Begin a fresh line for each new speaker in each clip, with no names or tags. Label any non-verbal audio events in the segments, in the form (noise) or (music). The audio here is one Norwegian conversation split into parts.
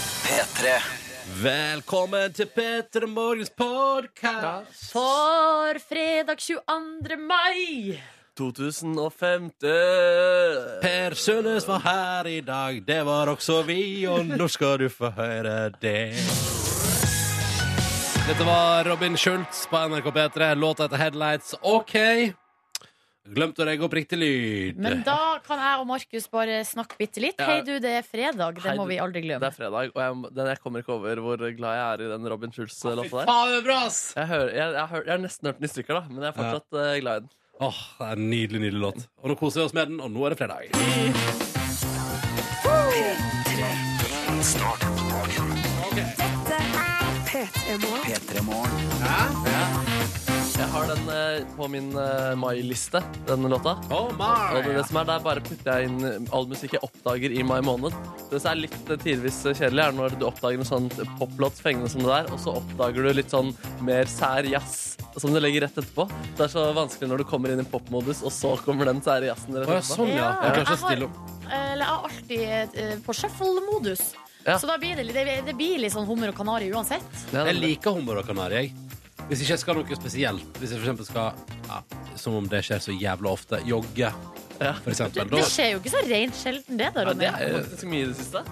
P3.
Velkommen til Petter Morgens podkast.
For fredag 22. mai
2050
Per Sundnes var her i dag, det var også vi, og nå skal du få høre det. Dette var Robin Schultz på NRK P3, låta etter Headlights. OK. Glemte å legge opp riktig lyd.
Men da kan jeg og Markus bare snakke bitte litt.
Ja.
Hei du, det er fredag. Det
Hei,
må
du.
vi aldri
Det
glemme.
er fredag, og jeg, den, jeg kommer ikke over hvor glad jeg er i den Robin Schulz-låta der.
Faen, det er bra, ass!
Jeg, hører, jeg, jeg, hører, jeg har nesten hørt den i stykker, da, men jeg er fortsatt eh, glad i den.
Åh, det er en Nydelig, nydelig låt. Og nå koser vi oss med den, og nå er det fredag.
P3 Morgen.
Jeg har den eh, på min eh, mai-liste, den låta.
Oh
Og det,
my!
det som er der, bare putter jeg inn eh, all musikk jeg oppdager i mai måned. Det som er litt eh, tidvis kjedelig, er når du oppdager en sånn poplåt fengende som det der, og så oppdager du litt sånn mer sær jazz som du legger rett etterpå. Det er så vanskelig når du kommer inn i popmodus, og så kommer den sære jazzen rett
Å ja,
etterpå.
sånn, ja.
Ja,
Jeg klarer ikke å
jeg har- eh,
stille opp.
Eller jeg er alltid eh, på shuffle-modus.
Ja.
Så da blir det, litt- det, det blir litt sånn hummer og kanari uansett.
Ja,
Jeg
det-
liker hummer og kanari, jeg. Hvis ikke jeg skal noe spesielt. Hvis jeg for eksempel skal ja, Som om det skjer så jævla ofte. Jogge,
Ja.
for eksempel.
Det
Da
skjer jo ikke så rent sjelden, det da,
Ja,
Ronny.
det er jo faktisk mye i det siste.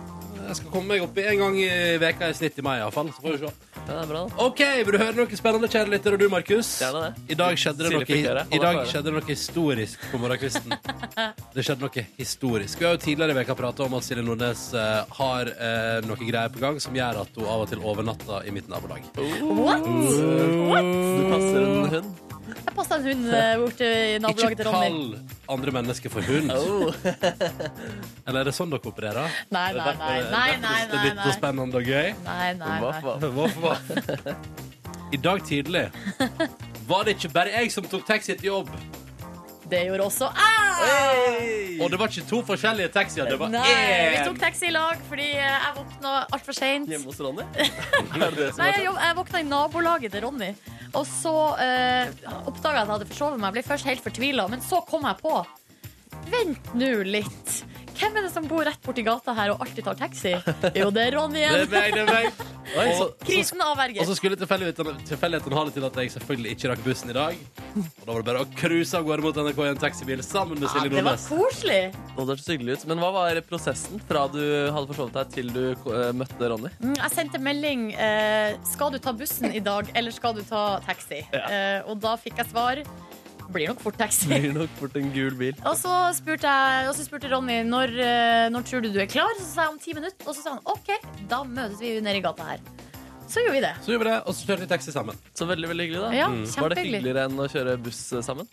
jeg skal komme meg opp i en gang i veka i snitt i mai, iallfall. Så får vi se.
Ja, det er bra, da.
OK, vil du høre noe spennende, kjære lytter, og du, Markus?
Gjerne det.
I dag skjedde det
Silje fikk
noe,
høre.
i dag
Alle får
skjedde det noe historisk på morgenkvisten.
(laughs)
Det skjedde noe historisk. Vi har jo tidligere i veka prata om at Silje Nordnes eh, har eh, noe greier på gang som gjør at hun av og til overnatter i mitt nabolag.
What?
Du passer en hund.
Jeg passa en hund eh, bort i
(laughs) Ikke
nabolaget til Ronny.
kall andre mennesker for hund.
Oh.
Eller er det sånn dere opererer?
Nei, nei, nei. nei, nei,
Det
nei,
er litt
nei.
spennende og gøy.
Nei, nei,
Hva,
nei.
hva?
Voff, voff. I dag
(laughs)
tidlig var det ikke bare jeg som tok taxi til jobb.
Det gjorde også jeg!
Og det var ikke to forskjellige taxier. Det var
Nei, vi
én.
tok taxi i lag fordi eh, jeg våkna altfor seint.
Hjemme hos Ronny? (laughs) Er det det som
Nei,
er
jeg,
sånn?
jobb, jeg våkna i nabolaget til Ronny. Og så eh, oppdaga jeg at jeg hadde forsovet meg. Jeg ble først helt fortvila, men så kom jeg på. Vent nå litt. Hvem er det som bor rett borti gata her og alltid tar taxi? Jo, det er Ronny
(laughs) Det er
igjen.
meg, det
(laughs)
er meg.
Oi, så,
Og,
Krisen
og så
avverges.
skulle tilfeldigheten tilfeldigheten ha det til at jeg selvfølgelig ikke rakk bussen i dag. Og da var det bare å cruise av gårde mot NRK i en taxibil sammen med
Ja,
Silje
det var
Nordnes.
koselig.
Nå hørtes det hyggelig ut. Men hva var prosessen fra du hadde forsovet deg, til du eh, møtte Ronny?
Mm, Jeg sendte melding eh, Skal du ta bussen i dag, eller skal du ta taxi? Eh, og da fikk jeg svar. Blir nok fort
(laughs)
taxi.
(laughs) Blir nok fort en gul bil.
Og så spurte, jeg, og så spurte Ronny når, eh, når tror du du er klar. Så sa jeg om ti minutter. Og så sa han OK, da møtes vi nede i gata her. Så gjorde vi det.
Så gjorde vi det, og så kjørte vi taxi sammen.
Så veldig veldig hyggelig, da.
Ja,
Var det
kjempehyggelig.
hyggeligere enn å kjøre buss eh, sammen?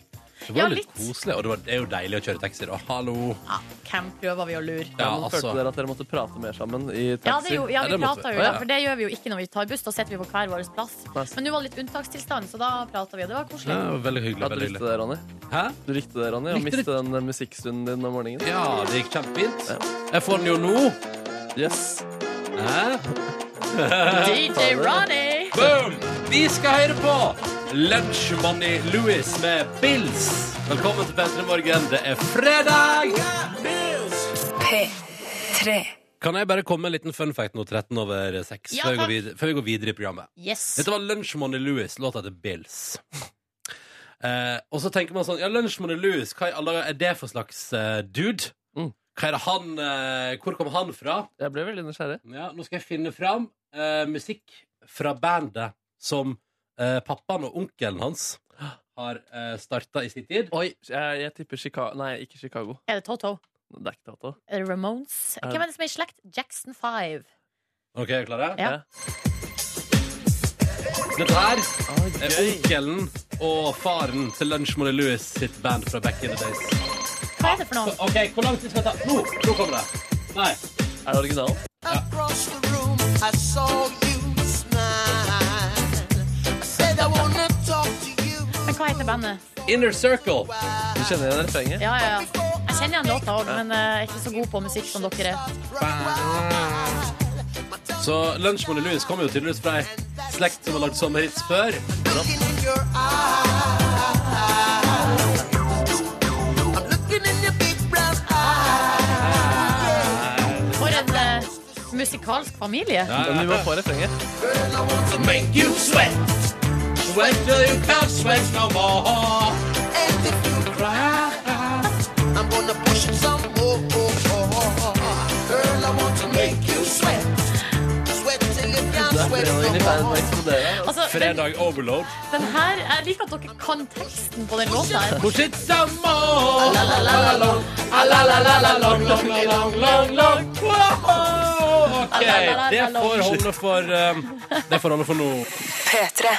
Det
Ja,
var jo litt
litt.
koselig, og det, var, det er jo deilig å kjøre taxi, da. Hallo.
Ja, hvem prøver vi å lure?
Ja,
men
altså.
Følte dere at dere måtte prate mer sammen i
Ja, det
taxi?
er jo, ja,
Ja,
vi
det måtte
prater
vi.
jo,
Ja,
ja,
ja.
for det gjør vi jo ikke når vi tar buss. Da sitter vi på hver vår plass.
Plass.
Men nå var det litt unntakstilstand, så da prata vi, og det var
Ja,
koselig.
det var veldig hyggelig.
Ja, du
Veldig
likte
hyggelig.
det, Ronny?
Hæ?
Du likte det, Ronny? Å
Likte det.
miste den eh, musikkstunden din om morgenen?
Ja, det gikk kjempefint. Jeg får den jo nå.
Yes.
Hæ?
DJ Ronny!
Boom! Vi skal høre på Lunch Money Louis med Bills. Velkommen til P3 Morgen. Det er fredag!
P3.
Kan jeg bare komme med en liten fun fact nå 13 over 6,
Ja,
før, vi går
takk.
videre, før vi går videre i programmet?
Yes.
Dette var Lunch Money Louis, låta til Bills. Eh, og så tenker man sånn Ja, Lunch Money Louis, hva i alle dager er det for slags eh, dude?
Mm.
Hva er det han, eh, hvor kom han fra?
Jeg ble veldig nysgjerrig.
Ja, nå skal jeg finne fram eh, musikk fra bandet som eh, pappaen og onkelen hans har uh, starta i sin tid.
Oi, jeg, jeg tipper Chicago Nei, ikke Chicago.
Er det Toto?
Det er ikke Tato.
Er det Ramones?
Er det-
Hvem er det som er i slekt? Jackson 5.
OK, er dere klare?
Ja.
Dette her
Ah,
er onkelen og faren til Lunchmoney Louis sitt band fra Back in the Days.
Hva er det for noe?
OK, hvor lang tid skal det ta? Nå, nå kommer det. Nei.
Er det originalen?
Across the room, I saw you smile. I said I wanna talk to you.
Men hva heter bandet?
Inner Circle.
Du kjenner igjen refrenget?
Ja, ja, ja. Jeg kjenner igjen låta òg, men eh, jeg er ikke så god på musikk som dere er.
Så Lunchmoney Louis kommer jo tydeligvis fra ei slekt som har lagd sånne hits før.
Looking in your eyes. I'm looking in your big brown eyes.
For en, eh, musikalsk familie.
Ja,
Men vi må få refrenget.
And if you cry, I'm gonna push it some more. Girl, I want to make you sweat. Sweat till you can't
Det er
sweat
fredagen i
no
Fanbox
more.
eksploderer. altså.
Altså, den,
Fredag overload.
den her, jeg liker at dere kan teksten på den låta. her.
Ok, det får holde for um, Det får holde for nå.
P3.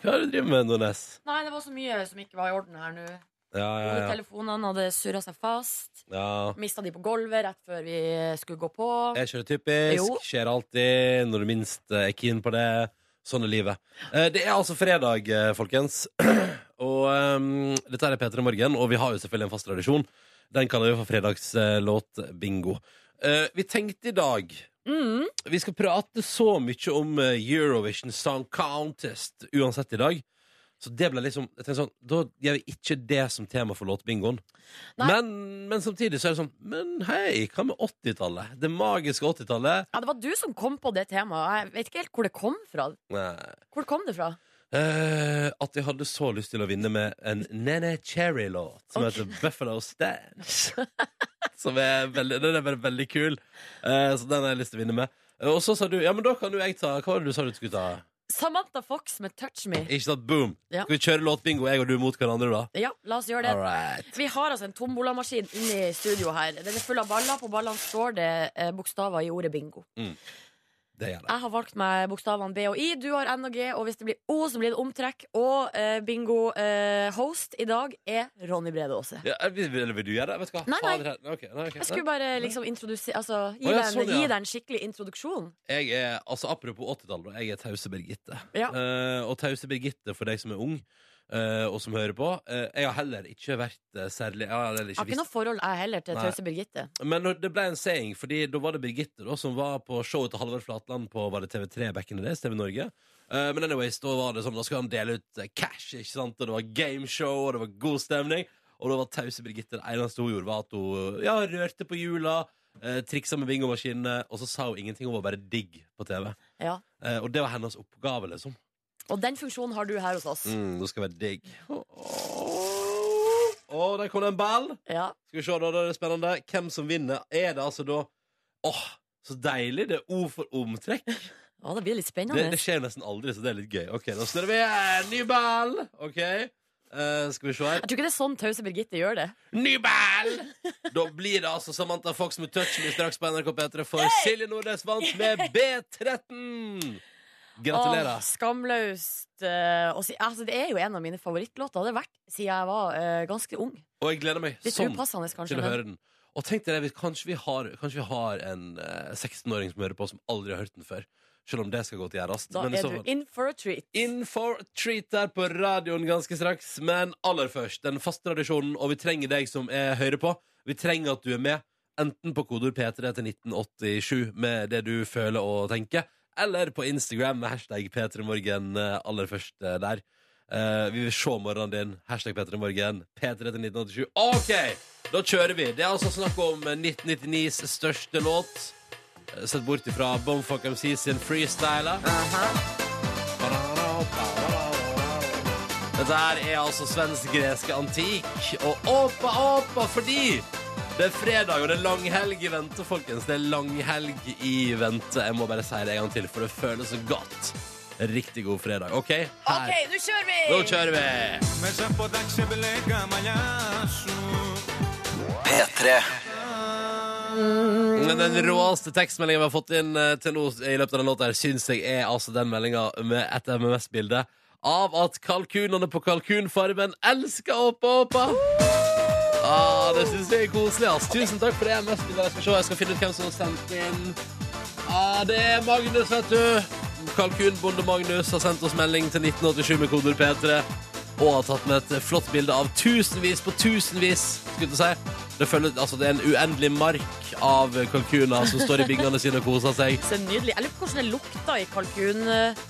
Hva er det du driver med, Nordnes?
Nei, det var så mye som ikke var i orden her nå.
Ja, ja, ja.
Telefonene hadde surra seg fast.
ja.
Mista de på gulvet rett før vi skulle gå på.
Det er ikke det typisk.
Jo.
Skjer alltid når du minst eh, er keen på det. Sånn er livet. Eh, Det er altså fredag, eh, folkens. (clears throat) Og ehm, dette er P3 Morgen, og vi har jo selvfølgelig en fast tradisjon. Den kaller vi for fredagslåt-bingo. vi tenkte i dag
Mm.
Vi skal prate så mye om eh, Eurovision Song Contest uansett i dag. Så det ble liksom jeg tenkte sånn, Da gjør vi ikke det som tema for låtbingoen.
Nei.
Men, men samtidig så er det sånn Men hei, hva med 80-tallet? Det magiske 80-tallet?
Ja, det var du som kom på det temaet. Jeg vet ikke helt hvor det kom fra.
Nei.
Hvor kom det fra?
Eh, at jeg hadde så lyst til å vinne med en Nene Cherry-låt som
Ok.
heter Buffalo Stance. som er veldig, den er bare veldig kul. Eh, så den har jeg lyst til å vinne med. Eh, Og så sa du ja, men da kan jo jeg ta Hva var det du sa du skulle ta?
Samantha Fox med 'Touch Me'.
Ikke sant? Boom.
Ja.
Skal vi kjøre låtbingo, jeg og du mot hverandre, da?
Ja, la oss gjøre det.
Alright.
Vi har altså en tombolamaskin inni studio her. Den er full av baller. På ballene står det eh, bokstaver i ordet bingo.
Det gjør det.
Jeg har valgt meg bokstavene B og I. Du har N og G, og hvis det blir O, så blir det omtrekk. Og eh, bingo-host i dag er Ronny Brede Aase.
Ja, vil, vil, vil du gjøre det? Vet du hva?
Nei, nei.
Fader, her- ok, nei, ok,
Jeg skulle
nei.
bare liksom introdusere Altså, gi
Å, ja,
deg en-
sånn, ja.
gi deg en skikkelig introduksjon.
jeg er, altså Apropos 80-tallet, jeg er Tause Birgitte.
Ja.
Eh, og Tause Birgitte, for deg som er ung, eh, og som hører på eh, Jeg har heller ikke vært eh, særlig jeg har heller
Jeg
ikke
har ikke noe
visst.
forhold, jeg heller, til
Nei.
Tause Birgitte.
Men når det ble en saying, Fordi da var det Birgitte da som var på showet til Halvard Flatland på var det TV3 back in the days, TV Norge. Eh, men anyways, da var det sånn, da skulle han dele ut eh, cash, ikke sant? og det var gameshow, og det var god stemning. Og da var Tause Birgitte det eneste hun gjorde, var at hun ja, rørte på hjula, eh, triksa med bingomaskinene, og så sa hun ingenting, hun var bare digg på TV.
Ja.
Eh, og det var hennes oppgave, liksom.
Og den funksjonen har du her hos oss.
Mm, det skal være digg. Å, der kom det en ball!
Ja.
Skal vi se, da, da er det spennende. Hvem som vinner? Er det altså da Åh, så deilig! Det er O for omtrekk.
Å, det blir litt
Det,
spennende.
det skjer nesten aldri, så det er litt gøy. Ok, Da snurrer vi igjen. Ny ball! OK. Eh, skal vi se her.
Jeg tror ikke det er sånn Tause Birgitte gjør det.
Ny ball! Da blir det altså Samantha Fox med touch me straks på NRK P3, for Silje Nordnes vant med B13!
Åh,
Gratulerer.
skamløst. eh, å si, altså, det er jo en av mine favorittlåter. Det har vært siden jeg var eh, ganske ung.
Og jeg gleder meg
Litt
sånn
upassende, kanskje.
til å
men-
høre den. Og tenk deg det, vi- kanskje vi har, kanskje vi har en eh, 16-åring som hører på, som aldri har hørt den før. Selv om det skal gå til gjerdas.
Da
Men i
er
så
du
fall-
in for a treat.
In for a treat der på radioen ganske straks. Men aller først, den faste tradisjonen, og vi trenger deg som er høyre på. Vi trenger at du er med, enten på kodord P3 til 1987 med det du føler og tenker, eller på Instagram med hashtag P3morgen eh, aller først eh, der. Eh, vi vil se morgenen din. Hashtag P3morgen. P3 til 1987. OK! Da kjører vi. Det er altså snakk om 1999s største låt. eh, Sett bort ifra Bomfuck MC sin freestyler. Dette her er altså svensk-greske antikk. Og åpa, åpa, fordi det er fredag, og det er langhelg i vente, folkens. Det er langhelg i vente. Jeg må bare si det en gang til, for det føles så godt. Riktig god fredag. OK, her.
OK, nå kjører vi!
Nå kjører vi.
Μέσα από τα ξεμπλέκα μαλλιά σου
P3.
Men Den råeste tekstmeldingen vi har fått inn eh, til nå i løpet av den låta, her, syns jeg er altså den meldinga med et MMS-bilde av at kalkunene på Kalkunfarmen elsker Åpa Åpa. Ah, det syns jeg er koselig. ass. Tusen takk for det MMS-bildet. Jeg skal se, jeg skal finne ut hvem som har sendt inn. Ah, det er Magnus, vet du. Kalkunbonde Magnus har sendt oss melding til 1987 med koder P3. Og har tatt med et flott bilde av tusenvis på tusenvis. skulle jeg til å si. Det, følger, altså, det er en uendelig mark av kalkuner som står i bingene sine og koser seg.
Så nydelig. Jeg lurer på hvordan det lukta i kalkun... eh,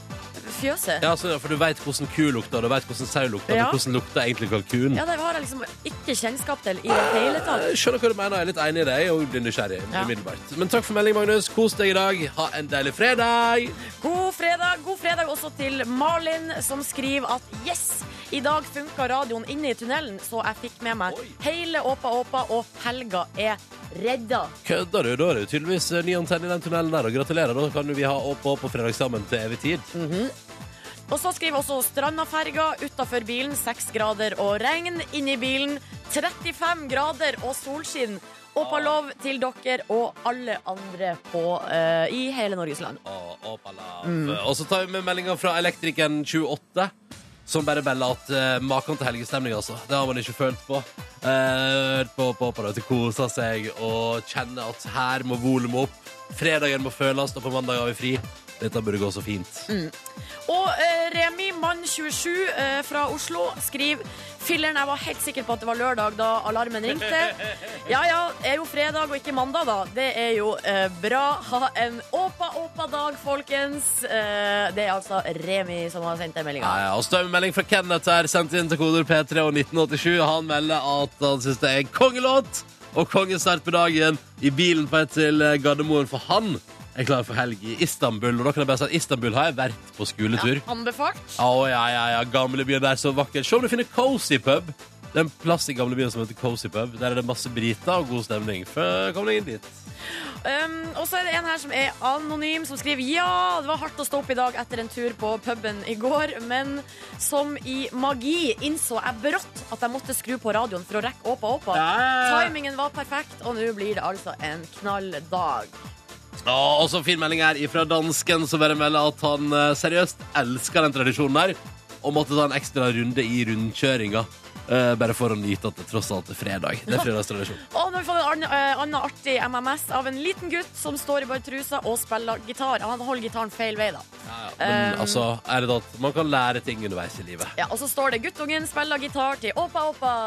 fjøset.
Ja, så, for du veit hvordan ku lukter, du veit hvordan sau lukter,
Ja.
og hvordan lukter egentlig kalkun.
Ja, det har jeg liksom ikke kjennskap til i det hele tatt.
Jeg skjønner hva du mener, jeg er litt enig i deg og blir nysgjerrig.
Ja.
umiddelbart. Men takk for meldingen, Magnus. Kos deg i dag. Ha en deilig fredag!
God fredag, god fredag også til Malin, som skriver at yes, i dag funka radioen inne i tunnelen, så jeg fikk med meg
Oi.
hele Åpa Åpa, og helga er redda.
Kødder du? Da er det jo tydeligvis eh, ny antenne i den tunnelen der. Og gratulerer. Da kan jo vi ha opp og opp på fredag sammen til evig tid.
Og så skriver også Strandaferga utafor bilen, 6 grader og regn. Inni bilen 35 grader og solskinn. Åpa lov til dere og alle andre på, eh, i hele Norges land.
Og, og, palav. og så tar vi med meldinga fra Elektrikeren 28, som bare melder at eh, maken til helgestemning, altså. Det har man ikke følt på. Eh, Hørt på på opera til kosa seg og kjenne at her må volumet opp. Fredagen må føles, og på mandag har vi fri. Dette burde gå så fint.
Og eh, Remi, mann 27 eh, fra Oslo, skriver Filler'n, jeg var helt sikker på at det var lørdag da alarmen ringte. Ja ja, er jo fredag og ikke mandag, da. Det er jo eh, bra. Ha en åpa-åpa-dag, folkens. Eh, det er altså Remi som har sendt den meldinga.
Ja, ja. Og støvmelding fra Kenneth her, sendt inn til koder P3 og 1987. Han melder at han syns det er en kongelåt og kongestart på dagen i bilen på vei til eh, Gardermoen, for han er klar for helg i Istanbul. Og da kan jeg bare si at Istanbul har jeg vært på skoletur.
Anbefalt.
Å, ja, ja, ja. Gamlebyen der, så vakkert. Se om du finner Cozy Pub. Det er en plass i gamlebyen som heter Cozy Pub. Der er det masse briter og god stemning. Før kom deg inn dit.
Um, og så er det en her som er anonym, som skriver Ja, det var hardt å stå opp i dag etter en tur på puben i går, men som i magi innså jeg brått at jeg måtte skru på radioen for å rekke Åpa Åpa. Timingen var perfekt, og nå blir det altså en knalldag.
Ja, og så fin melding her fra dansken som bare melder at han eh, seriøst elsker den tradisjonen der, og måtte ta en ekstra runde i rundkjøringa. eh, bare for å nyte at det tross alt er fredag. Det er (laughs) fredagstradisjon.
Og nå har vi fått en annen, eh, annen artig MMS av en liten gutt som står i bare trusa og spiller gitar. Han holder gitaren feil vei, da.
Men
Um,
altså, er det at man kan lære ting underveis i livet.
Ja, og så står det 'Guttungen spiller gitar til Åpa Åpa'.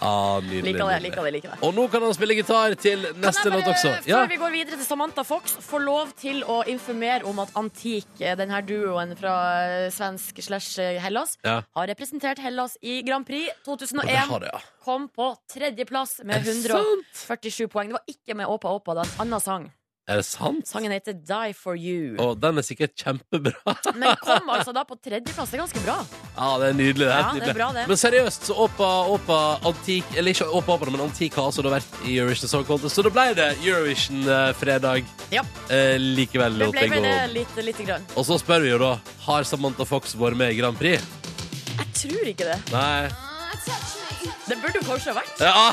Ah, nydelig.
Liker det,
nydelig.
liker det. liker det
Og nå kan han spille gitar til neste
Kan jeg
låt
bare, eh,
også.
Før
Ja.
vi går videre til Samantha Fox, få lov til å informere om at Antik, eh, den her duoen fra eh, svensk slash eh, Hellas,
Ja.
har representert Hellas i Grand Prix
Og det
2001.
har det, ja.
Kom på tredjeplass
Er
med
det
147 poeng. Det var ikke med Åpa Åpa, det var en annen sang.
Er det sant?
Sangen heter Die for you.
Og den er sikkert kjempebra.
Men kom altså da på tredjeplass. Det er ganske bra.
Ja, det er nydelig. Det er helt
Ja, det er
nydelig.
bra, det.
Men seriøst, så Åpa Åpa Antik Eller ikke Åpa Åpa, men Antik har altså da vært i Eurovision Song Contest, så da ble det Eurovision eh, fredag
Ja.
eh, likevel.
Det
låt
ble
jeg
vel det
gå.
litt, litt grann.
Og så spør vi jo da Har Samantha Fox vært med i Grand Prix.
Jeg tror ikke det.
Nei.
Det burde jo kanskje ha vært.
Ja, ah,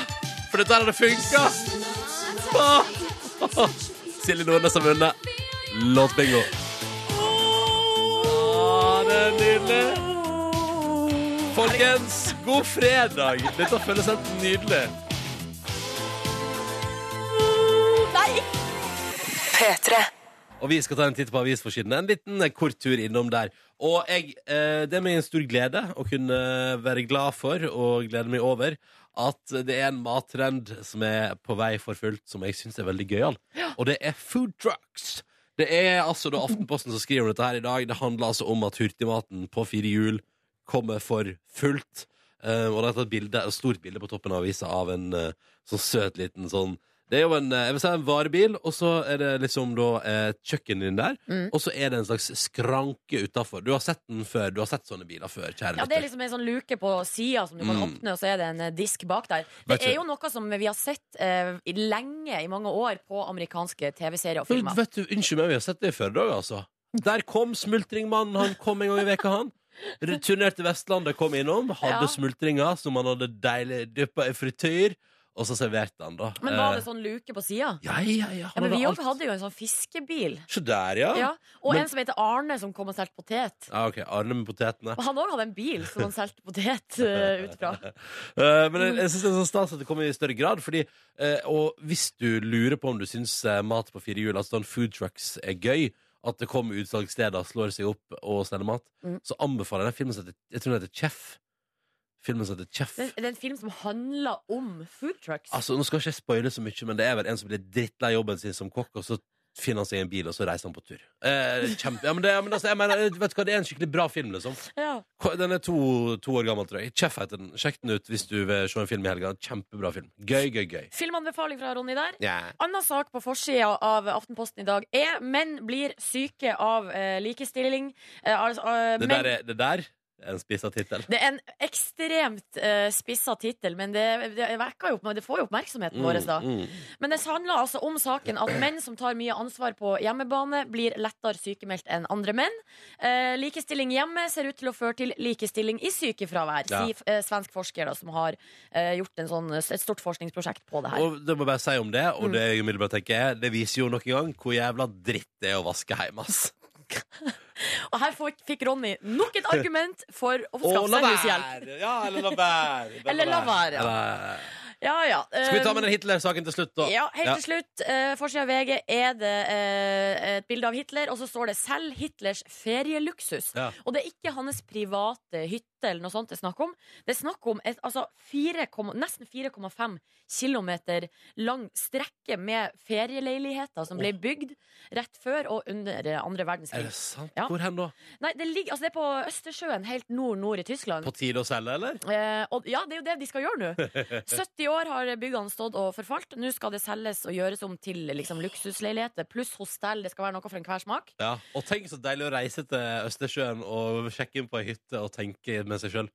for dette her hadde funka! Ah. (laughs) Silje Nordnes har vunnet. Låtbingo. Ah, det er nydelig. Folkens, god fredag! Dette føles helt nydelig.
Nei!
P3.
Og vi skal ta en titt på avisforsiden. En liten eh, kort tur innom der. Og jeg, eh, det er meg en stor glede å kunne eh, være glad for og glede meg over at det er en mattrend som er på vei for fullt, som jeg syns er veldig gøyal. Og det er food trucks. Det er altså da Aftenposten som skriver om dette her i dag. Det handler altså om at hurtigmaten på fire hjul kommer for fullt. Eh, og det er tatt bilde, et stort bilde på toppen av avisa av en eh, sånn søt liten sånn det er jo en, eh, jeg vil si en varebil, og så er det liksom da eh, kjøkkenet din der.
Mm.
Og så er det en slags skranke utafor. Du har sett den før, du har sett sånne biler før. kjære
Ja, det er
lytter.
liksom en sånn luke på sida som du kan
Mm.
åpne, og så er det en eh, disk bak der. Det
Vet du-
er jo noe som vi har sett eh, i- lenge, i mange år, på amerikanske TV-serier og
Men
filmer.
Vet du, Unnskyld meg, vi har sett det i Førde òg, altså. Der kom smultringmannen. Han kom en gang i veka, han. Returnerte Vestlandet, kom innom, hadde
Ja.
smultringer som han hadde deilig dyppa i frityr, og så serverte han, da.
Men var
Eh,
det sånn luke på sida?
Ja, ja, ja.
Ja,
han
men vi
hadde
òg
alt.
hadde jo en sånn fiskebil.
Så der, ja.
Ja. Og
Men-
en som heter Arne, som kom og solgte potet.
Ja, Ah, OK. Arne med potetene.
Og han òg hadde en bil som han solgte
(laughs)
potet eh, ut fra.
Eh, men jeg, jeg synes det er sånn stas at det kommer i større grad. Fordi, eh, og hvis du lurer på om du syns eh, mat på fire hjul, altså sånn food trucks, er gøy, at det kommer utsalgssteder, slår seg opp og selger mat,
Mm.
så anbefaler jeg den filmen som heter Jeg tror den heter Chef. Filmen som heter Chef.
Det, det er en film som handler om food trucks.
Altså, nå skal ikke jeg spoile så mye, men det er vel en som blir drittlei jobben sin som kokk, og så finner han seg en bil, og så reiser han på tur. Eh, kjempe, ja, men det, ja, men altså, jeg mener, vet du hva, det er en skikkelig bra film, liksom.
Ja.
Ko- Den er to, to år gammel, tror jeg. Chef heter den. Sjekk den ut hvis du vil se en film i helga. Kjempebra film. Gøy, gøy, gøy.
Filmanbefaling fra Ronny der.
Ja.
Anna sak på forsida av Aftenposten i dag er menn blir syke av eh, likestilling. Eh, altså, eh,
Det,
menn-
der er, det der er en spissa tittel.
det er en ekstremt uh, spissa tittel, men det, det, vekker jo, opp- det får jo oppmerksomheten vår. da
Mm,
Men det handler altså om saken at menn som tar mye ansvar på hjemmebane, blir lettere sykemeldt enn andre menn. Eh, likestilling hjemme ser ut til å føre til likestilling i sykefravær,
Ja.
sier eh, svensk forsker da, som har eh, gjort en sånn, et stort forskningsprosjekt på det her.
Og det må jeg bare si om det,
Mm.
og det jeg umiddelbart tenker er, det viser jo nok en gang hvor jævla dritt det er å vaske hjemme, ass.
Og her fikk, fikk Ronny nok et argument for å skaffe
la
seg hushjelp.
være! Ja, eller la være. Bare
(laughs) Eller la være, ja.
Eller-
Ja, ja. Eh,
Skal vi ta med den Hitler-saken til slutt, da?
Ja, helt til slutt. Uh, Forsida av VG er det eh, et bilde av Hitler, og så står det 'Selv Hitlers ferieluksus'.
Ja.
Og det er ikke hans private hytte eller noe sånt det er snakk om. Det er snakk om et altså, 4, nesten 4,5 km lang strekke med ferieleiligheter som ble bygd rett før og under eh, andre
Er
verdenskrig.
det sant?
Ja.
Hvor hen da?
Nei, det, ligger, altså, det er på Østersjøen, helt nord-nord i Tyskland.
På tide å selge, eller?
Eh, og ja, det er jo det de skal gjøre nå. 70 år har byggene stått og forfalt. Nå skal det selges og gjøres om til liksom, luksusleiligheter pluss hostell. Det skal være noe for enhver smak.
Ja. Og tenk så deilig å reise til Østersjøen og sjekke inn på ei hytte og tenke med seg sjøl.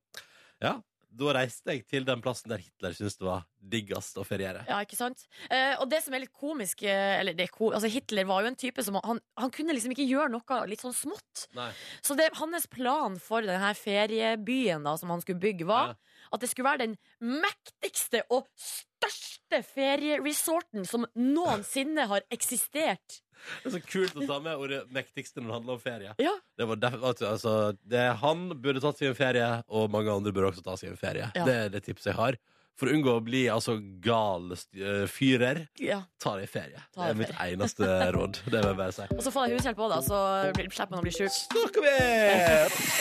Ja, da reiste jeg til den plassen der Hitler syntes det var diggest å feriere.
Ja, ikke sant? Eh, og det som er litt komisk eh, eller det er ko altså Hitler var jo en type som han, han kunne liksom ikke gjøre noe litt sånn smått.
Nei.
Så det, hans plan for denne feriebyen da, som han skulle bygge, var
Ja.
at det skulle være den mektigste og største ferieresorten som noensinne har eksistert.
Det er så kult å ta med ordet 'mektigste' når det handler om ferie.
Ja.
Det var derfor, at, altså, det, han burde tatt seg en ferie, og mange andre burde også ta seg en ferie.
Ja.
Det er det tipset jeg har. For å unngå å bli altså, gal st- eh, fyrer,
ja.
ta deg ferie.
Ta
det er
deg
mitt eneste råd. Det vil jeg bare si.
Og så får jeg hushjelp òg, da, så blir- slipper man å bli sjuk.
Snakker vi!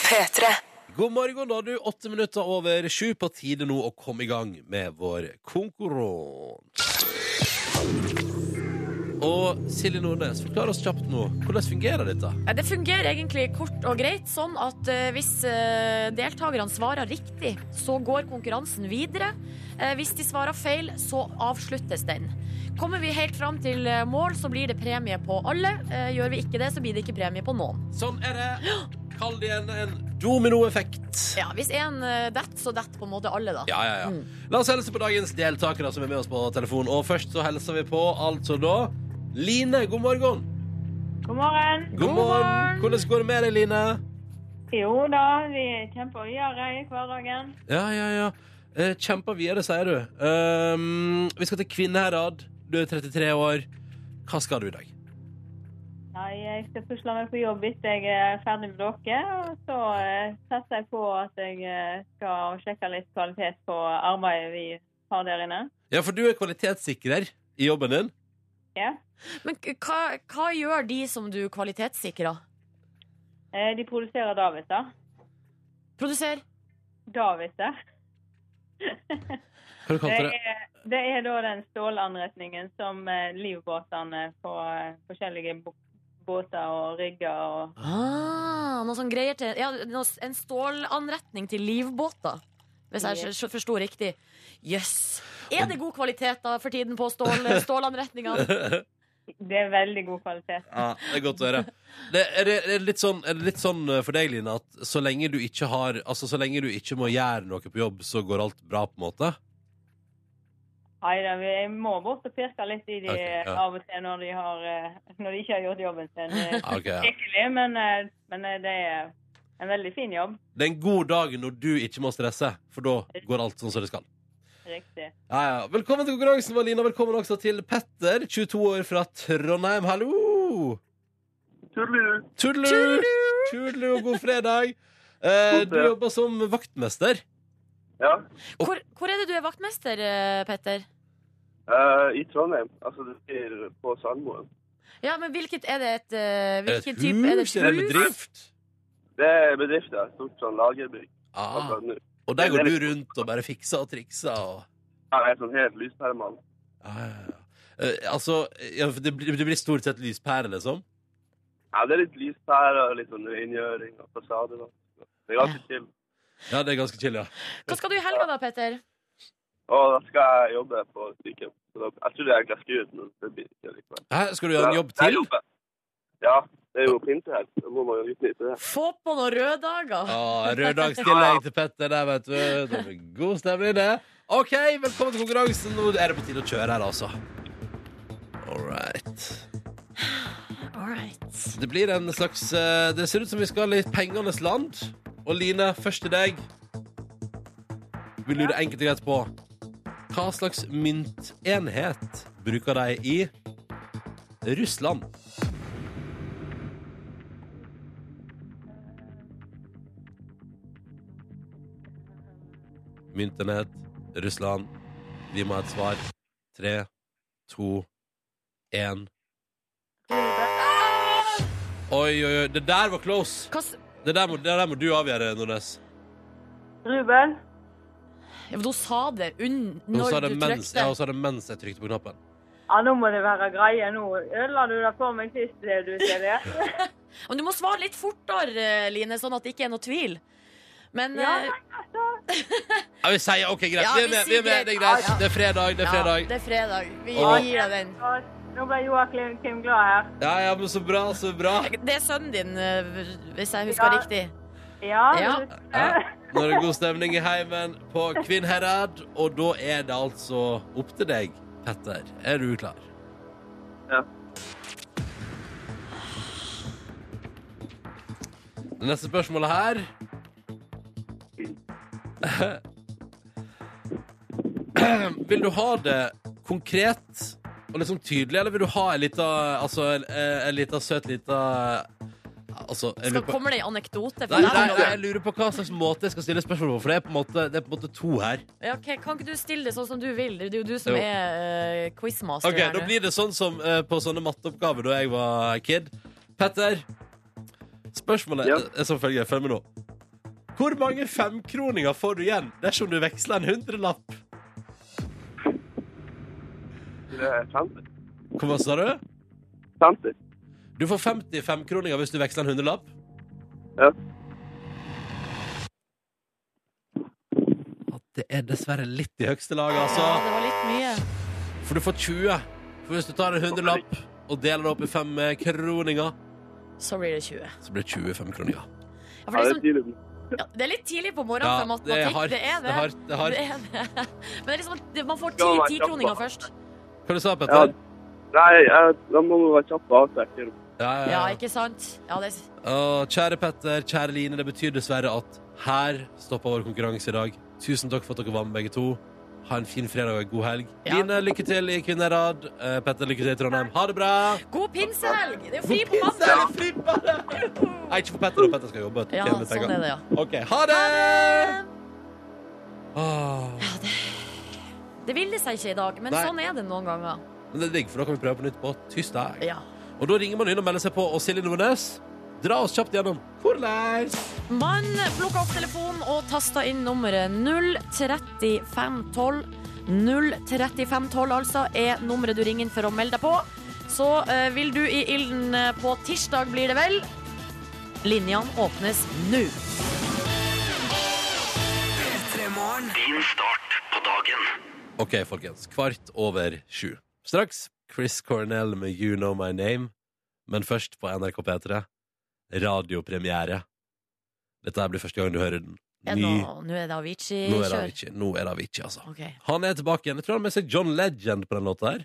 P3.
God morgen, da, du. Åtte minutter over sju. På tide nå å komme i gang med vår konkurranse. Og Silje Nordnes, forklar oss kjapt nå. Hvordan fungerer dette?
Ja, Det fungerer egentlig kort og greit sånn at eh, hvis eh, deltakerne svarer riktig, så går konkurransen videre. Eh, hvis de svarer feil, så avsluttes den. Kommer vi helt fram til eh, mål, så blir det premie på alle. Eh, gjør vi ikke det, så blir det ikke premie på noen.
Sånn er det. Kall det igjen en dominoeffekt.
Ja, Hvis én eh, detter, så detter på en måte alle, da.
Ja, ja, ja. La oss helse på dagens deltakere som er med oss på telefon. Og først så hilser vi på altså da Line. God morgen.
God morgen.
God morgen. Hvordan går det med deg, Line?
Jo da, vi kjemper videre i hverdagen.
Ja, ja, ja. Eh, Kjempa videre, sier du. Ehm, vi skal til Kvinnherad. Du er 33 år. Hva skal du i dag?
Nei, jeg skal pusle meg på jobb hvis jeg er ferdig med dere. Og så eh, satser jeg på at jeg eh, skal sjekke litt kvalitet på arbeidet vi har der inne.
Ja, for du er kvalitetssikrer i jobben din.
Ja.
Men k- hva, hva gjør de som du kvalitetssikrer?
Eh, De produserer Davidser.
Produser?
Davidser.
Hva du
Det
kalte det?
er, det er da den stålanretningen som eh, livbåtene på eh, forskjellige bo- båter og rigger og
Ah, noe sånn greier til ja, noe, En stålanretning til livbåter. Hvis jeg
Ja.
s- s- forsto riktig. Jøss. Er det god kvalitet da for tiden på stål,
(laughs)
stålanretningene?
Det er veldig god kvalitet.
Ja, det er godt å høre. Det, er, det, er, det litt sånn, er det litt sånn eh, for deg, Line, at så lenge du ikke har Altså, så lenge du ikke må gjøre noe på jobb, så går alt bra, på en måte?
Nei da, vi- jeg må bort og pirke litt i de eh,
Ok, ja.
av og til når de, har, eh, når de ikke har gjort jobben sin.
(laughs)
eh,
Ja, ok, ja.
Skikkelig, men, eh, men eh, det er en veldig fin jobb.
Det er en god dag når du ikke må stresse, for da går alt sånn som det skal.
Riktig.
Ja, ja. Velkommen til konkurransen, Malina. Velkommen også til Petter, 22 år fra Trondheim. Hallo! Tudelu. Tudelu, og god fredag. Eh, du jobber som vaktmester.
Ja,
Hvor, hvor er det du er vaktmester, eh, Petter?
eh, i Trondheim. Altså, det blir på Sandmoen.
Ja, men hvilket er det et eh,
Er det
Hvilken
et
type er det?
hus? Er det
hus?
bedrift?
Det er bedrifter, stort sånn lagerbygg.
Ah,
Altså, nå-
og der går du rundt og bare fikser og trikser og
ja, jeg er sånn helt lyspermann.
ja, ja, ja. Eh, altså, ja, for det, blir- det blir stort sett lyspære, liksom?
Ja, det er litt lyst her og litt sånn rengjøring og fasade. Da. Det er ganske chill.
Ja, det er ganske chill, ja.
Hva skal du i helga da, Peter?
Og da skal jeg jobbe på sykehjem. Så da- Jeg trodde jeg glaska ut, men det blir ikke likevel.
Hæ, skal du gjøre en jobb
Jeg
til?
jobber. Ja, det er jo pinte her. Da må man jo utnytte det.
Få på noen røddager!
Ja, Røddagstillegg til Petter der, vet du. Det blir god stemning, det. OK, velkommen til konkurransen. Nå er det på tide å kjøre her, altså. All right.
All right.
Det blir en slags eh, Det ser ut som vi skal i pengenes land. Og Line, først til deg. Vi lurer enkelt og greit på hva slags myntenhet bruker de i Russland? Myntenhet, Russland. Vi må ha et svar. Tre, to, én. Oi, oi, oi. Det der var close.
Hva s-
Det der må, det der må du avgjøre, Nordnes.
Ruben?
Ja, men hun sa det unn
Hun sa
når
det
du
mens, ja,
trykte.
hun sa det mens jeg trykte på knappen.
Ja, nå må det være greie. Nå ødela du det for meg sist, det du,
(laughs)
Silje.
Men du må svare litt fortere, Line, sånn at det ikke er noe tvil. Men
Ja,
eh,
Ja, vi sier OK, greit.
Ja,
vi er med.
vi
Vi er
sier
med. Det er
greit.
greit. Det er fredag. Det er
Ja,
fredag.
det er fredag. Vi
Og-
gir deg den.
Og Nå ble Joakim Kim glad her.
Ja, ja, men så bra, så bra.
Det er sønnen din, eh, hvis jeg husker
Ja.
riktig.
Ja.
Ja.
Ja. Nå er det god stemning i heimen på Kvinnherad, og da er det altså opp til deg, Petter. Er du klar?
Ja.
Det neste spørsmålet her Vil du ha det konkret og liksom tydelig, eller vil du ha ei lita altså, en- en lita søt lita Altså jeg lurer
Skal
på-
kommer det en anekdote fra
Nei, nei,
deg?
nei, jeg lurer på hva slags måte jeg skal stille spørsmål på, for det er på en måte, det er på en måte to her.
Ja, ok, Kan ikke du stille det sånn som du vil? Det er jo du som
Jo.
er eh, quizmaster.
Ok,
her
Da
nå.
blir det sånn som eh, på sånne matteoppgaver da jeg var kid. Petter, spørsmålet
Ja.
er som følger. Følg med nå. Hvor mange femkroninger får du igjen dersom du veksler en hundrelapp?
Det er 50.
Hvor mye sa du?
50.
Du får 50 femkroninger hvis du veksler en hundrelapp.
Ja.
Ja, Det er dessverre litt i høyeste lag, altså.
Ja, det var litt mye.
For du får 20. For hvis du tar en hundrelapp og deler det opp i fem eh, kroninger,
Så blir det 20.
så blir det 25 kroninger.
Ja, for det,
Ja, det
er
er
sånn-
liksom,
tidlig.
ja, det er litt tidlig på morgenen
Ja,
for matematikk. Det er det.
Det er hardt. Det er hardt.
Det er det. (laughs) Men det er liksom, at det- man får
Skal
ti
være
tikroninger
kjapp, da.
først.
Hva du sa du,
Ja.
Petter?
Nei, jeg, da må man være kjapp på avtrekker.
Ja, ja,
Ja,
ja.
ikke sant? Ja, det,
Å, kjære Petter, kjære Line, det betyr dessverre at her stopper vår konkurranse i dag. Tusen takk for at dere var med, begge to. Ha en fin fredag og en god helg.
Ja.
Line, lykke til i Kvinnherad. Eh, Petter, lykke til i Trondheim. Ha det bra!
god pinsehelg! Det er jo fri på
Pinse,
mandag!
eller fri på det? Nei, ikke for Petter, da. Petter skal jobbe.
Ja,
tjene
sånn
penger.
er det, ja.
OK, ha det! Åh.
Det ville seg ikke i dag, men
Nei.
sånn er det noen ganger.
Men det er digg, for da kan vi prøve på nytt på tirsdag.
Ja.
Og da ringer man inn og melder seg på. Og Silje Nordnes, dra oss kjapt gjennom. Hvordan?
Man plukker opp telefonen og taster inn nummeret 03512. 03512 altså er nummeret du ringer inn for å melde deg på. Så eh, vil du i ilden eh, på tirsdag, blir det vel? Linjene åpnes nå.
Ok, folkens. Kvart over sju. Straks Chris Cornell med You Know My Name. Men først på NRK P3. Radiopremiere. Dette her blir første gang du hører den.
Er det
Ny.
noe- Nå
Nå
er det
er det
Avicii-kjør.
Avicii. Nå er det Avicii, altså.
Ok.
Han er tilbake igjen. Jeg tror han har med seg John Legend på den låta her.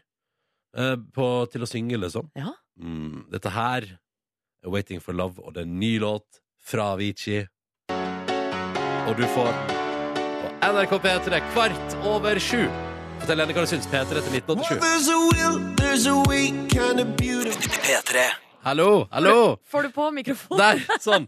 Eh, på, til å synge, liksom.
Ja.
Mm, dette her er Waiting for Love, og det er en ny låt fra Avicii. Og du får den på NRK P3 kvart over sju. Fortell henne hva du syns. P3 til 1987.
There's a will, there's a way, kind of beautiful.
Hallo, hallo!
Får du på mikrofonen?
Der, sånn.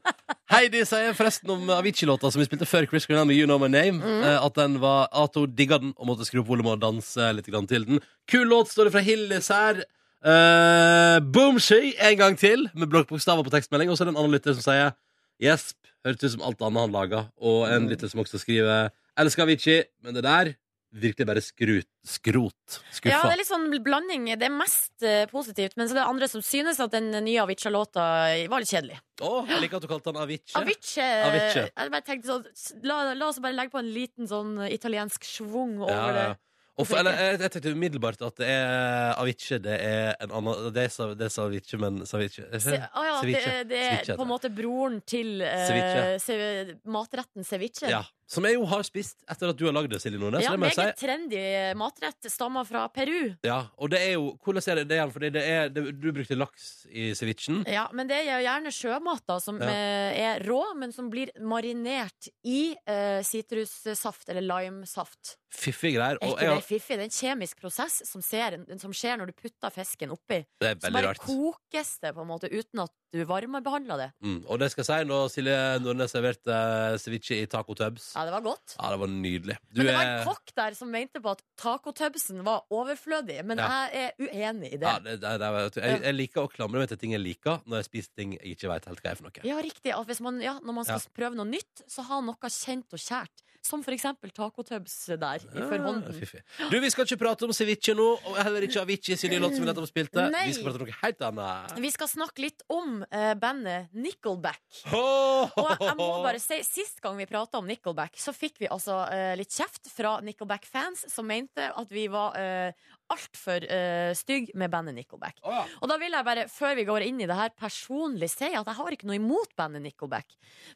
Heidi sier forresten om Avicii-låta som vi spilte før Chris Cornell med You Know My Name, eh, at, den var, at hun digga den og måtte skru opp volumet og danse litt grann til den. Kul låt, står det fra Hildis her. Eh, Boomshy en gang til, med blokkbokstaver på tekstmelding. Og så er det en annen lytter som sier Gjesp. Hørtes ut som alt annet han laga. Og en lytter som også skriver Elsker Avicii, men det der virkelig bare skrut, skrot.
Ja,
Skuffa.
det er litt sånn blanding. Det er mest eh, positivt, men så det er andre som synes at den nye Avicii-låta var litt kjedelig.
Å, jeg liker at du kalte han Avicii.
Avicii!
Avicii.
eh, Jeg bare tenkte sånn s- la, la oss bare legge på en liten sånn italiensk schwung over
Ja, ja.
det.
Og for, eller, jeg, jeg tenkte umiddelbart at det er Avicii, det er en annen Det er, sa- det er Savici, men eh, Savici
Se, ah, ja, det,
Ceviche.
det er
Ceviche heter
på en måte broren til eh,
Ceviche.
ce- matretten ceviche.
Ja, Som jeg jo har spist etter at du har lagd det, Silje Nordnes.
Ja,
så det må jeg
meget
si.
trendy matrett. Stammer fra Peru.
(laughs) Ja, og det er jo Hvordan er det det igjen? Fordi det er, det, du brukte laks i cevicen.
Ja, men det er jo gjerne sjømat da, som
Ja.
eh, er rå, men som blir marinert i eh, sitrussaft eller limesaft.
Fiffige greier.
Er
Og
ikke
jeg,
det fiffig? Det er en kjemisk prosess som, ser, som skjer når du putter fisken oppi.
det er
Så
veldig
bare
rart.
kokes det på en måte uten at du varmebehandler det.
Mm. Og det skal jeg si, når Silje Nordnes serverte uh, ceviche i taco tubs
Ja, det var godt.
Ja, det var nydelig. Du
Men det var en
er-
kokk der som mente på at tacotubsen var overflødig, men
Ja.
jeg er uenig i det.
Ja, det, det, det, vet du. jeg, jeg liker å klamre meg til ting jeg liker, når jeg spiser ting jeg ikke veit helt hva er for noe.
Ja, riktig. At hvis man, ja, når man skal
Ja.
prøve noe nytt, så ha noe kjent og kjært. Som for eksempel tacotubs der, i
Ah,
forhånden.
fiffig. Du, Vi skal ikke prate om ceviche nå, og heller ikke Avicii sin nye låt som vi nettopp spilte.
Nei.
Vi skal prate om noe helt annet.
Vi skal snakke litt om eh, bandet Nickelback. Og jeg, jeg må
(laughs)
bare si, Sist gang vi prata om Nickelback, så fikk vi altså eh, litt kjeft fra Nickelback-fans som mente at vi var uh, altfor uh, stygge med bandet Nickelback.
Å, ja.
Og da vil jeg bare, før vi går inn i det her, personlig si at jeg har ikke noe imot bandet Nickelback.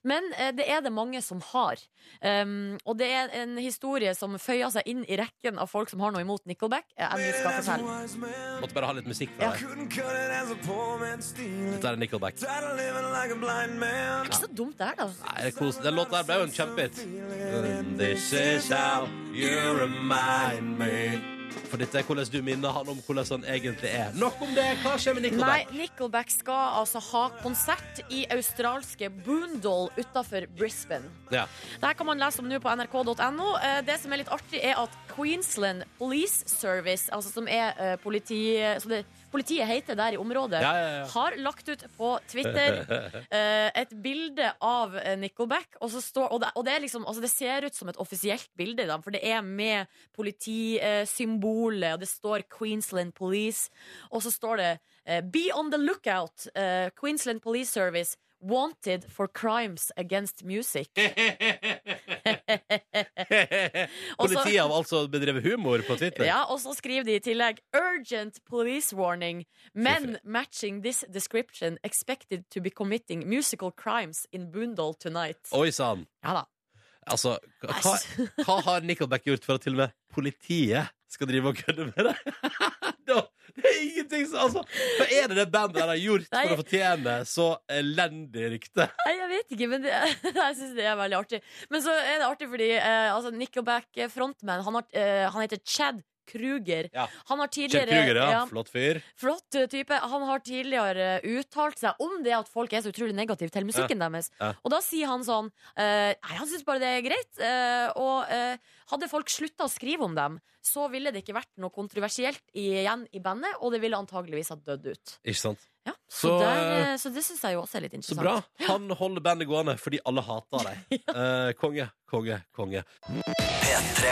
Men eh, det er det mange som har. Um, og det er en historie som føyer seg inn i rekken av folk som har noe imot Nickelback. eh, Jeg endelig skal fortelle.
Måtte bare ha litt musikk fra
Ja.
deg. Dette er Nickelback.
Ikke så dumt det er, da.
Nei, Ah, det er kos- Den låta her ble jo en kjempehit. And This is how you remind me. For dette er hvordan du minner han om hvordan han egentlig er. Nok om det. Hva skjer med
Nei,
Nickelback?
Nickelback skal altså ha konsert i australske Boondall utafor Brisbane. (laughs)
Ja. (laughs)
Dette kan man lese om nå på nrk.no. Eh, Det som er litt artig, er at Queensland Police Service, altså som er eh, politi, som det, politiet heter der i området,
Ja, ja, ja.
har lagt ut på Twitter
(laughs)
eh, et bilde av eh, Nickelback. Og, så står, og, det, og det, er liksom, altså det ser ut som et offisielt bilde, da, for det er med politisymbolet, og det står Queensland Police. Og så står det eh, Be on the lookout, eh, Queensland Police Service. Wanted for crimes against music. Og så-
Politiet har altså bedrevet humor på Twitter.
Ja, og så skriver de i tillegg Urgent police warning Men matching this description Expected to be committing musical crimes In Boondall tonight
Oi sann.
Ja da
Altså, hva, (laughs) hva har Nickelback gjort for at til og med politiet skal drive og kødde med det? (laughs) Da- det er ingenting som altså, Hva er det det bandet der har gjort for å
Nei.
fortjene så elendig rykte?
Nei, jeg vet ikke, men det, (laughs) jeg synes det er veldig artig Men så er det artig fordi eh, altså Nickelback eh, frontman Han, har, eh, han heter Chad Kruger
Ja.
Han har
Kjell
tidligere
Kruger, ja.
ja,
Flott fyr.
Flott eh, type. Han har tidligere eh, uttalt seg om det at folk er så utrolig negative til musikken deres.
Ja.
Og da sier han sånn eh, Nei, han syns bare det er greit. eh, og eh, hadde folk slutta å skrive om dem, så ville det ikke vært noe kontroversielt igjen i bandet, og det ville antageligvis ha dødd ut.
Ikke sant?
Ja, så,
Så,
der,
eh,
eh, så det syns jeg jo også er litt
Så
interessant.
bra. Han holder bandet gående fordi alle hater
(laughs)
dem. Eh, konge, konge, konge.
P3.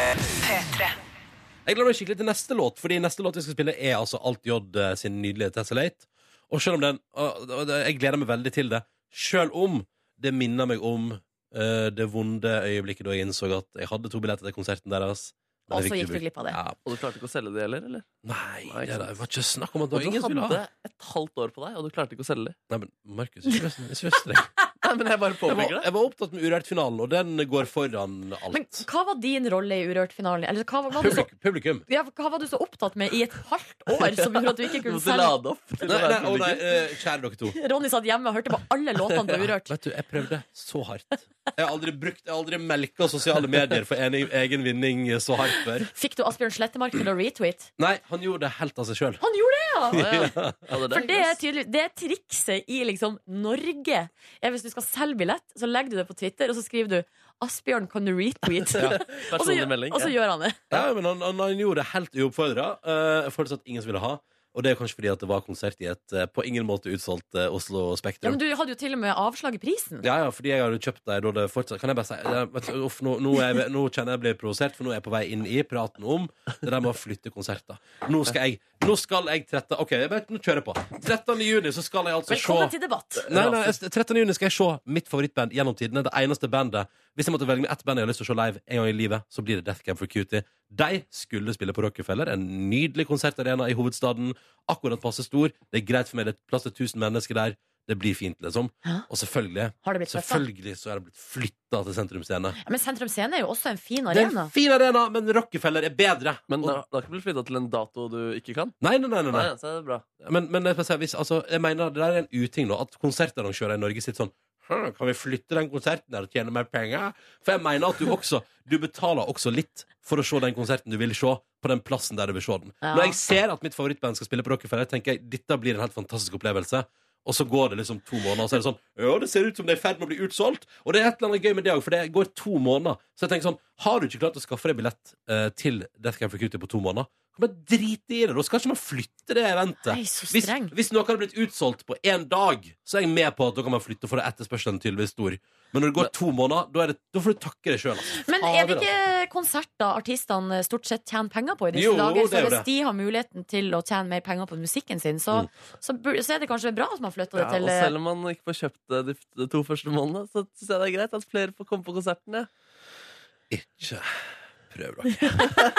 Jeg gleder meg skikkelig til neste låt, fordi neste låt vi skal spille, er altså Alt J eh, sin nydelige Tessellate. Og selv om den og, og, og, Jeg gleder meg veldig til det, selv om det minner meg om eh, det vonde øyeblikket da jeg innså at jeg hadde to billetter til konserten deres. men
Og
jeg
så
fikk
gikk du
ikke brukt-
glipp av det.
Ja.
Og du klarte ikke å selge det heller? eller?
Nei,
Nei,
det,
ikke sant.
det var ikke snakk om at det
Og
var
du
ingen som ville ha
hadde et halvt år på deg, og du klarte ikke å selge det.
Nei, men Markus, ikke vær ikke vær streng.
Nei, men
Jeg
jeg bare
var,
påpeker det.
jeg var opptatt med Urørt-finalen, og den går foran
Men
alt.
hva var din rolle i Urørt-finalen? Eller hva, var- var du
(laughs)
så,
Publik, publikum.
ja, hva var du så opptatt med i et halvt år som gjorde at du
(laughs)
ikke
Du
kunne
måtte
selge?
lade opp. til å
Nei, nei,
være
å nei,
publikum.
eh, kjære dere to.
Ronny satt hjemme og hørte på alle låtene
(laughs)
til Urørt.
Vet du, jeg prøvde så hardt. Jeg har aldri brukt, jeg har aldri melka sosiale medier for en, egen vinning så hardt før.
Fikk du Asbjørn Slettemark
(clears throat)
til å retweet?
Nei, han gjorde det helt av seg sjøl.
Han gjorde det, ja!
Å, ja. Ja, det
For
er
det
det.
er tydelig, det er trikset i liksom Norge. Er hvis du skal selge billett, så legger du det på Twitter, og så skriver du 'Asbjørn, kan du
(laughs)
retweet?' og, så,
Personlig
gjør-
melding.
og så
ja.
gjør han det.
Eh, Ja, men han, han, han gjorde det helt uoppfordra. Uh, fortsatt ingen som ville ha. Og det er kanskje fordi at det var konsert i et eh, på ingen måte utsolgt eh, Oslo
Ja,
Spektrum.
men du hadde jo til og med avslag i prisen.
Ja, ja, fordi jeg hadde jo kjøpt deg da det fortsatt Kan jeg bare si ja, vet du, uff, nå, nå, er jeg, nå kjenner jeg blir provosert, for nå er jeg på vei inn i praten om det der med å flytte konserter. Nå skal jeg, nå skal jeg 13, OK, jeg vet, nå kjører jeg på. 13. juni så skal jeg altså
Velkommen
se
til debatt.
Nei, nei, jeg- 13. juni skal jeg se mitt favorittband gjennom tidene. Det eneste bandet Hvis jeg måtte velge med ett band jeg har lyst til å se live en gang i livet, så blir det Death Camp for Cutie. De skulle spille på Rockefeller, en nydelig konsertarena i hovedstaden. Akkurat passe stor. Det er greit for meg, det er plass til 1000 mennesker der. Det blir fint, liksom.
Ja.
Og selvfølgelig
Har det blitt flytta?
Selvfølgelig så er det blitt flytta til Sentrum Scene.
Men Sentrum Scene er jo også en fin
Det er en
arena.
fin arena, men Rockefeller er bedre.
Men
Og-
det har det har ikke blitt flytta til en dato du ikke kan?
Nei, nei, nei. nei,
Nei,
nei.
så er det bra.
Men, men jeg, skal si, hvis, altså, jeg mener det der er en uting nå, at konsertarrangører i Norge sitter sånn «Hm, kan vi flytte den konserten der og tjene mer penger? For jeg mener at du også Du betaler også litt for å se den konserten du vil se, på den plassen der du vil se den.
Ja.
Når jeg ser at mitt favorittband skal spille på Rockefeller, tenker jeg dette blir en helt fantastisk opplevelse. Og så går det liksom to måneder, og så er det sånn Ja, det ser ut som det er i ferd med å bli utsolgt. Og det er et eller annet gøy med det òg, for det går to måneder. Så jeg tenker sånn Har du ikke klart å skaffe deg billett eh, til Death Camp for Cutie på to måneder, kan man drite i det. Da skal ikke man flytte det eventet.
Nei, så
Hvis,
streng.
hvis noe hadde blitt utsolgt på én dag, så er jeg med på at da kan man flytte, for da er etterspørselen tydeligvis stor. Men når det går to måneder, da, er det, da får du takke deg sjøl. Altså.
Men er det
Fader,
ikke konserter artistene eh, stort sett tjener penger på i disse
Jo,
dager?
det er jo
Så hvis
det. Mm.
de har muligheten til å tjene mer penger på musikken sin, så, så, bur- så er det kanskje bra at man flytter det
Ja,
til
og
eh,
selv om man ikke får kjøpt det de, de to første månedene, så syns jeg det er greit at flere får komme på konsertene.
Ikke prøv dere.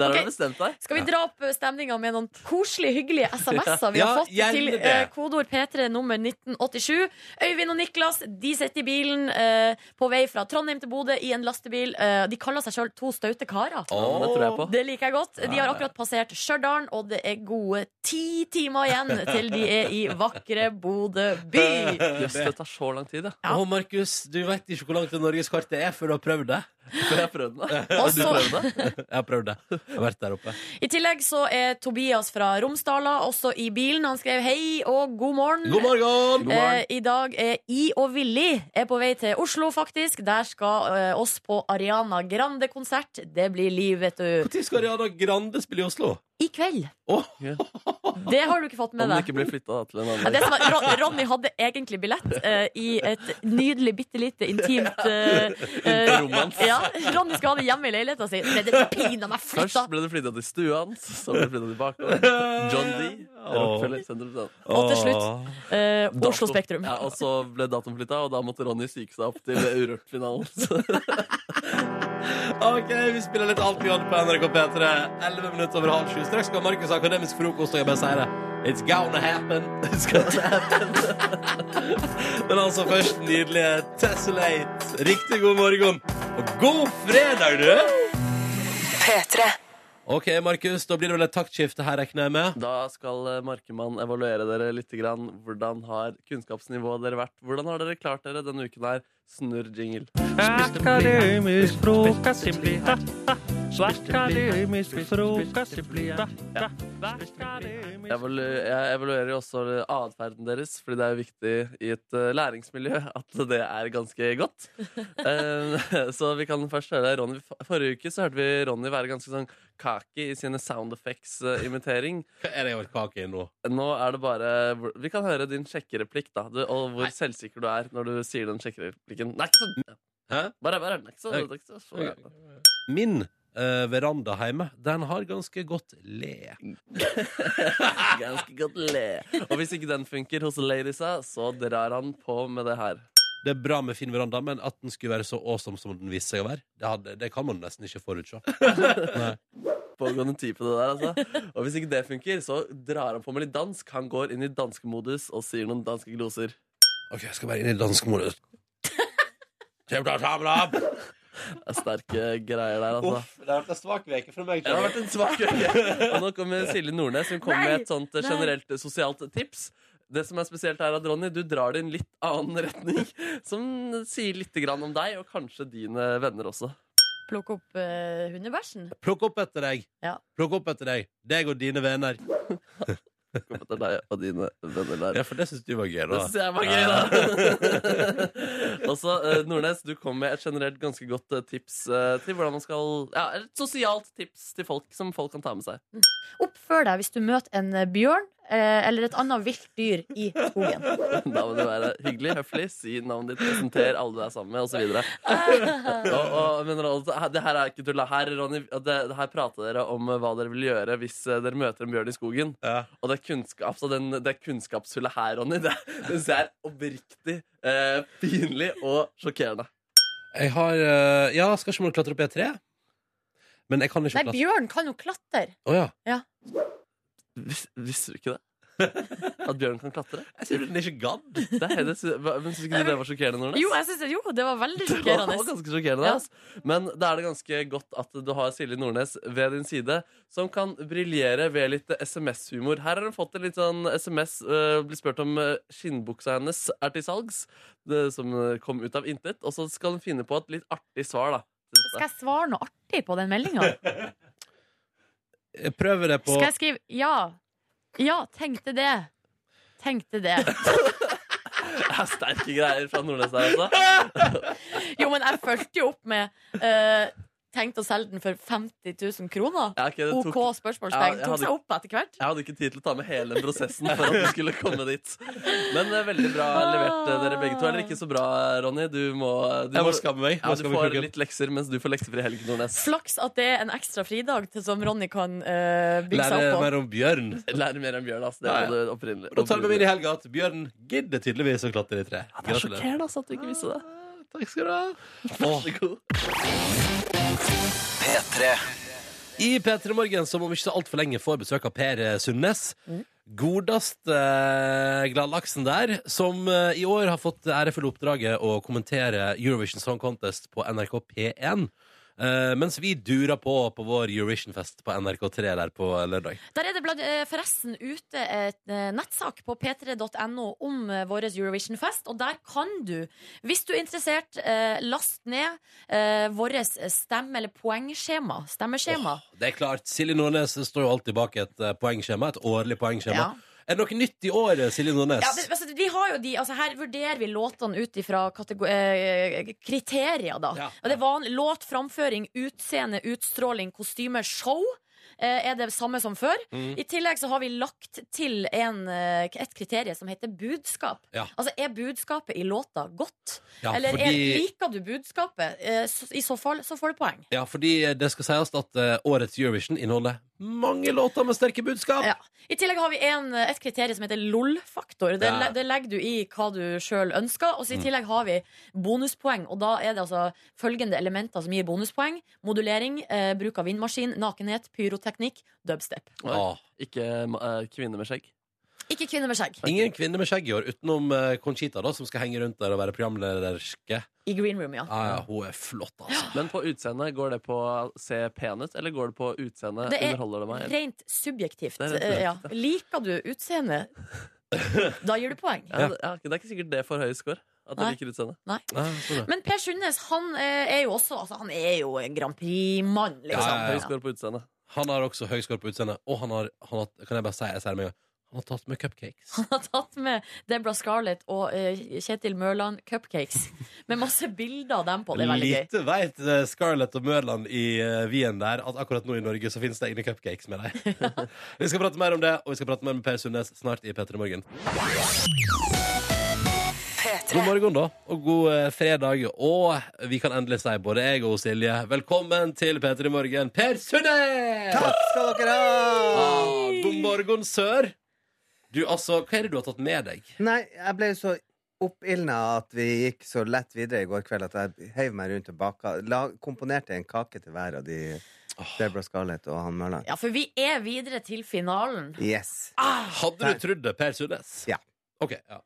Der har
Ok.
du bestemt deg.
Skal vi dra opp stemninga med noen koselige, hyggelige SMS-er
(laughs)
vi
Ja,
har fått
gjerne
til
det.
eh, kodeord P3 nummer 1987? Øyvind og Niklas de sitter i bilen eh, på vei fra Trondheim til Bodø i en lastebil. Eh, de kaller seg sjøl to staute karer.
Det tror jeg på.
Det liker jeg godt. De har akkurat passert Stjørdal, og det er gode ti timer igjen til de er i vakre Bodø by.
(laughs)
(laughs) Jøss, det tar så lang tid, ja. (laughs)
Ja.
Å, Markus, du veit ikke hvor langt det norgeskartet er før du har prøvd det.
Før jeg prøvde det.
Og så,
(laughs)
Jeg har prøvd det. Jeg har vært der oppe.
I tillegg så er Tobias fra Romsdala også i bilen. Han skrev hei og god morgen.
God morgen!
Eh, I dag er I og Willy er på vei til Oslo, faktisk. Der skal eh, oss på Ariana Grande-konsert. Det blir liv, vet du.
Når skal Ariana Grande spille i Oslo?
I kveld.
Åh.
Det har du ikke fått med
Om det
deg.
ikke blir flytta til en
Ja,
annen
det som var, Ron- Ronny hadde egentlig billett eh, i et nydelig, bitte lite, intimt
(laughs)
eh, eh,
Romans.
Ja, Ronny skulle ha det hjemme i leiligheta si. Ble det pinadø meg flytta!
Først ble det flytta til stua hans, så ble det flytta (laughs) tilbake. John D. Rockefeller, 100%.
Og til slutt eh, Oslo
Dato-
Spektrum.
Ja, og så ble datoen flytta, og da måtte Ronny syke seg (laughs) opp til Urørt-finalen. Så
OK, vi spiller litt alt vi hadde på NRK P3. 11 minutter over halv sju. Straks skal Markus ha akademisk frokost, og jeg bare sier det. It's gonna happen. (laughs) It's gonna happen. (laughs) Men altså først nydelige Tessellate. Riktig god morgen, og god fredag, du!
P3.
OK, Markus, da blir det vel et taktskifte her, regner jeg med.
da skal eh, Markemann evaluere dere litt. Grann. Hvordan har kunnskapsnivået dere vært? Hvordan har dere klart dere denne uken her? Snurr jingle. Jeg evalu- jeg evaluerer jo også atferden deres, fordi det er jo viktig i et eh, læringsmiljø at det er ganske godt. Eh, så vi kan først høre Ronny. For- Forrige uke så hørte vi Ronny være ganske sånn kaki i sine sound eh, effects-imitering.
Hva er det jeg har kake i nå?
Nå er det bare hvor- Vi kan høre din sjekkereplikk, da. Du, og hvor selvsikker du er når du sier den sjekkereplikken. Nei, ikke så
Hæ?
Bare, bare, det er ikke så, det er ikke så, så
Ok. Min eh, veranda hjemme, den har ganske godt le.
Ganske godt le. Og hvis ikke den funker hos ladiesa, så drar han på med det her.
Det er bra med fin veranda, men at den skulle være så awesome som den viste seg å være, det, hadde, det kan man nesten ikke forutse.
pågående type, det der, altså. Og hvis ikke det funker, så drar han på med litt dansk. Han går inn i danskemodus og sier noen danske gloser.
Ok, jeg skal bare inn i danskemodus.
(laughs)
Kjem til å ta meg det opp!
Det er Sterke greier der, altså.
Uff, det har vært en svak veke for meg.
Det har vært en svak uke. Og nå kommer Silje Nordnes. Hun kommer
Nei,
med et sånt eh,
nei.
generelt eh, sosialt tips. Det som er spesielt her, at Ronny, du drar det i en litt annen (laughs) retning. Som sier litt grann om deg, og kanskje dine venner også.
Plukke opp eh, hundebæsjen.
Plukk opp etter deg.
Ja.
Plukk opp etter deg. Deg og dine venner.
Kom etter deg og dine venner der.
Ja, for det syns du var gøy,
Det
da.
synes jeg var gøy, da. (laughs) Og så, eh, Nordnes, du kom med et generelt ganske godt eh, tips eh, til hvordan man skal Ja, et sosialt tips til folk som folk kan ta med seg. (laughs)
Oppfør deg hvis du møter en eh, bjørn eh, eller et annet vilt dyr i skogen.
(laughs) Da må du være hyggelig, høflig, si navnet ditt, presenter alle du er sammen med, osv. Og, og, men altså, her- det her er ikke tull. da. Her, Ronny, det, det her prater dere om eh, hva dere vil gjøre hvis eh, dere møter en bjørn i skogen.
Ja.
Og det, kunnskap, så den, det kunnskapshullet her, Ronny, det, det synes jeg er oppriktig eh, pinlig og sjokkerende.
Jeg har eh, Ja, skal ikke man klatre opp i et tre? Men jeg kan ikke
Nei,
klatre
bjørn kan jo klatre.
Å ja.
Vis, visste du ikke det? At bjørn kan klatre?
Jeg tror den ikke gadd.
Det er, det, sy- hva- men Syns ikke du det var sjokkerende, Nordnes?
Jo, jeg synes, det- jo, det var veldig
det var
sjokkerende.
ganske sjokkerende
Ja.
ass. Men da er det ganske godt at du har Silje Nordnes ved din side, som kan briljere ved litt SMS-humor. Her har hun fått en litt sånn SMS. Uh, blir spurt om eh, skinnbuksa hennes er til salgs, det, som eh, kom ut av intet. Og så skal hun finne på et litt artig svar, da. til dette.
Skal jeg svare noe artig på den
(laughs)
meldinga?
Jeg prøver det på
Skal jeg skrive ja? Ja, tenkte det. Tenkte det.
Det er sterke greier fra Nordnes der, altså.
(laughs) Jo, men jeg fulgte jo opp med eh, Tenkte å selge den for 50 000 kroner.
Ja, ok, det
OK
tok- Ja,
spørsmålstegn.
jeg
Tok
hadde-
seg opp etter hvert.
Jeg hadde ikke tid til å ta med hele prosessen for at du skulle komme dit. Men eh, veldig bra
Ah.
levert, eh, dere begge to. Eller ikke så bra, Ronny. Du må, du
Jeg
må
må skamme meg.
ja,
Nå
du
skal vi
får
plukke opp.
litt lekser mens du får leksefri helg, Nordnes.
Flaks at det er en ekstra fridag til som Ronny kan eh, bygge seg
Lære
opp på.
mer om bjørn.
Lære mer enn bjørn, ass. Det
Ja, ja.
var det opprinnelige.
Da tar vi med inn i helga at bjørn gidder tydeligvis å klatre i tre.
Det er
Gratulerer.
sjokkerende ass, at du ikke visste det.
Takk skal du ha.
Vær så god.
P3
I P3 Morgen, som om ikke så altfor lenge får besøk av Per eh, Sundnes.
Mm.
Godeste eh, gladlaksen der, som eh, i år har fått det ærefulle oppdraget å kommentere Eurovision Song Contest på NRK P1. eh, mens vi durer på på vår Eurovision-fest på NRK3 der på lørdag.
Der er det blant, eh, forresten ute et eh, nettsak på p3.no om eh, vår Eurovision-fest. Og der kan du, hvis du er interessert, eh, last ned eh, vårt stemme- eller poengskjema. Stemmeskjema.
Det er klart, Silje Nordnes står jo alltid bak et eh, poengskjema, et årlig poengskjema.
Ja.
Er det noe nytt i år, Silje Nordnes?
Ja, det, altså, vi har jo de, altså, her vurderer vi låtene ut ifra katego- eh, kriterier, da.
Ja.
Og det er van, låt, framføring, utseende, utstråling, kostyme, show. eh, Er det samme som før?
Mm.
I tillegg så har vi lagt til en, eh, et kriterium som heter budskap.
Ja.
Altså, er budskapet i låta godt?
Ja,
Eller er,
fordi-
liker du budskapet? Eh, så, I så fall så får du poeng.
Ja, fordi det skal sies at eh, årets Eurovision inneholder mange låter med sterke budskap.
Ja. I tillegg har vi en, eh, et kriterium som heter LOL-faktor. Det,
Ja.
le- det legger du i hva du sjøl ønsker. Og så i tillegg har vi bonuspoeng, og da er det altså følgende elementer som gir bonuspoeng. Modulering, eh, bruk av vindmaskin, nakenhet, pyroteknikk, dubstep.
Åh.
Ikke eh, kvinne med skjegg.
Ikke kvinner med skjegg.
Ingen kvinne med skjegg i år, utenom eh, Conchita, da, som skal henge rundt der og være programlederske.
I green room, ja.
Ja, ja, hun er flott, altså.
Men på utseende, går det på å se pen ut, eller går det på utseende?
Det er
Underholder det meg? eller?
Rent subjektivt.
Det er rent
eh, ja. Liker du utseendet, da gir du poeng.
Ja, det, ja, det er ikke sikkert det får høy score. At
Nei.
jeg liker utseendet.
Ja, sånn, ja.
Men Per Sundnes han eh, er jo også altså, Han er jo en Grand Prix-mann, liksom.
Ja, ja,
Høy
ja.
score på utseendet.
Han har også høy score på utseendet, og han har, han har kan jeg bare si, jeg sier det med en gang, han har tatt med cupcakes.
Han (laughs) har tatt med Debra Scarlett og eh, Kjetil Mørland cupcakes. Med masse bilder av dem på. Det er veldig gøy.
Lite veit eh, Scarlett og Mørland i eh, Wien der at akkurat nå i Norge så finnes det egne cupcakes med
(laughs)
deg. vi skal prate mer om det, og vi skal prate mer med Per Sundnes snart i P3 Morgen.
P3.
God morgen, da, og god eh, fredag. Og vi kan endelig si, både jeg og Silje, velkommen til P3 Morgen, Per Sundnes! Takk skal dere ha! God morgen, sør. Du, altså, hva er det du har tatt med deg?
Nei, jeg ble så oppildna at vi gikk så lett videre i går kveld at jeg heiv meg rundt og baka. La, komponerte en kake til hver av de Debra Scarlett og han Mørland.
Ja, for vi er videre til finalen.
Yes.
Hadde du trodd det, Per Sundnes?
Ja.
OK, ja.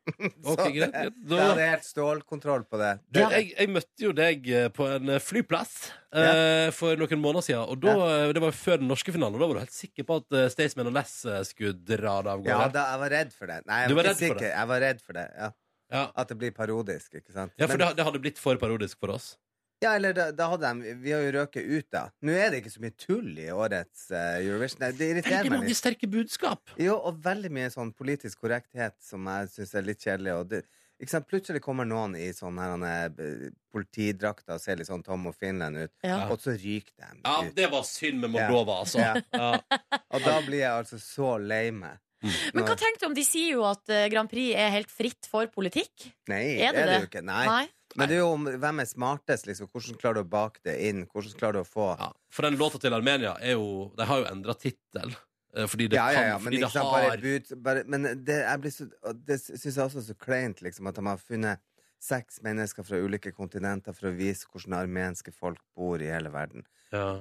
Ok,
det-
greit.
Jeg hadde
Da,
helt stålkontroll på det.
du, jeg, jeg møtte jo deg eh, på en eh, flyplass eh, for noen måneder siden. Og da, eh, Det var jo før den norske finalen, og da var du helt sikker på at eh, Staysman og Less eh, skulle dra det av
Ja,
gårde.
da, jeg var redd for det. Nei, jeg
Du
var,
var
ikke
redd for
sikker.
det?
Jeg var redd for det, ja.
Ja.
At det blir parodisk, ikke sant?
Ja, for
Men-
det, det hadde blitt for parodisk for oss.
Ja, eller da, da hadde de Vi har jo røket ut, da. Nå er det ikke så mye tull i årets eh, Eurovision. Nei, Det irriterer
Veldig
meg
mange
litt.
sterke budskap.
Jo, og veldig mye sånn politisk korrekthet som jeg syns er litt kjedelig. Og det, ikke sant? Plutselig kommer noen i sånn her han er, eh, politidrakter og ser litt sånn Tom og Finland ut,
Ja.
og så ryker de.
Ja, det var synd med Moldova, altså.
Ja.
Ja.
Og da blir jeg altså så lei meg.
Men hva tenker du om de sier jo at eh, Grand Prix er helt fritt for politikk?
Nei,
Er det
er det jo
det?
ikke. Nei.
Nei.
Men det er jo om hvem er smartest, liksom. Hvordan klarer du å bake det inn? Hvordan klarer du å få
For den låta til Armenia er jo De har jo endra tittel. eh, Fordi det
ja, ja, ja,
kan
men,
Fordi
ikke
det
sant, bare
har
et bud, bare, men det, jeg blir så, og det syns jeg også er så kleint, liksom, at de har funnet seks mennesker fra ulike kontinenter for å vise hvordan armenske folk bor i hele verden.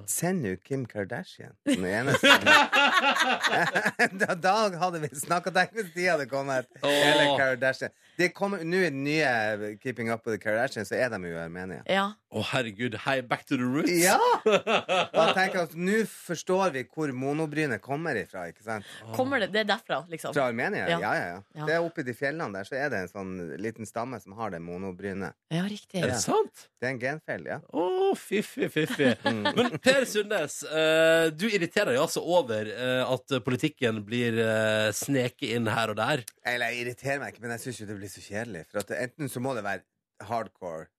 Send jo Kim Kardashian som den eneste. (laughs) da, da hadde vi snakka tenk hvis de hadde kommet. Eller Kardashian. De kommer, nå i den nye Keeping Up With The Kardashians, så er de jo i Armenia.
Ja.
Å, herregud. Hei, back to the roots. (laughs)
Ja! Og jeg tenker at nå forstår vi hvor monobrynet kommer ifra, ikke sant?
Kommer det, det er derfra, liksom?
Fra Armenia? Ja, ja, ja.
Ja.
Det er Oppe i de fjellene der så er det en sånn liten stamme som har det monobrynet.
Ja, riktig.
Er det sant?
Det er en genfeil, ja. Mm.
Å, fiffig,
(laughs)
fiffig. (laughs) Men Per Sundnes, eh, du irriterer jo altså over eh, at politikken blir eh, sneket inn her og der.
Eller jeg irriterer meg ikke, men jeg syns jo det blir så kjedelig. For at enten så må det være hardcore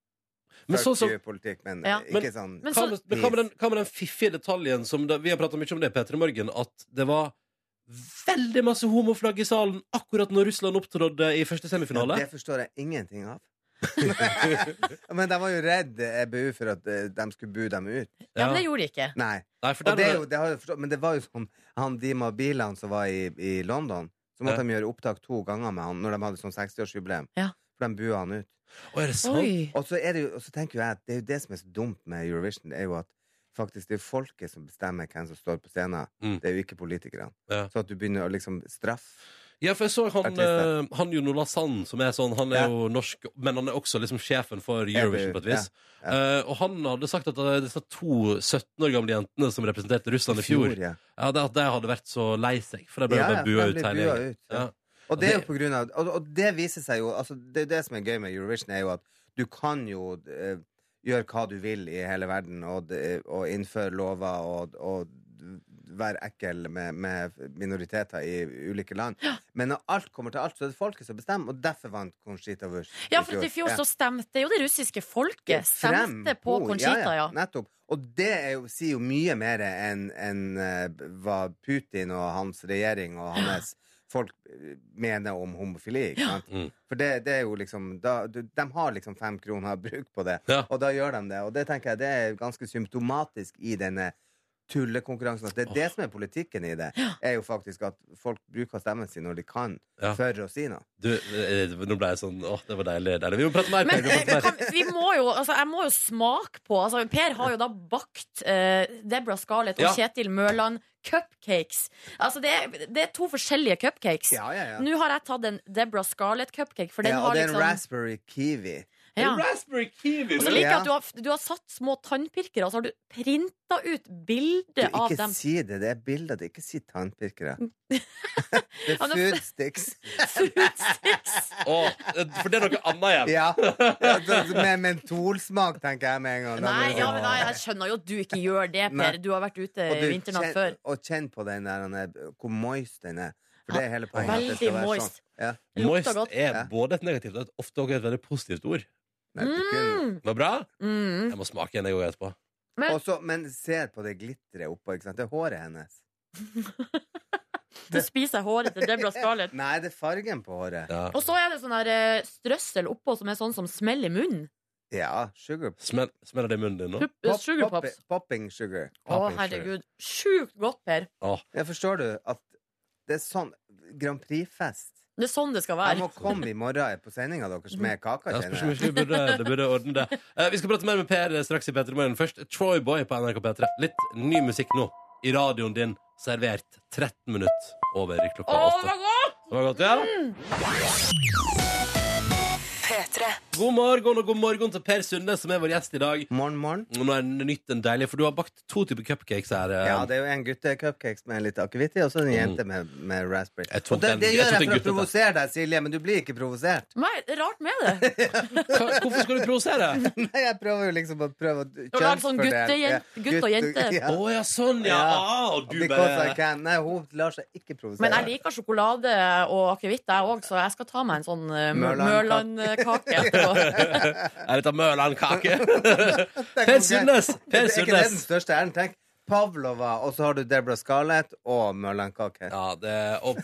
Men sånn som-
politikk, men
Ja.
ikke
Men-
sånn
Hva med, men hva med den, hva med den fiffige detaljen som det, Vi har prata mye om det, Peter, i morgen, at det var veldig masse homoflagg i salen akkurat når Russland opptrådte i første semifinale.
Ja, det forstår jeg ingenting
(laughs)
av. (laughs) men de var jo redd eh, EBU for at eh, de skulle bu dem ut.
Ja, men det gjorde de ikke.
Nei.
Nei, for
Og
der
det er
var
jo,
det-
det har jeg forstått, men det var jo sånn Han Dima Bilan som var i, i London, så måtte
Ja.
de gjøre opptak to ganger med han når de hadde sånn 60-årsjubileum. For de bua han ut.
er det sant? Oi.
Og så, er det jo, og så tenker jo jeg at det er jo det som er så dumt med Eurovision, det er jo at faktisk det er folket som bestemmer hvem som står på scenen.
Mm.
Det er jo ikke politikerne. Så at du begynner å liksom straffe
Ja, for jeg så han,
Artister.
eh, han Jon Olav Sand, som er sånn Han er
Ja.
jo norsk, men han er også liksom sjefen for Eurovision, på et vis. Eh, og han hadde sagt at eh, disse to 17 år gamle jentene som representerte Russland sånn i fjor,
I fjor, ja.
ja, det, at de hadde vært så lei seg, for de ble bare bua
de
ut
blir
hele
bua
gjengen.
ut, ja. Og det er jo på grunn av Og, og det viser seg jo altså, Det er jo det som er gøy med Eurovision, er jo at du kan jo eh, gjøre hva du vil i hele verden, og, det- og innføre lover og, og være ekkel med, med minoriteter i ulike land. Men når alt kommer til alt, så er det folket som bestemmer, og derfor vant Conchita Wurst.
Ja, for at i fjor så stemte jo det russiske folket Stemte på
Frem.
Conchita, ja.
Nettopp. Og det er jo, sier jo mye mer enn enn, eh, hva Putin og hans regjering og hans folk eh, mener om homofili. Ikke sant? For det, det er jo liksom da, du, De har liksom fem kroner bruk på det, og da gjør de det. Og det tenker jeg det er ganske symptomatisk i denne tullekonkurransen. At det er det som er politikken i det, er jo faktisk at folk bruker stemmen sin når de kan, for å si noe.
Du, eh, nå ble jeg sånn Åh, det var deilig. deilig. Vi må prate mer,
Men
Per. Vi må prate mer.
eh, kan, vi må jo, altså, jeg må jo smake på altså, Per har jo da bakt eh, Deborah Scarlett og
Ja.
Kjetil Mørland cupcakes. Altså, det, er, det er to forskjellige cupcakes.
Ja, ja, ja.
Nå har jeg tatt en Deborah Scarlett cupcake, for den
Ja,
har
og det er en
liksom
raspberry kiwi.
Ja.
Raspberry kiwi!
Og så liker jeg at du har, du har satt små tannpirkere, og så har du printa ut bilde
Du,
av
ikke (laughs)
dem. Mm.
si det. Det er bilder. Det er ikke si tannpirkere. (laughs) det
Ja,
er
nå-
food sticks.
Åh, eh, for det er noe annet igjen.
Ja. Ja, det- Med mentolsmak, tenker jeg med en gang. Da
Nei,
blir det
ja,
sånn-
men nei, jeg skjønner jo at du ikke gjør det,
Nei.
Per. Du har vært ute
Og du,
vinternatt
kjenn-
før.
Og kjenn på den der, den er- hvor moist den er. For det er hele poenget. at det
Veldig
skal være
moist.
Sånn. Ja.
Moist er både et negativt og et, ofte også et veldig positivt ord.
Nei, det
Mm.
kunne-
Var det bra? Jeg må smake en, jeg òg, etterpå.
Men, Også, men se på det glitteret oppå. Ikke sant? Det er håret hennes.
Du spiser håret til Deborah Scarlett.
Nei, det er fargen på håret.
Ja,
Og så er det sånn der eh, strøssel oppå som er sånn som smeller i munnen.
sugar
Smell- Smeller det i munnen din nå?
Pup- sugar pops.
Popping sugar.
Å, herregud. Sjukt godt, Per.
Jeg forstår du at det er sånn Grand Prix-fest.
Det er sånn det skal
Jeg må
være.
komme i morgen på sendinga deres med kaka.
Ja, spørs
kjenner
om
jeg.
ikke du burde, du burde ordne det. Eh, vi skal prate mer med Per straks i P3 Morgen. Først Troy Boy på NRK P3. Litt ny musikk nå i radioen din, servert 13 minutter over klokka
Å,
åtte.
det var godt!
Det var godt, ja?
P3. P3.
God morgen og god morgen til Per Sunde, som er vår gjest i dag.
Morgen, morgen.
Nå er det nytt en deilig, for du har bakt to typer cupcakes her. eh.
Ja, det er jo en guttecupcakes med litt akevitt i, og så en jente med, med raspberry.
Mm. Jeg tok
Og det,
den-
det
jeg
gjør
tok
jeg,
den
for å
guttete.
provosere deg, Silje, men du blir ikke provosert. (laughs)
Nei, rart med det.
Hva- Hvorfor skal du provosere?
Nei, jeg prøver jo liksom å prøve å
Du lager sånn
kjønnsfordele.
gutte-
Ja,
jen- gutt og jente.
Å ja, sånn, ja. Ah, og du
Because
bare-
I can. Nei, hun lar seg ikke provosere.
Men jeg liker sjokolade og akevitt, jeg òg, så jeg skal ta meg en sånn eh,
Mørland-
Mørland-kake
(laughs)
etterpå.
Er dette Mørland-kake?
Tenk
Per
om-
Sundnes!
Det
Per
er ikke det den
Sundnes.
største æren. Tenk Pavlova, og så har du Deborah Scarlett og Mørlandkake.
Ja, det, og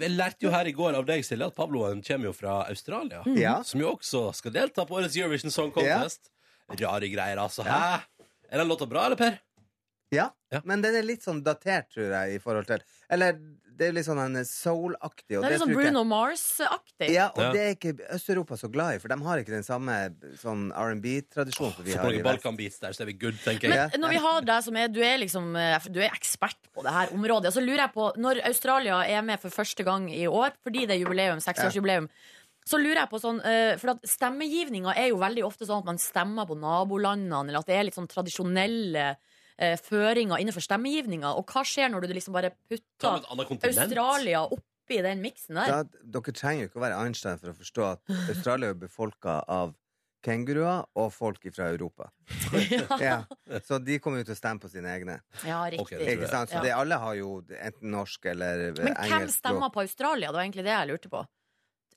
jeg lærte jo her i går av deg, Silje, at Pabloen kommer jo fra Australia.
Ja.
Som jo også skal delta på årets Eurovision Song Contest. Rare greier, altså. Hæ? Er den låta bra, eller, Per?
Ja,
Ja.
men den er litt sånn datert, tror jeg, i forhold til Eller det er litt sånn en soul-aktig. og
Det er litt
tror
sånn
ikke-
Bruno Mars-aktig.
Ja, og
Ja.
det er ikke Øst-Europa så glad i, for de har ikke den samme sånn R&B-tradisjonen som vi
Får
har
på
i
noen
Vest.
Balkan-beats der, så er vi good, tenker jeg.
Ja.
Men når vi har deg som er Du er liksom eh, Du er ekspert på det her området. Og så lurer jeg på Når Australia er med for første gang i år, fordi det er jubileum, seksårsjubileum, så lurer jeg på sånn eh, For at stemmegivninga er jo veldig ofte sånn at man stemmer på nabolandene, eller at det er litt sånn tradisjonelle eh, føringer innenfor stemmegivninga. Og hva skjer når du liksom bare
Ta med
putter
et annet kontinent.
Australia oppi den miksen der?
Da, dere trenger jo ikke å være Einstein for å forstå at Australia er befolka av kenguruer og folk fra
(laughs)
Europa. ja. Så de kommer jo til å stemme på sine egne.
Ja,
Ok,
riktig.
det tror
Ikke
jeg.
sant? Så
Ja.
det, alle har jo enten norsk eller eh,
Men hvem
engelsk språk.
stemmer på Australia? Det var egentlig det jeg lurte på.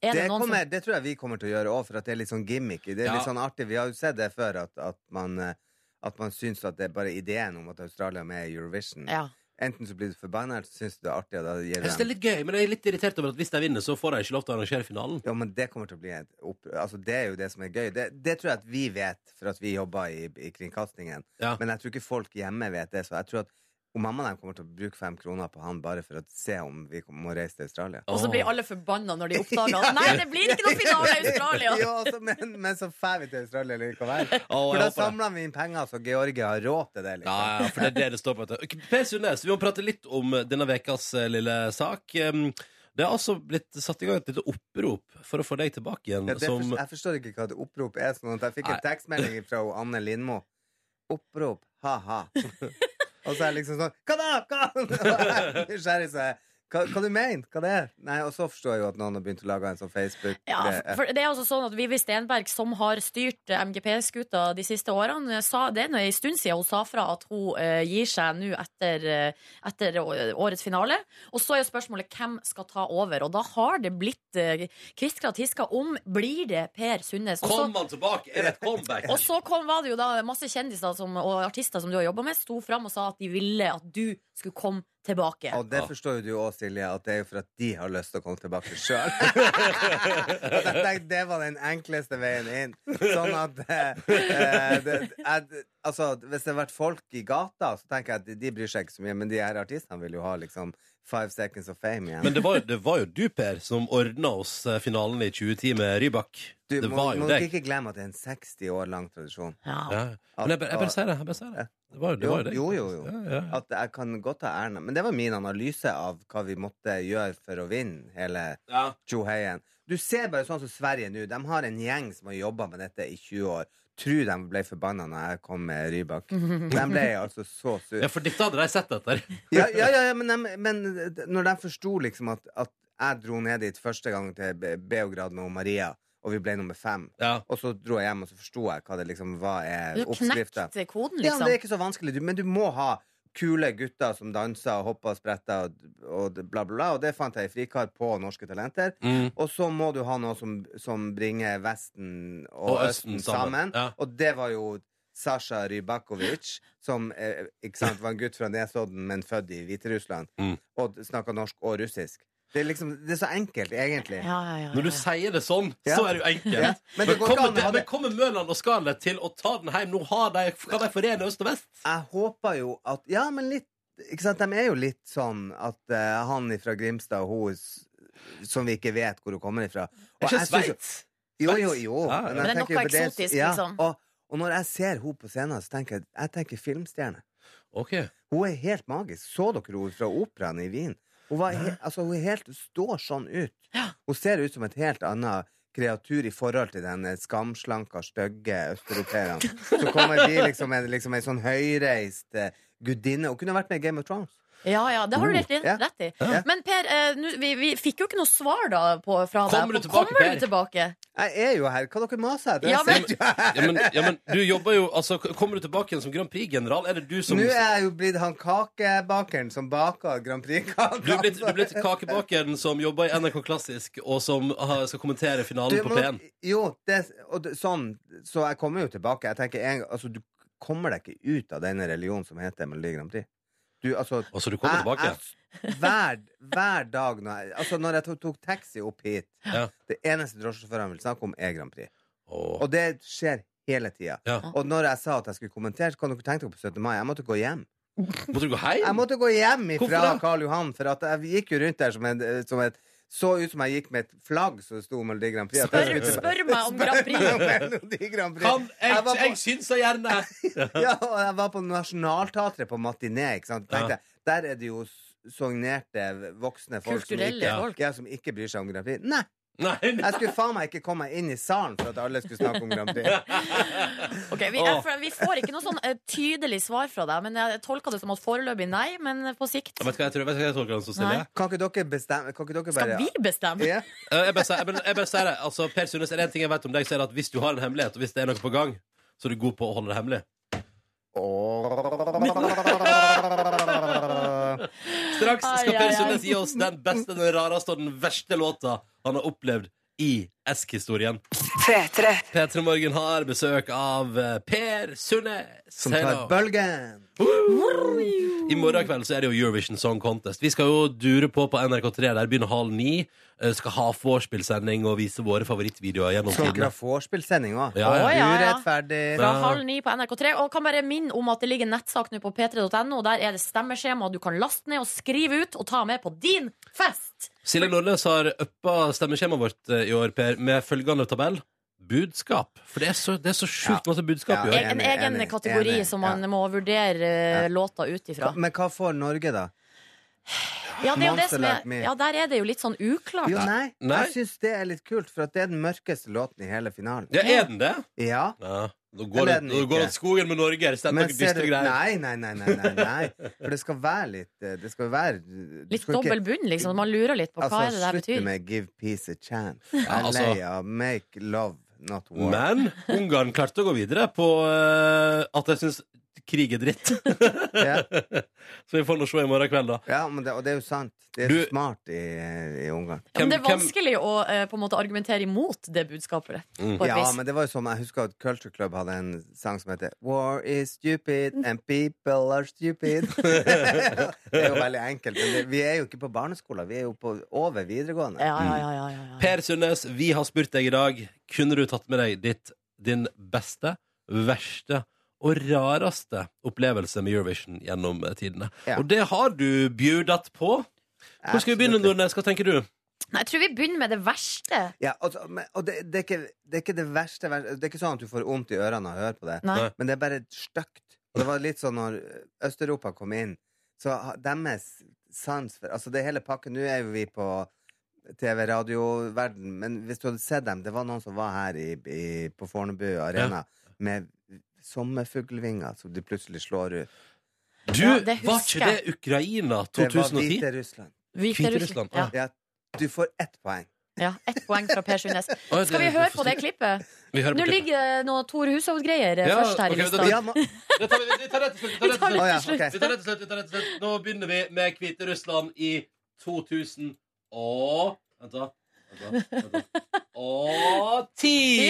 Er det,
Det,
noen
kommer, det tror jeg vi kommer til å gjøre òg, for at det er litt sånn gimmicky. Det er
Ja.
litt sånn artig. Vi har jo sett det før, at, at, man, eh, at man syns at det er bare ideen om at Australia er med i Eurovision.
som ja.
Enten så blir du forbanna, eller så syns du det er artig, og da gir
Jeg synes det
du
er
dem.
litt gøy, men jeg er litt irritert over at hvis de vinner, så får de ikke lov til å arrangere finalen.
Jo, men det kommer til å bli et opp... Altså, det er jo det som er gøy. Det, det tror jeg at vi vet, for at vi jobber i, i kringkastingen.
Ja.
Men jeg tror ikke folk hjemme vet det, så jeg tror at og mamma og dem kommer til å bruke fem kroner på han bare for å se om vi kom- må reise til Australia.
Og så blir alle forbanna når de oppdager at Nei, det blir
(laughs)
ikke noe finale i Australia!
jo, altså, men, men så drar vi til Australia likevel.
Å,
For
jeg
da
håper det.
samler vi inn penger så Georgie har råd til det.
Ja,
Liksom.
ja, for det er det det står på. vet du. Per Sundnes, vi må prate litt om denne vekas eh, lille sak. Um, Det er altså blitt satt i gang et lite opprop for å få deg tilbake igjen
Ja, det
som
forstår, jeg forstår ikke hva et opprop er. Sånn at jeg fikk
Nei.
en tekstmelding fra hun Anne Lindmo. Opprop,
(laughs)
ha-ha. og så er jeg liksom sånn Hva da? Hva? (laughs) Og jeg er Nysgjerrig, så jeg hva, hva du mener Hva det er? Nei, Og så forstår jeg jo at noen har begynt å lage en sånn Facebook
Ja,
det er-
for det er altså sånn at Vivi Stenberg, som har styrt eh, MGP-skuta de siste årene, sa det er nå en stund siden hun sa fra at hun eh, gir seg nå etter, eh, etter å- årets finale. Og så er jo spørsmålet hvem skal ta over. Og da har det blitt uh, kviskra tiska om blir det Per Sundnes. Og så-
Kom han tilbake! Er det et comeback?
Og så kom, var det jo da masse kjendiser som, og artister som du har jobba med, sto fram og sa at de ville at du skulle komme tilbake.
Og det
Ja.
forstår jo du òg, Silje, at det er jo for at de har lyst til å komme tilbake sjøl.
(laughs)
(laughs) det var den enkleste veien inn. Sånn at eh, eh, det, jeg, Altså, hvis det hadde vært folk i gata, så tenker jeg at de- de bryr seg ikke så mye, men de her artistene vil jo ha liksom five seconds of fame igjen.
Men det var, det var jo du, Per, som ordna oss eh, finalen i 2010 med Rybak.
du
det
må,
var jo
må
deg.
ikke glemme at det er en 60 år lang tradisjon.
Ja. Men jeg, bare- jeg bare sier det. Jeg bare sier det. Det var, jo- det var jo deg.
Jo, jo, jo.
Ja, ja.
At jeg kan godt ta æren. Men det var min analyse av hva vi måtte gjøre for å vinne hele
Ja.
Tjoheien. Du ser bare sånn som Sverige nå. De har en gjeng som har jobba med dette i 20 år. Tror de ble forbanna når jeg kom med
(laughs)
Rybak. De ble altså så
ja,
sure.
for dette hadde de sett etter.
Ja, ja, ja, ja, men, de, men eh, når de forsto liksom at, at jeg dro ned dit første gang til Be- Beograd med Maria, og vi ble nummer fem,
Ja.
og så dro jeg hjem, og så forsto jeg hva det liksom var
Du
er oppskrifta.
knekte koden,
Ja, men det er
liksom.
ikke så vanskelig, du, men du må ha kule gutter som danser og hopper og spretter og, og bla, bla, bla. Og det fant jeg i Frikar på Norske Talenter.
Mm.
Og så må du ha noe som, som bringer Vesten og,
Og Østen
Østen
sammen,
sammen.
ja.
Og det var jo Sasha Rybakovic, som eh, ikke sant, var en gutt fra Nesodden, men født i Hviterussland.
Mm.
Og snakka norsk og russisk. Det er, liksom, det er så enkelt, egentlig.
Ja, ja, ja,
Når du
ja.
sier det sånn,
Ja.
så er det jo enkelt.
Ja. Men
Men,
det går ikke
kommer,
an å ha
det- men
det-
kommer Mørland og Scarlett til å ta den hjem? Nå har de, kan de forene øst og vest?
Jeg håper jo at Ja, men litt ikke sant? De er jo litt sånn at eh, han fra Grimstad og hun s- som vi ikke vet hvor hun kommer ifra Og
Er ikke
jeg synes jo-
Sveits?
Jo, jo, jo.
Ah, Ja, ja.
Men
jeg
det er noe
tenker jo på
eksotisk, liksom.
Og, og når jeg ser hun på scenen, så tenker jeg, jeg tenker filmstjerne.
Ok.
Hun er helt magisk. Så dere henne fra operaen i Wien? Hun, var he altså, hun er helt, står sånn ut. Hun ser ut som et helt annet kreatur i forhold til den skamslanka, stygge østeuropeeren. Så kommer de liksom en, liksom en sånn høyreist eh, gudinne. Hun kunne vært med i Game of Thrones.
Ja, ja, det har du
Mm.
rett, i-
Ja.
rett i.
Ja.
Men Per, eh, nu, vi, vi fikk jo ikke noe svar da på, fra
Kommer
deg.
du tilbake,
Kommer du
Per?
tilbake?
Jeg er jo her. Hva dere maser etter?
Ja, men-
Jeg sitter jo her.
Ja, men, ja, men du jobber jo altså, k- Kommer du tilbake igjen som Grand Prix-general? Er det du som
Nå er jeg jo blitt han kakebakeren som baker Grand Prix-kaka.
Du er blitt, du er blitt kakebakeren som jobber i NRK Klassisk, og som ah, skal kommentere finalen
Du
på
må-
P1.
Jo, det, og det, sånn. Så jeg kommer jo tilbake. Jeg tenker en, altså, Du kommer deg ikke ut av denne religionen som heter Melodi Grand Prix. Du, altså,
Og så du kommer tilbake?
Jeg, hver, hver dag når jeg, altså, når jeg tok, tok taxi opp hit
Ja.
Det eneste drosjesjåføren vil snakke om, er Grand Prix. Og det skjer hele tida. Og når jeg sa at jeg skulle kommentere, så kan dere tenke dere på 17. mai. Jeg måtte gå hjem.
Måtte du gå hjem?
Jeg måtte gå hjem ifra
Hvorfor det?
Karl Johan, for at jeg gikk jo rundt der som, en, eh, som et så ut som jeg gikk med et flagg som det sto Melodi Grand Prix. At
Spør,
jeg skulle-
spør meg om Grand
(laughs)
Prix.
Spør meg om (laughs) Melodi Grand Prix.
Kan, jeg,
Jeg var
jeg,
på-
syns så
(laughs)
gjerne!
ja, og jeg var på Nationaltheatret på matiné. Ikke sant? Tenkte, jeg, Der er det jo s- sognerte voksne folk som
Kulturelle
ikke,
folk.
Ja, som ikke bryr seg om Grand Prix. Nei!
Nei,
Jeg skulle faen meg ikke komme meg inn i salen for at alle skulle snakke om Grand Prix.
Ok, vi,
Åh.
jeg, vi får ikke noe sånn eh, tydelig svar fra deg, men jeg tolker det som at foreløpig nei, men på sikt.
Jeg vet hva jeg tror, vet du hva jeg tolker den som
Nei.
Silje?
Kan ikke dere bestemme Kan ikke dere
Skal
bare
vi bestemme?
Ja.
Eh, Jeg bare sier- jeg bare jeg bare sier det. Altså, per Sundnes, er det en ting jeg vet om deg, så er det at hvis du har en hemmelighet, og hvis det er noe på gang, så er du god på å holde det hemmelig. Straks skal
Ai,
Per
ai, ai.
Sundnes gi oss den beste, den rareste og den verste låta han har opplevd i Esk-historien.
P3.
P3 Morgen har besøk av eh, Per Sundnes.
Som tar
Hello.
bølgen.
I morgen kveld så er det jo Eurovision Song Contest. Vi skal jo dure på på NRK3. Der begynner halv ni. Eh, Skal ha vorspielsending og vise våre favorittvideoer gjennom
Skal dere
tidene.
ha vorspielsending òg?
Ja, ja.
Å, ja, ja.
Urettferdig.
Fra halv ni på NRK3. Og kan bare minne om at det ligger en nettsak nå på p3.no. Der er det stemmeskjema du kan laste ned og skrive ut og ta med på din fest.
Silje Nordnes har uppa stemmeskjemaet vårt eh, i år, Per, med følgende tabell. Budskap. For det er så, det er så sjukt masse budskap i
Ja,
år.
jeg-
En
Enig,
egen
enig,
kategori
enig,
som man må vurdere eh, låta ut ifra.
Hva- Men hva får Norge, da?
Ja, det er jo det
Monster
som er,
Like Me.
ja, der er det jo litt sånn uklart.
Jo, nei.
Nei.
Jeg syns det er litt kult, for at det er den mørkeste låten i hele finalen.
Ja, er den det?
Ja.
Ja. Nå
Eller
går det
er den
nå går
ikke?
det til skogen med Norge. Er det stemt
Men
noen
ser
dystre
du
greier?
Nei, nei, nei, nei, nei, nei. For det skal være litt eh, Det skal være du
Litt
skal ikke-
dobbel bunn, liksom. Man lurer litt på hva
Altså,
er det der
slutt
betyr.
med 'give peace a chance'. Jeg er
altså-
lei av 'make love, not war'.
Men Ungarn klarte å gå videre på eh, at jeg syns krig er dritt. (laughs)
Ja.
Så vi får nå se i morgen kveld, da.
Ja, men det, og det er jo sant. Det er
Du-
smart i, i Ungarn.
Ja, men det er
Hvem- hvem-
vanskelig å eh, på en måte argumentere imot det budskapet.
Mm.
På et
Ja,
vis.
men det var jo som Jeg husker at Culture Club hadde en sang som heter War is stupid and people are
(laughs)
stupid. det er jo veldig enkelt. Men det, vi er jo ikke på barneskolen. Vi er jo på over videregående.
Ja, ja, ja, ja, ja, ja.
Per Sundnes, vi har spurt deg i dag Kunne du tatt med deg ditt, din beste, verste og rareste opplevelse med Eurovision gjennom eh, tidene?
Ja.
Og det har du bjudat på. Hvor skal vi begynne,
Absolutt.
Nordnes? Hva tenker du?
Nei, jeg tror vi begynner med det verste.
Ja, altså, men, og det, det, er ikke, det er ikke det verste, ver- Det er ikke sånn at du får vondt i ørene av å høre på det,
Nei.
Nei.
men det er bare stygt. Og det var litt sånn når Øst-Europa kom inn, så ha- deres sans for Altså, det er hele pakken Nå er jo vi på TV, radio, verden, men hvis du hadde sett dem Det var noen som var her i, i, på Fornebu Arena med sommerfuglvinger som de plutselig slår ut.
Du,
Ja, det
var
husker
ikke det Ukraina
Det var
2010?
Hviterussland.
Hviterussland,
Ja,
Ja, du får ett poeng.
ja, ett poeng fra Per Sundnes.
Å, det-
Skal vi høre på det klippet?
Vi hører på
Nå
klippet.
ligger det noe Tor Hushovd-greier eh,
Ja,
først her
ok,
i
da-
lista.
Ja, ma-
Det tar vi, vi tar rett og slett. Vi tar
Vi
rett
Å
og
ja,
slett.
ok.
Vi tar rett og slett, vi tar rett og slett. Nå begynner vi med Hviterussland i 2000 og Vent, da. Vent da, vent da. Og ti!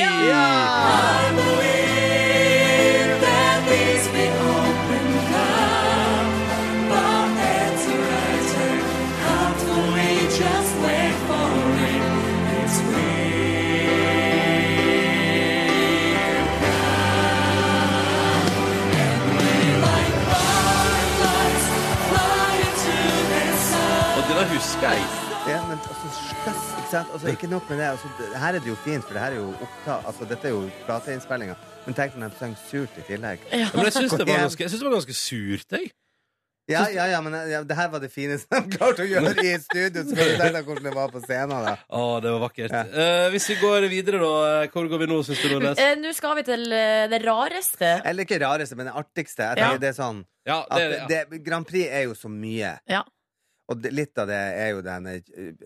Og denne husker jeg.
Ja, men altså, sløss, ikke sant? Altså, ikke nok med det. Altså, det- her er det jo fint, for det her er jo opptak, altså, dette er jo plateinnspillinga. Men tenk når de sang surt i tillegg.
Ja, men jeg syns det var ganske, jeg synes det var ganske surt, jeg.
Ja, ja, ja, men ja, det her var det fineste de klarte å gjøre i et studio. Så kan du tenke deg hvordan det var på scenen. da
Å, det var vakkert. Eh, hvis vi går videre, da. eh, Hvor går vi nå, syns du, Nordnes?
Eh, Nå skal vi til eh, det rareste.
Eller ikke rareste, men det artigste. Jeg
Ja.
tenker det er sånn
(laughs) Ja, det er det,
at det, Grand Prix er jo så mye.
Ja.
Og det, litt av det er jo den eh,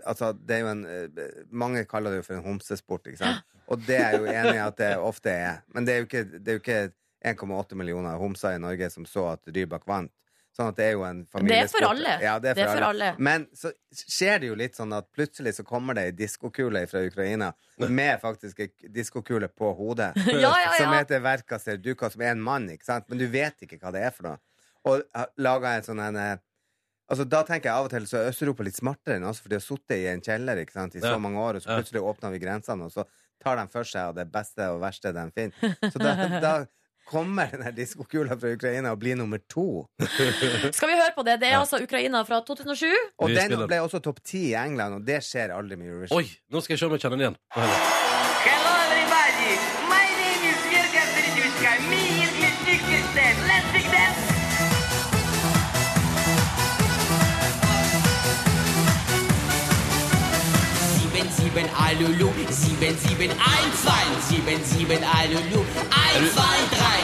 Altså, det er jo en eh, Mange kaller det jo for en homsesport, ikke sant? Og det er jeg jo enig i at det ofte er. Men det er jo ikke, det er jo ikke 1,8 millioner homser i Norge som så at Rybak vant. Sånn at det er jo en familiesport.
for alle.
Ja, det er for, alle. Men så skjer det jo litt sånn at plutselig så kommer det ei diskokule fra Ukraina med faktisk ei diskokule på hodet.
Ja, ja, ja.
Som heter Verka Serduka, som er en mann, ikke sant? Men du vet ikke hva det er for noe. Og laga en sånn en eh, Altså, da tenker jeg av og til så er Øst-Europa litt smartere enn oss, for de har sittet i en kjeller ikke sant, i så
Ja.
mange år, og så
Ja.
plutselig åpner vi grensene, og så tar de for seg av det beste og verste de finner. Så da,
(laughs)
da kommer den her diskokula fra Ukraina og blir nummer to.
Skal vi høre på det? Det er altså Ukraina fra 2007.
Og
Vi
den
spiller den.
ble også topp ti i England, og det skjer aldri med Eurovision.
Oi, nå skal jeg se om jeg kjenner den igjen. Nå hører jeg.
Hello everybody, my name is Verka Serdiuska, me is Mystic Sisters, let's sing dance! Sieben, sieben, alulu, sieben, sieben, ein, zwei, sieben, sieben, alulu, ein, zwei, drei.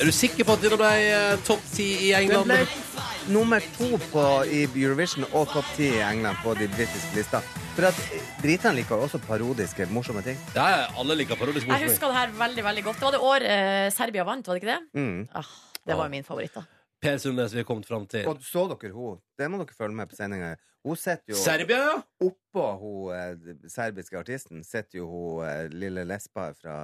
Er du sikker på at denne ble eh, topp ti i
Den
England?
ble nummer to på, i Eurovision og topp ti i England på de britiske lista. For at eh, britene liker også parodiske, morsomme ting.
Ja, ja, alle liker parodisk
Jeg
morsomming.
husker det her veldig veldig godt. Det var det år eh, Serbia vant, var det ikke det?
Mm.
Ah, det var jo min favoritt, da.
Per Sundnes, vi har kommet fram
Eh,
til
Og så dere hun? Det må dere følge med på sendinga. Hun sitter jo
Serbia, ja.
oppå hun eh, d- serbiske artisten. Sitter jo hun eh, lille lesba fra,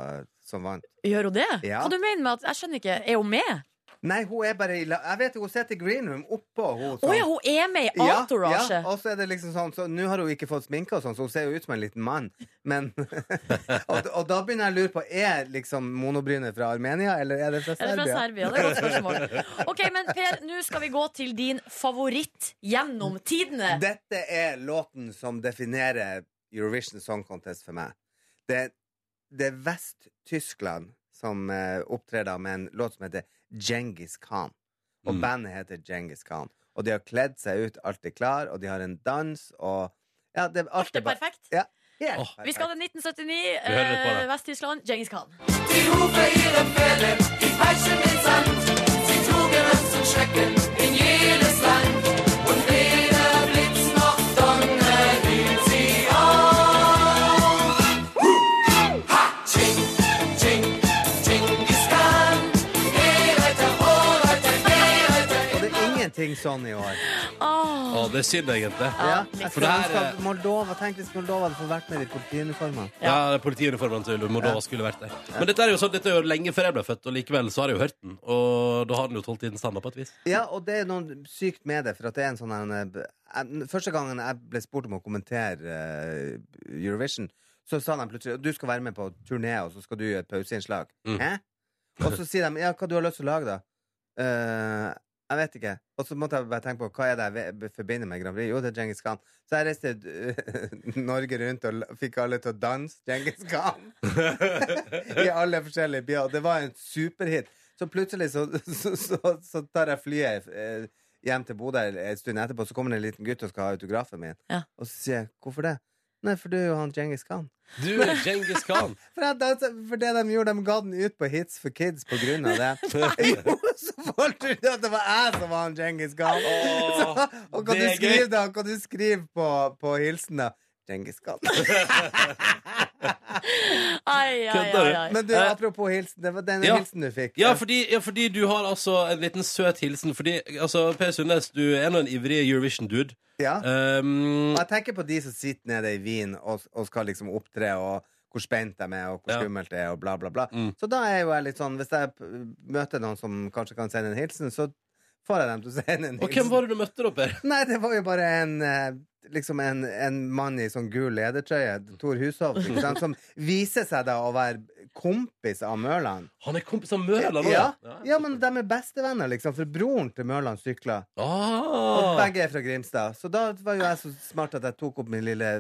som vant.
Gjør hun det?
Ja.
Hva du mener med at Jeg skjønner ikke. Er hun med?
Nei, hun er bare i la... Jeg vet hun sitter i green room oppå hun.
Å ja, hun er med i
Ja,
Entourage!
ja, og så er det liksom sånn så Nå har hun ikke fått sminke, og sånn, så hun ser jo ut som en liten mann. Men, (laughs)
(laughs)
og, og da begynner jeg å lure på Er liksom monobrynet fra Armenia, eller er det fra
Er det fra Serbia?
Serbia?
Det er et
(laughs)
godt spørsmål. Ok, men Per, nå skal vi gå til din favoritt gjennom tidene.
Dette er låten som definerer Eurovision Song Contest for meg. Det, det er Vest-Tyskland som eh, opptrer da med en låt som heter Genghis Khan. Og
Mm.
bandet heter Genghis Khan. Og de har kledd seg ut, alt er klar, og de har en dans, og ja, det, alt,
Alt er
bare-
perfekt.
Ja, helt
Åh.
Vi skal til 1979.
hører litt på
Eh,
det.
Vest-Tyskland. Djengis Khan.
Die Hufe ihrer Pferde, die peitschen den Sand. Sie trugen uns zum Schrecken in jedes Land. Und weder Blitz noch Donner hielt sie auf. Hu, ha, Ching, Ching, Chingis Khan. Geh, Reiter, oh, Reiter, geh, Reiter,
Og det er ingenting sånn i år.
Åh,
Å, det er synd, egentlig.
Ja, jeg
For
skulle
det
ønske
her,
at Moldova Tenk hvis Moldova hadde fått vært med i politiuniformene.
Ja, det er politiuniformen til Moldova skulle vært der. Men dette er jo sånn, dette er jo lenge før jeg ble født, og likevel så har jeg jo hørt den. Og da har den jo tålt tidens tann da, på et vis.
Ja, og det er noe sykt med det, for at det er en sånn her jeg- Første gangen jeg ble spurt om å kommentere eh, Eurovision, så sa de plutselig du skal være med på turné, og så skal du gjøre et pauseinnslag.
Mm.
Hæ? Og så sier de ja, hva du har lyst til å lage, da? «Eh, jeg vet ikke. Og så måtte jeg bare tenke på hva er det jeg ve- forbinder med Grand Prix. Jo, det er Djengis Khan. Så jeg reiste eh, (laughs) Norge rundt og la- fikk alle til å danse Djengis Khan. (laughs) I alle forskjellige byer. Og det var en superhit. Så plutselig så, (laughs) så, så, så tar jeg flyet eh, hjem til Bodø en stund etterpå, så kommer det en liten gutt og skal ha autografen min.
Ja.
Og så sier jeg 'Hvorfor det?' Nei, for du er jo han Djengis Khan.
Du er Djengis Khan.
For, jeg, dansa- for det de gjorde, de ga den ut på Hits for Kids på grunn
(laughs)
av det. Jo, så folk trodde at det var jeg som var han Djengis Khan. (laughs) Så,
Åh,
og hva
det
du
er
skriver
gøy.
da, hva du skriver på, på hilsen da? Djengis
(laughs)
Khan.
ai, ai, ai, ai.
Men du,
Eh,
apropos hilsen, det var den
ja.
hilsen du fikk.
Ja fordi, ja, fordi du har altså en liten søt hilsen. Fordi, altså, Per Sundnes, du er nå en ivrig Eurovision-dude.
Ja.
Um,
Og jeg tenker på de som sitter nede i Wien og, og skal liksom opptre, og hvor spent de er, og hvor
Ja.
skummelt det er, og bla, bla, bla.
Mm.
Så da er jo jeg litt sånn Hvis jeg p- møter noen som kanskje kan sende en hilsen, så får jeg dem til å (laughs) sende en hilsen.
og hvem var det du møtte, da, Per?
Nei, det var jo bare en eh, Liksom en, en mann i sånn gul ledertrøye, Tor Hushovd, ikke sant, som viser seg da å være kompis av Mørland.
Han er kompis av Mørland nå,
Ja, ja, men de er bestevenner, liksom, for broren til Mørland sykla. Og
Ah.
begge er fra Grimstad. Så da var jo jeg så smart at jeg tok opp min lille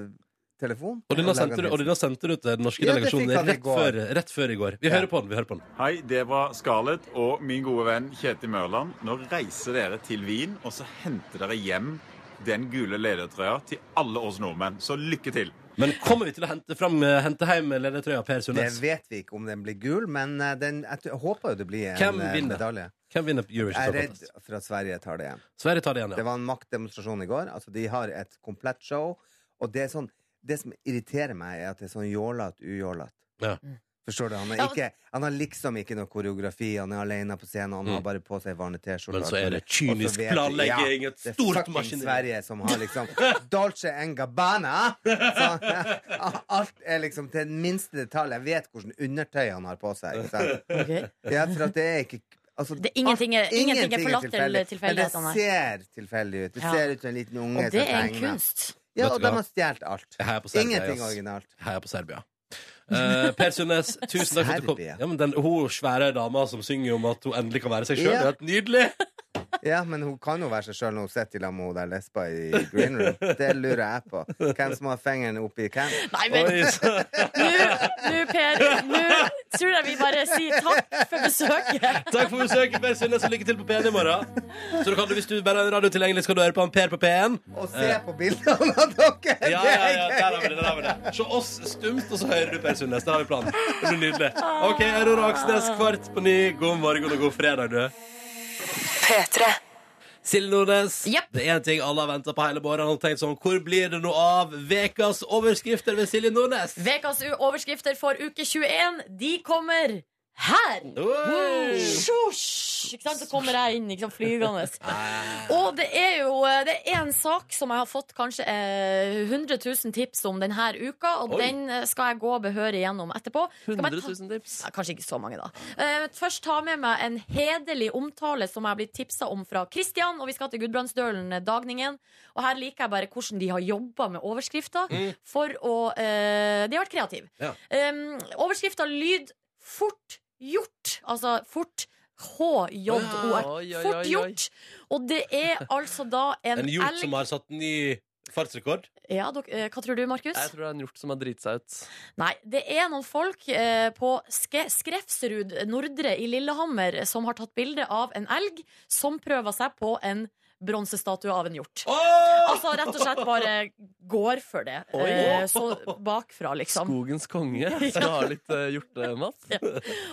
telefon.
Og denne sendte, du- og denne sendte du til den norske
Ja, det fikk
delegasjonen
han i
rett
går.
før, rett før i går. Vi hører på den. vi hører på den.
Hei, det var Scarlett og min gode venn Kjetil Mørland. Nå reiser dere til Wien, og så henter dere hjem den gule ledertrøya til alle oss nordmenn. Så lykke til!
Men kommer vi til å hente, fram, hente hjem ledertrøya Per
Det
Sundnes?
vet vi ikke om den blir gul, men eh, den, jeg t- håper jo det blir en
Hvem
eh,
vinner?
medalje.
Hvem vinner Eurovision
Jeg er
Song
redd
Contest?
for at Sverige tar det igjen.
Sverige tar det igjen, ja.
Det var en maktdemonstrasjon i går. Altså, de har et komplett show. Og det, er sånn, det som irriterer meg, er at det er sånn jålete, ujålete.
Ja.
Mm.
Forstår du? Han, er
Ja, men-
ikke, han har liksom ikke noe koreografi, han er alene på scenen, han har bare på seg vanlig T-skjorte.
Mm. Men så er det
Og så
kynisk
vet vi-
planlegging, et
det er
stort
fucking
maskineri.
Sverige som har
(laughs)
liksom Dolce en Gabbana! Så, (laughs) alt er liksom til den minste detalj. Jeg vet hvordan undertøy han har på seg. Ikke
(laughs)
sant?
Ok.
Ja, for at det er ikke altså,
Det er ingenting er-
alt-
Eh, ingenting er forlatt til
tilfeldig.
tilfeldighetene.
Men det ser tilfeldig ut. Det
Ja.
ser ut som en liten unge
Og det
som
er en
tegner.
kunst.
Ja,
Vet
og
du
de
hva?
har stjålet alt.
Jeg heier på Serbia.
Ingenting
ass.
originalt.
Jeg heier på Serbia. Eh, per Sundnes, tusen takk for at du kom.
Serbia?
Ja, men den, hun svære dama som synger om at hun endelig kan være seg sjøl.
Ja.
er helt Nydelig!
Ja, men hun kan jo være seg sjøl når hun sitter i lag med hun der lesba i green
(laughs)
room. Det lurer jeg på. Hvem som har fingeren oppi hvem?
Nei, men- Oi, Nå, Per, nå tror jeg vi bare sier takk for besøket.
Takk for besøket, Per Sundnes, og lykke til på P1 i morgen. Så du kan, hvis du bare har radio tilgjengelig, så kan du høre på han Per på P1.
Og se på bildene av dere!
Ja, ja,
(laughs)
ja, der har vi det. der har vi det Se oss stumt, og så hører du Per Sundnes. Der har vi planen. Det blir nydelig.
Ah.
OK, Aurora Aksnes, kvart på ni. God morgen og god fredag, du.
P3.
Silje Nordnes, det er en ting alle har venta på hele våren. Og tenkt sånn, hvor blir det noe av vekas overskrifter ved Silje Nordnes?
Ukas u- overskrifter for uke 21, de kommer her!
Wow.
Sjosj! Ikke sant? Så kommer jeg inn ikke sant, flygende. Og det er jo eh, det er en sak som jeg har fått kanskje eh, 100 000 tips om denne uka, og
Oi.
den eh, skal jeg gå behørig gjennom etterpå. Skal jeg bare
100
ta-
000 tips?
Ja, kanskje ikke så mange, da. Eh, først ta med meg en hederlig omtale som jeg har blitt tipsa om fra Kristian, og vi skal til Gudbrandsdølen eh, Dagningen. Og her liker jeg bare hvordan de har jobba med overskrifter
Mm.
for å eh, De har vært kreative.
Ja.
Um, Overskrifta lyd 'fort gjort'. Altså fort
Oi,
H-J-O-R.
oi, oi,
Fort
oi.
gjort. Og det er altså da en,
En hjort
elg-
som har satt ny fartsrekord?
ja, dok, eh, Hva tror du, Markus?
Jeg tror det er en hjort som har driti seg ut.
Nei, det er noen folk eh, på Ske Skrefsrud Nordre i Lillehammer som har tatt bilde av en elg som prøver seg på en bronsestatue av en hjort. Altså rett og slett bare går for det.
Oi.
Eh, så bakfra, liksom.
Skogens konge skal ha litt uh, hjortemat.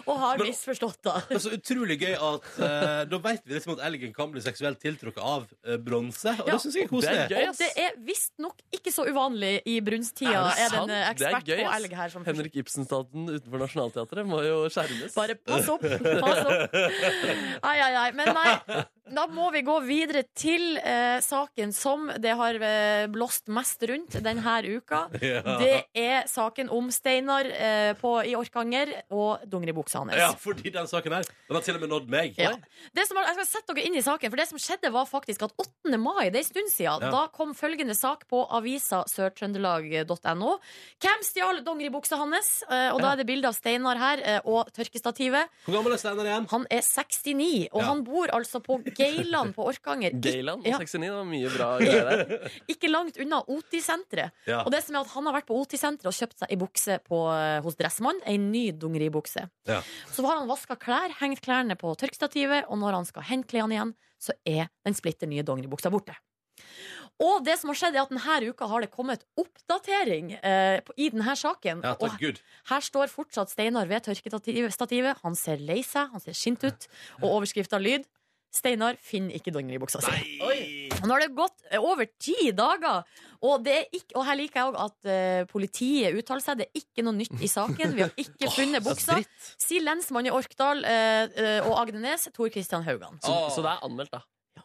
Og har misforstått, da.
Men så utrolig gøy at eh, da vet vi liksom at elgen kan bli seksuelt tiltrukket av eh, bronse. Og
Ja.
det syns jeg er koselig.
Og det er visstnok ikke så uvanlig i brunsttida,
Er
er,
det
det
sant?
en eh,
Det er
ekspert
gøy,
på
ass.
elg her som
Henrik Ibsen-staten utenfor Nationaltheatret må jo skjermes.
Bare pass opp, pass opp. Ai, ai, ai. Men nei, da må vi gå videre til eh, saken som det har eh, blåst mest rundt denne uka.
Ja.
Det er saken om Steinar eh, på, i Orkanger og dongeribuksa hans.
Ja, fordi den saken her Den har til og med nådd meg.
Ja. Det som, jeg skal sette dere inn i saken, for det som skjedde var faktisk at 8. mai, det er en stund siden,
Ja.
da kom følgende sak på avisa sørtrøndelag.no. Hvem stjal dongeribuksa hans? Eh, Og da er det bilde av Steinar her eh, og tørkestativet.
Hvor gammel er Steinar igjen?
Han er 69, og
Ja.
han bor altså på Geiland på Orkanger.
Gayland
Ja.
og 69, det var mye
(laughs)
bra greier der.
Ikke langt unna OT-senteret.
Ja.
Og det som er at han har vært på OT-senteret og kjøpt seg ei bukse på, eh, hos Dressmann. Ei ny dongeribukse.
Ja.
Så har han vaska klær, hengt klærne på tørkestativet, og når han skal hente klærne igjen, så er den splitter nye dongeribuksa borte. Og det som har skjedd er at denne uka har det kommet oppdatering eh, på- i denne saken.
Ja, takk
og
Gud.
her står fortsatt Steinar ved tørkestativet. Han ser lei seg, han ser skint ut. Og overskrifta lyd Steinar finner ikke dongeribuksa si. Og Nå har det gått eh, over ti dager, og, det er ikke, og her liker jeg òg at eh, politiet uttaler seg. Det er ikke noe nytt i saken. Vi har ikke funnet
Altså,
buksa. Sier lensmann i Orkdal eh, eh, og Agdenes, Tor Christian Haugan.
Så, så det er anmeldt, da.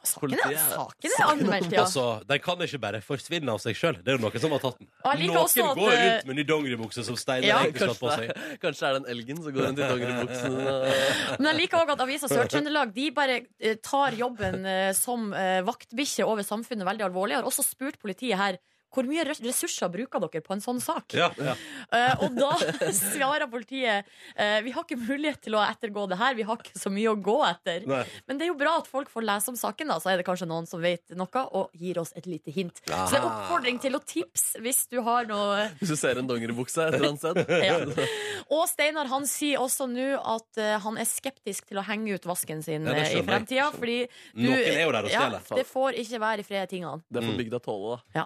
saken er- saken er anmeldt, ja.
Altså, Den kan ikke bare forsvinne av seg sjøl. Det er jo noen som har tatt den.
Og jeg liker
Noen
også at,
går
eh,
rundt med ny dongeribukse som Steinar
Ja.
egentlig slapp på
Kanskje
seg.
det Kanskje det er den elgen som går rundt i dongeribuksen.
Men jeg liker òg at Avisa Sør-Trøndelag De bare eh, tar jobben eh, som eh, vaktbikkje over samfunnet veldig alvorlig. Jeg har også spurt politiet her Hvor mye res- ressurser bruker dere på en sånn sak?
Ja, ja.
Eh, og da (laughs) svarer politiet eh, Vi har ikke mulighet til å ettergå det her. Vi har ikke så mye å gå etter.
Nei.
Men det er jo bra at folk får lese om saken, da. Så er det kanskje noen som vet noe, og gir oss et lite hint. Så det er
Aha.
oppfordring til å tipse hvis du har noe
(laughs) Hvis du ser en dongeribukse et eller annet sted. (laughs)
Og Steinar han sier også nå at eh, han er skeptisk til å henge ut vasken sin
Ja, det
eh, i
skjønner jeg.
fremtida. Fordi du,
Noen er jo der og
ja,
stjeler.
det får ikke være i fred, tingene.
Det får bygda tåle,
da.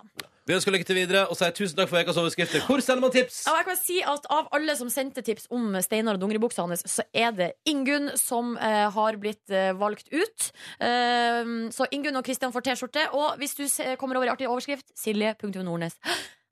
Vi ønsker lykke til videre og sier tusen takk for ukas overskrifter. Hvor sender man tips?
Ja, og jeg kan si at Av alle som sendte tips om Steinar og dongeribuksa hans, så er det Ingunn som eh, har blitt eh, valgt ut. Ehm, så Ingunn og Kristian får T-skjorte. Og hvis du se, kommer over i artig overskrift, silje.nordnes.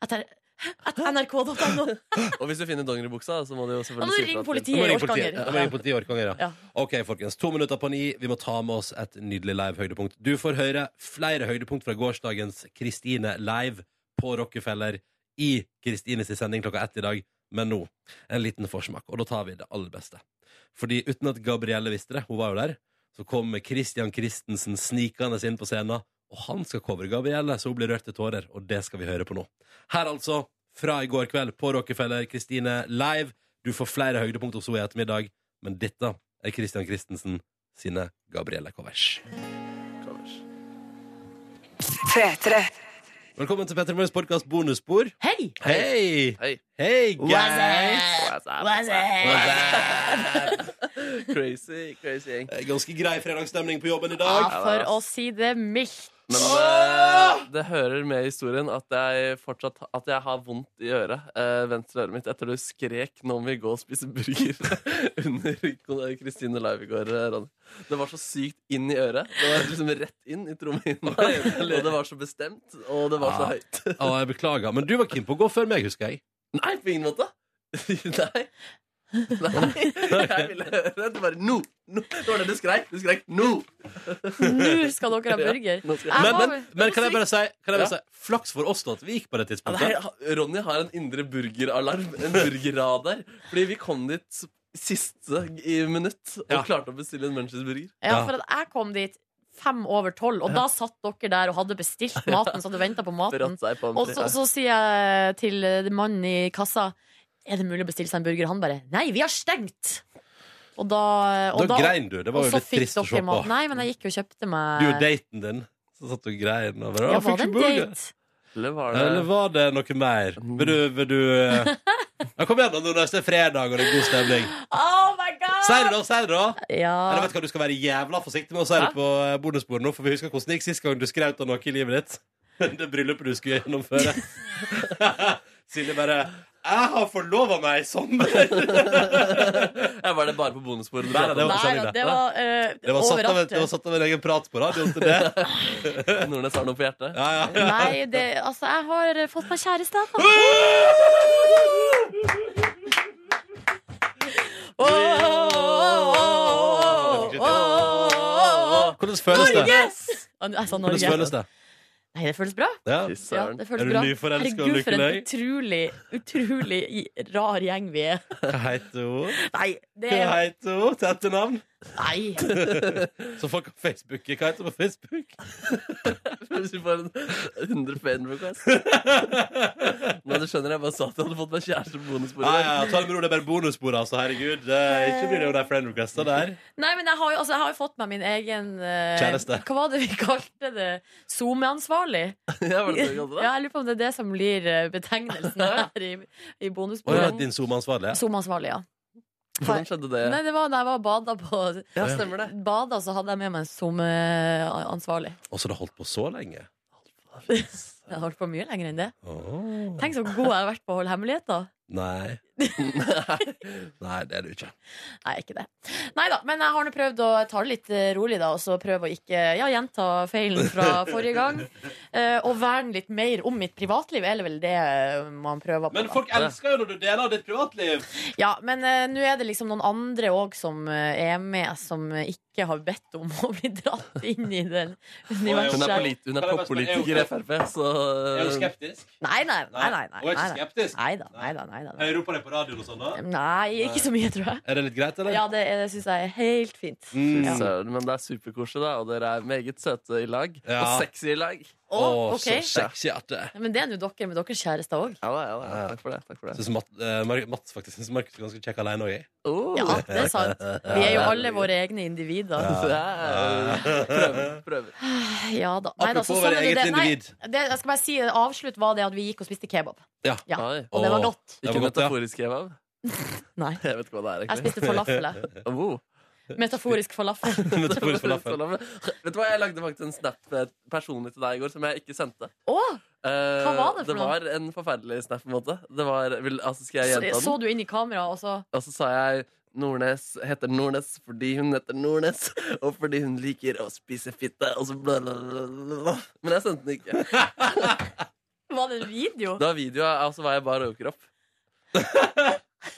Etter nrk.no.
Og hvis du finner dongeribuksa, så må du jo
Da må du
selvfølgelig
ringe
fra til-
politiet i Orkanger.
Da må jeg ringe politiet i Orkanger, ja.
Ja.
Ok, folkens. To minutter på ni. Vi må ta med oss et nydelig live-høydepunkt. Du får høre flere høydepunkt fra gårsdagens Kristine live på Rockefeller i Kristines sending klokka ett i dag. Men nå en liten forsmak, og da tar vi det aller beste. Fordi uten at Gabrielle visste det, hun var jo der, så kommer Christian Christensen snikende inn på scenen, og han skal covre Gabrielle, så hun blir rørt til tårer, og det skal vi høre på nå. Her altså, fra i går kveld på Rockefeller, Kristine live. Du får flere høydepunkt hos henne i ettermiddag, men dette er Christian Christensen sine Gabrielle-covers.
P3.
Velkommen til Petter Morgens podkast bonusspor.
Hei!
Hei! Hei, guys!
Crazy, crazy gjeng.
(laughs) Ganske grei fredagsstemning på jobben i dag.
Ja, for å si det mildt.
Men eh, det hører med i historien at jeg fortsatt at jeg har vondt i øret. eh, venstre øret mitt etter du skrek 'nå må vi gå og spise burger' (laughs) under Kristine Live i går, eh, Ronny. Det var så sykt inn i øret. Det var liksom rett inn i trommehinnen. Og det var så bestemt, og det var så høyt. (laughs)
Ja, jeg beklager, men du var keen på å gå før meg, husker jeg.
Nei, på ingen måte. (laughs) Nei. Nei. Jeg ville høre det bare nå. nå. Det var det du skrek. Du skrek nå.
Nå skal dere ha burger.
Nå skal jeg-
Men, men, men kan jeg bare si, kan jeg bare
Ja.
si flaks for oss da at vi gikk på det
Nei,
tidspunktet.
Ronny har en indre burgeralarm. En burgerradar. Fordi vi kom dit siste i minutt og klarte å bestille en Manchester-burger.
Ja, for at jeg kom dit fem over tolv, og da satt dere der og hadde
(laughs)
bestilt maten, så du venta på maten.
Bratt seg på en
Og så,
tre-
så sier jeg til eh, mannen i kassa Er det mulig å bestille seg en burger? Han bare Nei, vi har stengt! Og da, og
Da grein du. Det var
og
jo
så
litt
fikk
trist å
dere
se på.
mat. Nei, men jeg gikk jo og kjøpte meg
Du og daten din, så satt du og grein. Og bare,
Ja,
«Å, fikk
var
ikke
det en
burger».
date?
Eller var det
Eller var det noe mer? Vil du, vil du
(laughs)
eh, ja, Kom igjen, da, nå neste fredag, og det er god stemning.
Oh my god!
Si det, da! Si det, da!
Ja.
Eller vet du hva, du skal være jævla forsiktig med å si det på eh, bonusbordet nå, for vi husker hvordan det gikk sist gang du skrev ut av noe i livet ditt. (laughs) Det bryllupet du skulle gjennomføre. Silje bare 'Jeg har forlova meg i sommer'.
Ja, var det bare på bonussporet? du
Nei, nei, det var på
pratet om?
sending,
Nei, det var, eh,
Det var satt av,
overalt.
en- det var satt av en egen prat på radioen til det.
Nordnes har noe på hjertet?
Ja, ja.
Nei, det, altså, jeg har eh, fått meg kjæreste.
Hvordan føles det?
Jeg sa
Hvordan
Norge.
føles det?
Nei, det føles bra.
Ja.
Ja, det føles
er du
bra.
nyforelska og
Herregud, for en
lykkelig?
utrolig, utrolig i- rar gjeng vi er.
Hva heter hun?
Nei, det
Hva
er
heter hun til etternavn?
Nei.
Så folk på Facebook Hva heter hun på Facebook?
(laughs) Hvis vi får en 100 fan
(laughs)
request. Nei, du skjønner, jeg bare sa at jeg hadde fått meg kjæreste på bonussporet.
Ja, ja, ja, ta det med ro, det er bare bonusbord, altså. Herregud. Det, er- ikke blir det jo de friend requesta der.
Nei, men jeg har jo altså, jeg har jo fått meg min egen eh,
Kjæreste.
Hva var det vi kalte det? SoMe-ansvarlig?
(laughs) Ja, var det det du kalte det?
Ja, jeg lurer på om det er det som blir eh, betegnelsen her i, i
Å ja,
bonusbordet.
din SoMe-ansvarlige?
SoMe-ansvarlig, ja.
Hvordan skjedde det?
Nei, det var da jeg var og bada på
Ja, stemmer det.
Bada, så hadde jeg med meg eh, en SoMe-ansvarlig.
Og så det holdt på så lenge?
Jeg har holdt på mye lenger enn det. Tenk så god jeg har vært på å holde hemmeligheter.
Nei. (laughs) Nei, det er du ikke.
Nei, ikke det. Nei da, men jeg har nå prøvd å ta det litt eh, rolig, da, og så prøve å ikke ja, gjenta feilen fra forrige gang.
(laughs)
Eh, og verne litt mer om mitt privatliv, er det vel det eh, man prøver på.
Men
da.
folk elsker jo når du deler ditt privatliv.
Ja, men eh, nå er det liksom noen andre òg som eh, er med, som eh, ikke har bedt om å bli dratt inn i
(laughs)
den
Hun er,
universet.
polit- hun er poppolitiker i Frp, så
Er hun skeptisk?
Nei, nei, Um, nei. nei,
Hun
nei,
er ikke
nei,
skeptisk?
nei, da, nei, da, nei, da, nei.
Jeg roper deg på radioen og sånn, da?
nei, ikke så mye, tror jeg.
Er det litt greit, eller? Mm.
Ja, det, er- det syns jeg er helt fint.
Fy
Ja.
søren, men det er superkoselig, da. Og dere er meget søte i lag.
Ja.
Og sexy i lag.
Å,
Å,
ok.
så sexy at det er.
Ja, Men det er nå dere med deres kjærester òg.
Ja, da, ja, da. Takk for det. Takk for det.
Synes Matt, eh, Mar- Mats faktisk synes Markus er ganske kjekk alene eh. òg, jeg.
Oh,
Ja, det er sant. Vi er jo alle våre egne individer.
Prøver.
prøver.
Ja da. Nei, da,
Apropos
så sånn
våre
er nå
eget
det. Nei,
individ.
det, jeg skal bare si, avslutt var det at vi gikk og spiste kebab.
Ja.
Ja. Og det var godt.
Det var
Ikke
godt, ja.
metaforisk kebab?
Nei.
Jeg vet ikke hva det er,
Jeg spiste falafel,
jeg. Oh.
(laughs)
Metaforisk (laughs) falafel.
Metaforisk falafel. (laughs) Vet du hva, jeg lagde faktisk en snap eh, personlig til deg i går som jeg ikke sendte.
Å,
Eh,
hva var det for
det
noe?
var en forferdelig snap, på en måte. Det var, vil, altså, skal jeg
så,
gjenta den?
så du inn i kameraet, og så
Og så sa jeg Nordnes heter Nordnes fordi hun heter Nordnes, (laughs) og fordi hun liker å spise fitte, og så bla, bla, bla, bla. bla. Men jeg sendte den ikke.
Var det en video?
Det var video, og så var jeg bare overkropp. (laughs)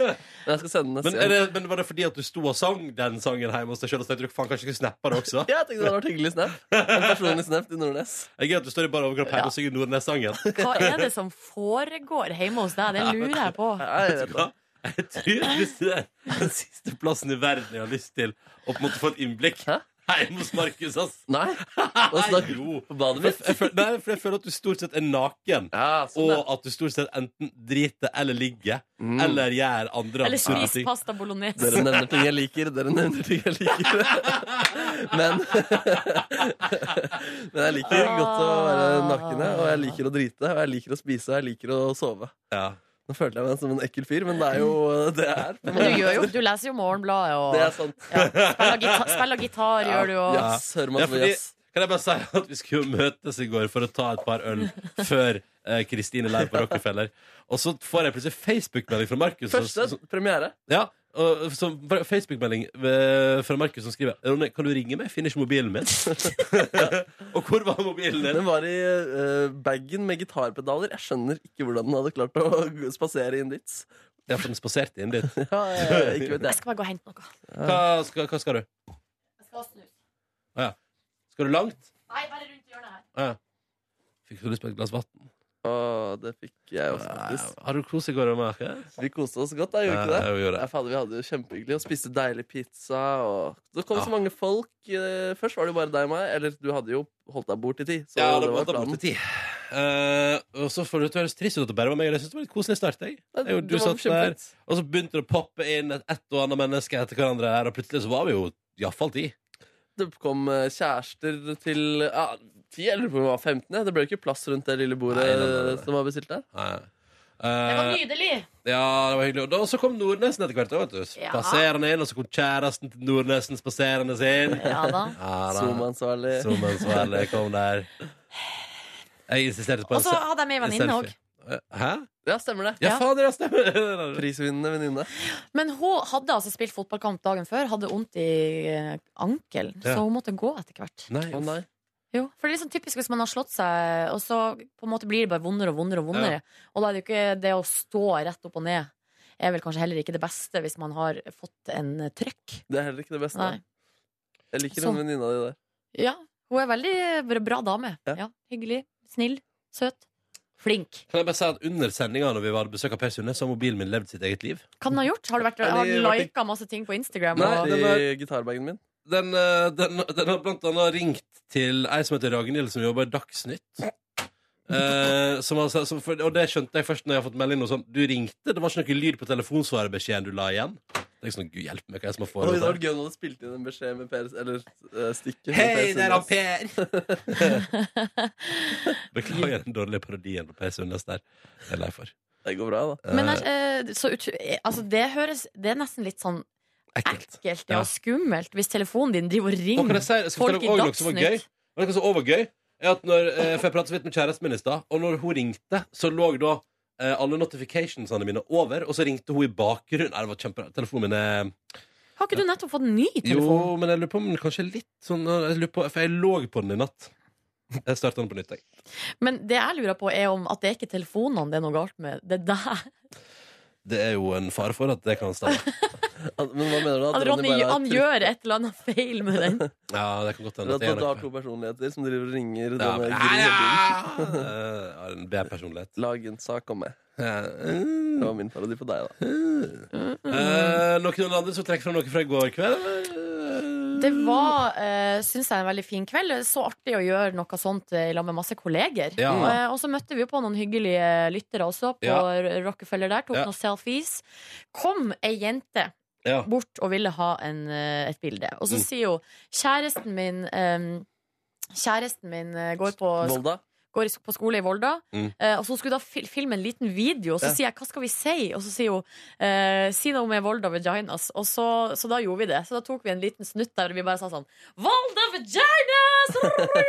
Men jeg skal sende den neste
Men, er det, men var det fordi at du sto og sang den sangen hjemme hos deg sjøl? Og så tenkte du faen, kanskje jeg skulle snappe det også?
Ja, jeg tenkte det hadde vært hyggelig snap. En personlig snap til Nordnes.
(laughs) Det er gøy at du står i bar overkropp her og synger Nordnes-sangen.
Hva er det som foregår hjemme hos deg? Det lurer jeg på.
Jeg tror hvis det er den siste plassen i verden jeg har lyst til å på en måte få et innblikk hjemme hos Markus. ass.
Nei, hva snakker du om? På badet mitt?
Jeg føler, nei, for jeg føler at du stort sett er naken,
sånn,
og at du stort sett enten driter eller ligger, eller gjør andre
Eller
absurde
spis pasta bolognese.
Dere nevner ting jeg liker, dere nevner ting jeg liker. (laughs) Men (laughs) Men jeg liker godt å være naken, jeg, og jeg liker å drite, og jeg liker å spise, og jeg liker å sove. Nå følte jeg meg som en ekkel fyr, men det er jo det jeg er.
Men du, gjør jo, du leser jo Morgenbladet og
Det er sånn- sant.
spiller, gita spiller gitar, gjør du og
Ja. Ja, fordi- Kan jeg bare si at vi skulle jo møtes i går for å ta et par øl før eh, Kristine Leir på Rockefeller. Og så får jeg plutselig Facebook-melding fra Markus.
Første
som- som-
premiere.
Ja, og som- Facebook-melding eh, fra Markus som skriver Ronny, kan du ringe meg? Jeg Finner ikke mobilen
(laughs)
min. og hvor var mobilen din?
Den var i eh, bagen med gitarpedaler. Jeg skjønner ikke hvordan den hadde klart å (laughs) spasere inn dit.
Ja, for den spaserte inn dit.
Ja, eh, ikke
Jeg
vet jeg.
skal bare gå og hente noe.
Hva skal, hva skal du? Å ja. Skal du langt?
Nei, bare rundt hjørnet her.
Å ja. Fikk du lyst på et glass vann?
Å, det fikk jeg også, faktisk.
Har du kos i går, Markus?
Vi koste oss godt, da. Gjorde
Ja,
ikke det?
ja, vi gjorde det.
Ja, fader, vi hadde det jo kjempehyggelig og spiste deilig pizza. Og... Det kom
Ja.
så mange folk. eh, Først var det jo bare deg og meg. Eller du hadde jo holdt deg bort i tid. Så
Ja, det
det var
måtte ha
planen.
blitt ti. Eh, og så får det til å høres trist ut at det bare var meg. og Jeg synes det var litt koselig start. Jeg.
Ja,
Jeg, og du
det var
satt der,
kjempefint.
og så begynte det å poppe inn et, et og annet menneske etter hverandre her, og plutselig så var vi jo iallfall ti.
Det kom eh, kjærester til ja, 10, eller om det var 15. ja. Det ble jo ikke plass rundt det lille bordet
Nei, nei, nei, nei, nei.
som var bestilt der.
Det var
Eh,
nydelig.
ja, det var hyggelig. Og da- så kom Nordnesen etter hvert. da, Vet du.
Ja.
Spaserende inn, og så kom kjæresten til Nordnesen spaserende inn.
Ja da.
Ja, da.
Zoomansvarlig.
Zoom-ansvarlig kom der. Jeg insisterte på
Og så hadde jeg med en venninne
selfie. Hæ?
Ja, stemmer det.
Ja,
Ja.
faen, det (laughs) stemmer!
Prisvinnende venninne.
Men hun hadde altså spilt fotballkamp dagen før, hadde vondt i eh, ankelen,
Ja.
så hun måtte gå etter hvert.
Nei,
Å nei.
Jo, for det er liksom typisk hvis man har slått seg, og så på en måte blir det bare vondere og vondere og vondere. Og da er det jo ikke det å stå rett opp og ned er vel kanskje heller ikke det beste hvis man har fått en eh, trøkk.
Det er heller ikke det beste.
Nei.
Jeg liker
Så-
den venninna di der.
Ja, hun er veldig bra- bra dame.
Ja.
Ja, hyggelig, snill, søt, flink.
Kan jeg bare si at Under sendinga når vi var besøk av Per Sundnes, så har mobilen min levd sitt eget liv.
Hva den har gjort? Har du vært,
Nei,
har
det-
den lika masse ting på Instagram?
Nei,
Og,
den
det-
er gitarbagen min.
Den, eh, den, den har blant annet ringt til ei som heter Ragnhild, som jobber i Dagsnytt. Eh, som altså, som for, og det skjønte jeg først når jeg har fått melding. Og sånn, du ringte, Det var ikke noe lyd på telefonsvarebeskjeden du la igjen. Det er ikke sånn, Gud hjelpe meg, hva er det som har
Oi, det
foregått
var
her?
gøy om du hadde spilt inn en beskjed med Per Eller eh, stikket. med
Hei,
Per
der er
Sundnes.
Per! Beklager den dårlige parodien på Per Sundnes der. Jeg er lei for.
Det går bra, da.
men jeg, eh, så ut, eh, altså det høres Det er nesten litt sånn
Ekkelt.
ekkelt
Ja.
ja. og skummelt hvis telefonen din driver og
Og kan
ringer
jeg si, jeg skal
folk
fortelle
i
også noe som var gøy.
Dagsnytt.
Og noe som også var gøy er at når, eh, for jeg pratet så vidt med kjæresten min i stad, og når hun ringte, så lå da eh, alle notificationsene mine over, og så ringte hun i bakgrunnen. Nei, det var kjempe... Telefonen min er
Har ikke du nettopp fått en ny telefon?
Jo, men jeg lurer på om den kanskje er litt sånn jeg lurer på, For jeg lå på den i natt. Jeg starta den på nytt, jeg.
Men det jeg lurer på, er om at det er ikke telefonene det er noe galt med. Det er deg.
Det er jo en fare for at det kan stemme.
At- Men hva mener du?
At Altså, Ronny
bare har
han
trykt-
gjør et eller annet feil med
(laughs)
den.
Ja, det kan godt
Eller
hende. at
At
det er
du har
noe.
to personligheter som driver og ringer
Ja,
denne
men-
grunnen.
(laughs) Eh, jeg har en B-personlighet.
Lag en sak om meg. Det
Eh,
var min parodi på deg, da.
eh, noen andre som trekker fram noe fra i går kveld?
Det var, uh, syns jeg, en veldig fin kveld. Så artig å gjøre noe sånt eh, i lag med masse kolleger.
Ja.
Eh, og så møtte vi jo på noen hyggelige lyttere også, på
Ja.
R- Rockefeller der. Tok
Ja.
noen selfies. Kom ei jente.
Ja.
Bort og ville ha en, eh, et bilde. Og så
Mm.
sier hun kjæresten min eh, Kjæresten min eh, går på
Volda?
Går i sk- på skole i Volda.
Mm.
Eh, og så skulle hun da fil filme en liten video, og så
Ja.
sier jeg 'hva skal vi si?' Og så sier hun eh, 'si noe med Volda vaginas'. Og så, så da gjorde vi det. Så da tok vi en liten snutt der, og vi bare sa sånn 'Volda
(laughs)
vaginas!'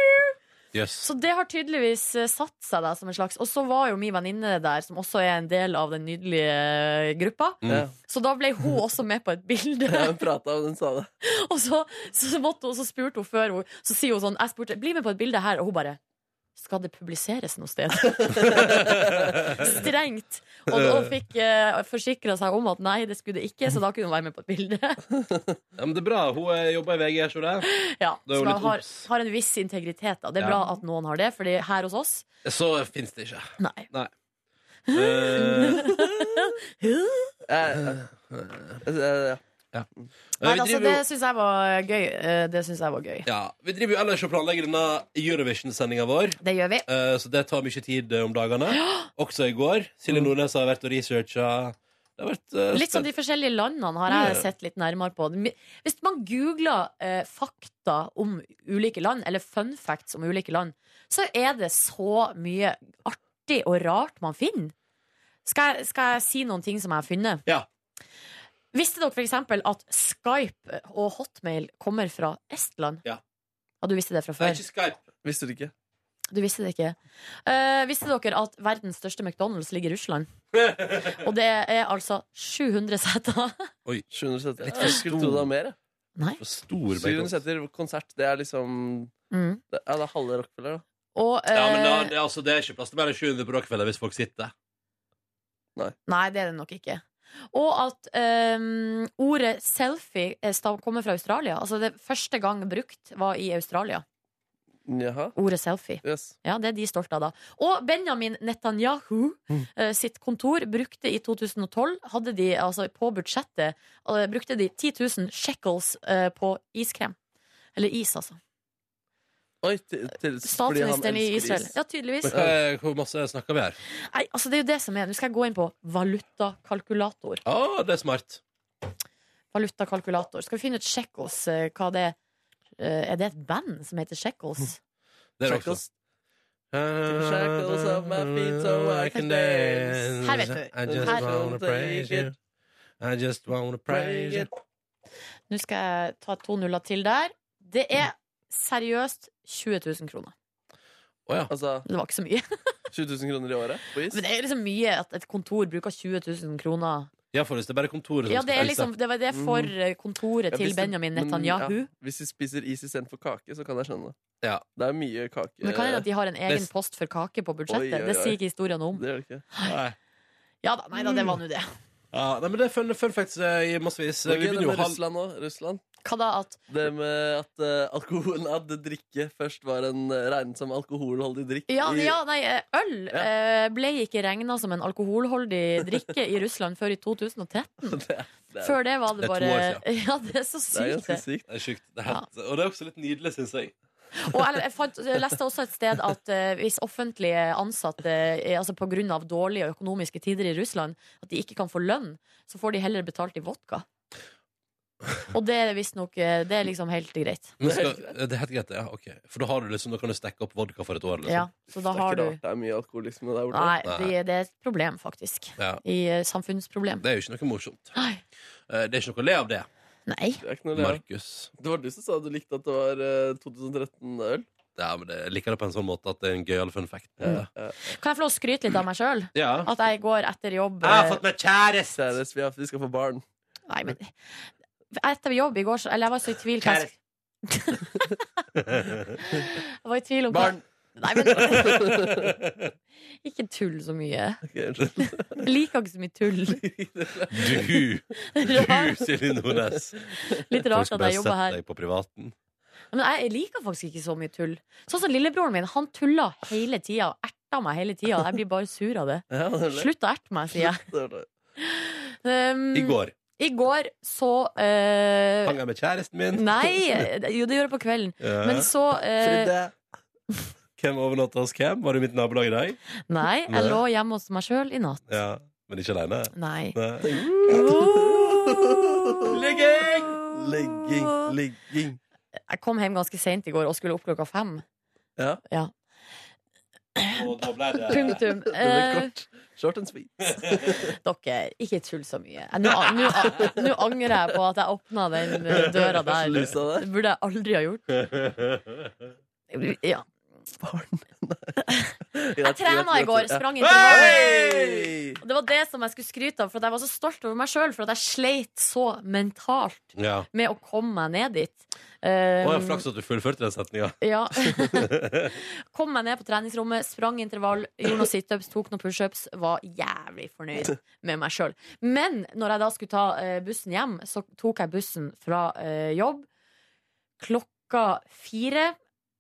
Jøss.
så det har tydeligvis eh, satt seg da, som en slags Og så var jo min venninne der, som også er en del av den nydelige eh, gruppa.
Mm.
Så da ble hun også med på et bilde.
Hun prata, og hun sa det.
Og så, så, måtte hun, så spurte hun før hun, Så sier hun sånn Jeg spurte, bli med på et bilde her Og hun bare Skal det publiseres
(laughs)
noe sted? Strengt Og hun fikk uh, forsikret seg om at Nei, det skulle det ikke Så da kunne hun være med på et bilde (laughs)
Ja, men det er bra. Hun eh, jobber i VG, gjør ikke hun det?
Ja,
Det er jo
så man
litt
har,
obs.
har en viss integritet da. Det er
Ja.
bra at noen har det Fordi her hos oss
Så fins det ikke.
Nei.
Eh,
Eh, eh,
ja.
Nei,
Eh, vi
altså,
driver
det
jo-
synes jeg var gøy Eh, Det synes jeg var gøy
Ja, Vi driver jo ellers og planlegger denne Eurovision-sendinga vår.
Det gjør vi
Eh, Så det tar mye tid eh, om
(gasps)
dagene. Også i går. Silje Nordnes har vært og researcha. Det har vært eh,
Mm. Litt sånn de
spent.
forskjellige landene har
Ja.
jeg sett litt nærmere på. Hvis man googler eh, fakta om ulike land, eller fun facts om ulike land, så er det så mye artig og rart man finner. Skal jeg, skal jeg si noen ting som jeg har funnet? Visste dere for eksempel at Skype og Hotmail kommer fra Estland?
Ja.
du visste det fra
Nei,
før?
ikke Skype.
Visste du ikke?
Du visste det ikke. Eh, visste dere at verdens største McDonald's ligger i
(laughs)
Russland? Og det er altså 700
(laughs)
seter.
Oi,
700 setter.
Litt for
Jeg skulle tro det var mer. jeg.
Nei.
For stor
700 setter konsert, det er liksom
Mm.
det, Ja, det er halve Rockefeller, da.
Og,
Ja, men da,
eh,
det, er altså, det er ikke plass til mer enn 700 på Rockefeller hvis folk sitter.
Nei, det er det nok ikke. Og at øhm, ordet selfie er stav- kommer fra Australia. Altså det første gang brukt var i Australia.
Jaha.
Ordet selfie.
Yes.
Ja, Det er de stolte av, da. Og Benjamin Netanyahu eh, sitt kontor brukte i 2012 hadde de, altså På budsjettet eh, brukte de 10 000 shekels eh, på iskrem. Eller is, altså.
Oi, til, til, fordi han
Statsministeren i
elsker
Israel.
is.
Ja, tydeligvis.
Men hva, (laughs) er- hvor masse snakker vi her?
Nei, altså Det er jo det som er. Nå skal jeg gå inn på valutakalkulator.
Å, det er smart.
valutakalkulator. Skal vi finne ut Shekels, eh, hva det er? Eh, Er det et band som heter Shekels?
Det er det
Shackles.
også. Shackles
of my feet so I can dance.
Her vet du.
I just
Her-
wanna praise you. I just wanna praise you.
Nå skal jeg ta to nuller til der. Det er seriøst 20 000 kroner.
Altså
Det var ikke så mye. (laughs)
20 000 kroner i året på is?
Men det er liksom mye at et kontor bruker 20 000 kroner.
Ja, for hvis det er bare kontoret som
Ja, det,
skal
er liksom,
fikse.
det var det for eh, kontoret
Mm. Ja,
til
hvis det-
Benjamin
men,
Netanyahu.
ja, hvis de spiser is istedenfor kake, så kan jeg skjønne det. Det er mye kake.
Men det kan hende at de har en egen
Det-
post for kake på
Oi, oi,
budsjettet. Det
oi.
sier ikke historien noe om.
Det gjør det ikke.
liksom-
Nei.
Ja da, nei da, det var nå det.
Ja, nei, men det er fun, fun facts eh, i massevis.
Ok,
Vi
det
begynner jo
med
halv...
Russland nå. Russland.
Hva da at
Det med at eh, alkoholen at drikke først var en eh, regnet som alkoholholdig drikk.
Ja,
i-
ja nei, eh, øl eh, ble ikke regna som en alkoholholdig drikke i Russland før i 2013.
(laughs) det er-
Før det var
Det
det
er to
bare
år
(laughs) Ja, det er så sykt. det.
Det er sjukt. Det er helt... Og det er også litt nydelig, syns jeg.
Og jeg, jeg, fant, jeg leste også et sted at eh, hvis offentlige ansatte eh, altså på grunn av dårlige økonomiske tider i Russland at de ikke kan få lønn, så får de heller betalt i vodka. Og det er visstnok eh, Det er liksom helt greit.
Men skal... Det er helt greit, ja. ok For da, har du liksom, da kan du stekke opp vodka for et år, liksom.
Ja, så da
det er
har
ikke
du
rart det er mye alkoholisme der borte.
Nei, det, det er et problem, faktisk.
Ja.
I eh, samfunnsproblem.
Det er jo ikke noe morsomt. Eh, Det er ikke noe å le av det.
Nei.
Det er ikke noe å le av.
Markus.
Det var du som sa du likte at det var eh, 2013-øl.
Ja, men det, jeg liker det på en sånn måte at det er en gøyal fun fact.
Kan jeg få lov å skryte litt av meg sjøl?
Ja.
At jeg går etter jobb
Jeg har
eh,
fått meg kjæreste!
Kjæreste, vi, har- vi skal få barn. (laughs)
Nei, men Etter jobb i går, så Eller jeg var så i tvil hva jeg, (laughs) jeg var i tvil om hva-
Barn!
Nei, men Ikke tull så mye. Jeg liker ikke så mye tull.
Du! Du, Silje Nordnes.
Litt rart
Folk skal
at jeg
bare
jobber her.
sette deg på privaten.
Men jeg liker faktisk ikke så mye tull. Sånn som lillebroren min. Han tuller hele tida og erter meg hele tida. Jeg blir bare sur av det.
Ja, det er det.
Slutt å erte meg, sier jeg.
Det er det.
Um,
I går.
I går så eh,
Hang jeg med kjæresten min?
Nei, jo det gjør jeg på kvelden.
Ja.
Men så eh,
Fride. Hvem overnatta hos hvem? Var du i mitt nabolag i dag?
Nei, jeg
Nei.
lå hjemme hos meg sjøl i natt.
Ja, Men ikke aleine?
Nei.
Ligging!
Eh,
Ligging, ligging.
Jeg kom hjem ganske seint i går og skulle opp klokka fem.
Ja.
Ja.
Og da ble det
Punktum.
Det ble
Eh.
kort. Short and sweet.
Dere, ikke tull så mye. Jeg- Nå nå- nå angrer jeg på at jeg åpna den eh, døra der.
Slusa der.
Det burde jeg aldri ha gjort. Ja. Jeg trena i går, sprang intervaller. Og Det var det som jeg skulle skryte av, for at jeg var så stolt over meg sjøl for at jeg sleit så mentalt
Ja.
med å komme meg ned dit.
Det
Eh,
var flaks at du fullførte den setninga.
Ja. Kom meg ned på treningsrommet, sprang intervall, gjorde noen situps, tok noen pushups. Var jævlig fornøyd med meg sjøl. Men når jeg da skulle ta eh, bussen hjem, så tok jeg bussen fra eh, jobb klokka fire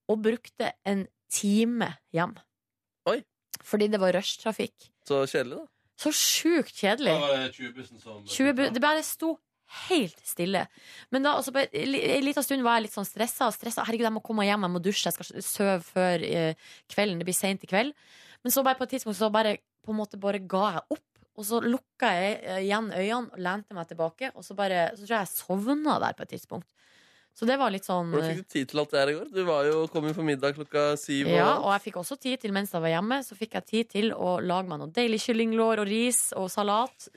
og brukte en time hjem.
Oi.
Fordi det var rushtrafikk.
Så kjedelig, da.
Så sjukt kjedelig.
Da var det 20-bussen som
20 bu det bare sto helt stille. Men da, altså, på en li- en liten stund var jeg litt sånn stressa. og stressa. Herregud, jeg må komme meg hjem, jeg må dusje, jeg skal sove før eh, kvelden. Det blir seint i kveld. Men så bare på et tidspunkt så bare, på en måte bare ga jeg opp. Og så lukka jeg eh, igjen øynene og lente meg tilbake. Og så, bare, så tror jeg jeg sovna der på et tidspunkt. Så det var litt sånn
Hvordan fikk du tid til alt det her i går? Du var jo, kom jo for middag klokka syv.
ja,
og...
og jeg fikk også tid til mens jeg var hjemme. Så fikk jeg tid til å lage meg noe deilig kyllinglår og ris og salat.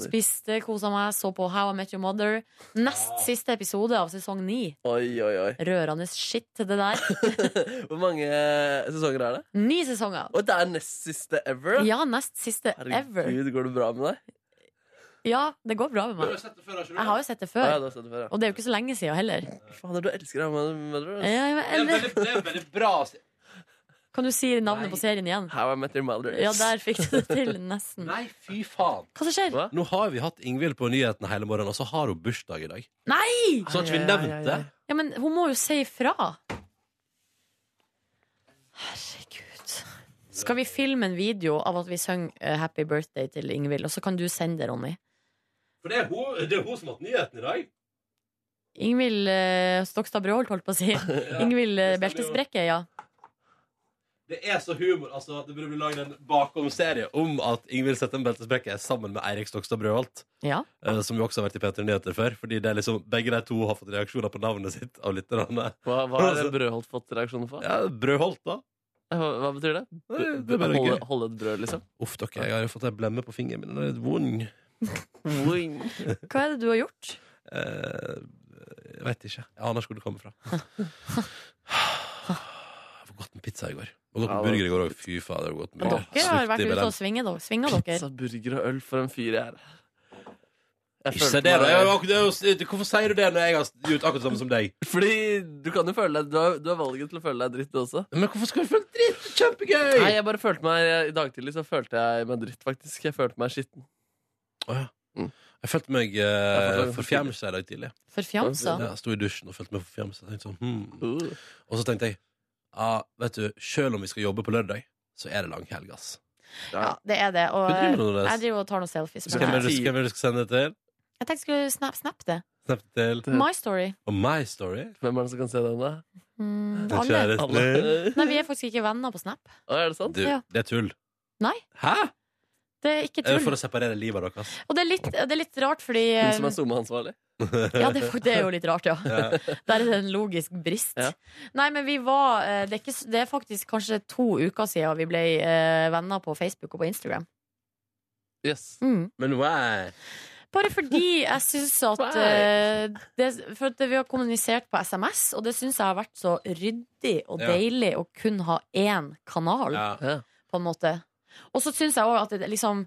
Spiste, kosa meg, så på How I Met Your Mother. Nest siste episode av sesong ni.
Oi, oi, oi.
Rørende shit, det der.
Hvor mange sesonger er det?
Ni sesonger.
Og det er nest siste ever?
Ja, nest siste ever.
Herregud, går det bra med deg?
Ja, det går bra med meg. Jeg har jo sett det
Ah, ja,
før.
du har sett det før, ja.
Og det er jo ikke så lenge siden heller.
Fader, du elsker How I Met Your Mother.
Ja, ja, men-
Det er en veldig bra
Kan du si navnet på serien igjen?
How I Met Your Mother.
Ja, der fikk du det til, nesten.
Nei, fy faen.
Hva som skjer?
Nå har vi hatt Ingvild på nyhetene hele morgenen, og så har hun bursdag i dag.
Nei!
Så har ikke Sånn vi nevnt det?
Ja, men hun må jo si ifra. Herregud. Skal vi filme en video av at vi synger eh, 'Happy Birthday' til Ingvild, og så kan du sende det, Ronny?
For det er hun, det er hun som har hatt nyheten i dag.
Ingvild eh, Stokstad Brøholt, holdt på
(laughs)
å si. Ingvild eh, Beltesbrekke, ja.
Det er så humor. altså Det burde bli lagd en bakom-serie om at Ingvild Settem Beltesbrekke er sammen med Eirik Stokstad Brøholt.
Ja.
eh, Som jo også har vært i P3 Nyheter før. Fordi det er liksom, Begge de to har fått reaksjoner på navnet sitt av lytterne.
Hva, hva har Brødholt fått reaksjoner for?
Ja, Brødholt, da.
Hva, hva betyr det?
Nei, det er bare
holde,
gøy.
holde et brød, liksom?
Uff, dere, jeg har jo fått ei blemme på fingeren min. Den er litt vond.
Hva er det du har gjort?
Eh, Jeg veit ikke. Jeg aner ikke hvor det kommer (laughs) fra. Jeg var godt med pizza i går. Jeg var godt med burger i går òg. Fy fader. Godt med burger.
Dere har vært
Slutt i
ute
Berlin.
og svinget dere. Svinga dere.
(laughs)
Pizza, burger og øl for en fyr jeg er. Jeg
Ikke
følte
si det, da.
meg-
Jeg, jeg, jeg, jeg, hvorfor sier du det når jeg har gjort akkurat det samme som deg?
Fordi du kan jo føle deg Du har, du har valget til å føle deg dritt, du også.
Men hvorfor skal du føle deg dritt? Kjempegøy!
Nei, jeg bare følte meg jeg, I dag tidlig så følte jeg meg dritt, faktisk. Jeg følte meg skitten.
Jeg følte meg
Jeg følte
uh,
meg
forfjamsa i dag tidlig.
Forfjamsa?
Ja, jeg sto i dusjen og følte meg forfjamsa. Tenkte Sånn, hmm.
Uh.
Og så tenkte jeg ja, vet du, sjøl om vi skal jobbe på lørdag, så er det langhelg, ass.
Ja, det er det. Og
Hva driver du med,
eh,
Nes?
jeg driver og tar noen selfies.
Så
med
Hvem
meg.
er det du hvem er det du skal sende det til?
Jeg tenkte jeg skulle snap, snap det.
Snap til
My story.
Og My Story?
Hvem er det som kan se den, da?
Mm,
Den
alle.
kjæresten din?
Nei, vi er faktisk ikke venner på Snap.
Å, er det sant?
Du,
Ja.
det er tull.
Nei,
Hæ?
det er ikke
Er det for
tull.
å separere livet av dere? ass?
Og det er litt, det er litt rart, fordi
Hun som
eh,
er SoMe-ansvarlig?
Ja, det, er fakt- det er jo litt rart, ja.
(laughs) Ja.
(laughs) Der er det en logisk brist. Nei, men vi var eh, det er, ikke, s- det er faktisk kanskje to uker siden vi ble eh, venner på Facebook og på Instagram.
Yes.
Mm.
Men why?
Bare fordi jeg syns at eh, det, For at vi har kommunisert på SMS, og det syns jeg har vært så ryddig og
Ja.
deilig å kun ha én kanal,
Ja.
på en måte. Og så syns jeg òg at det liksom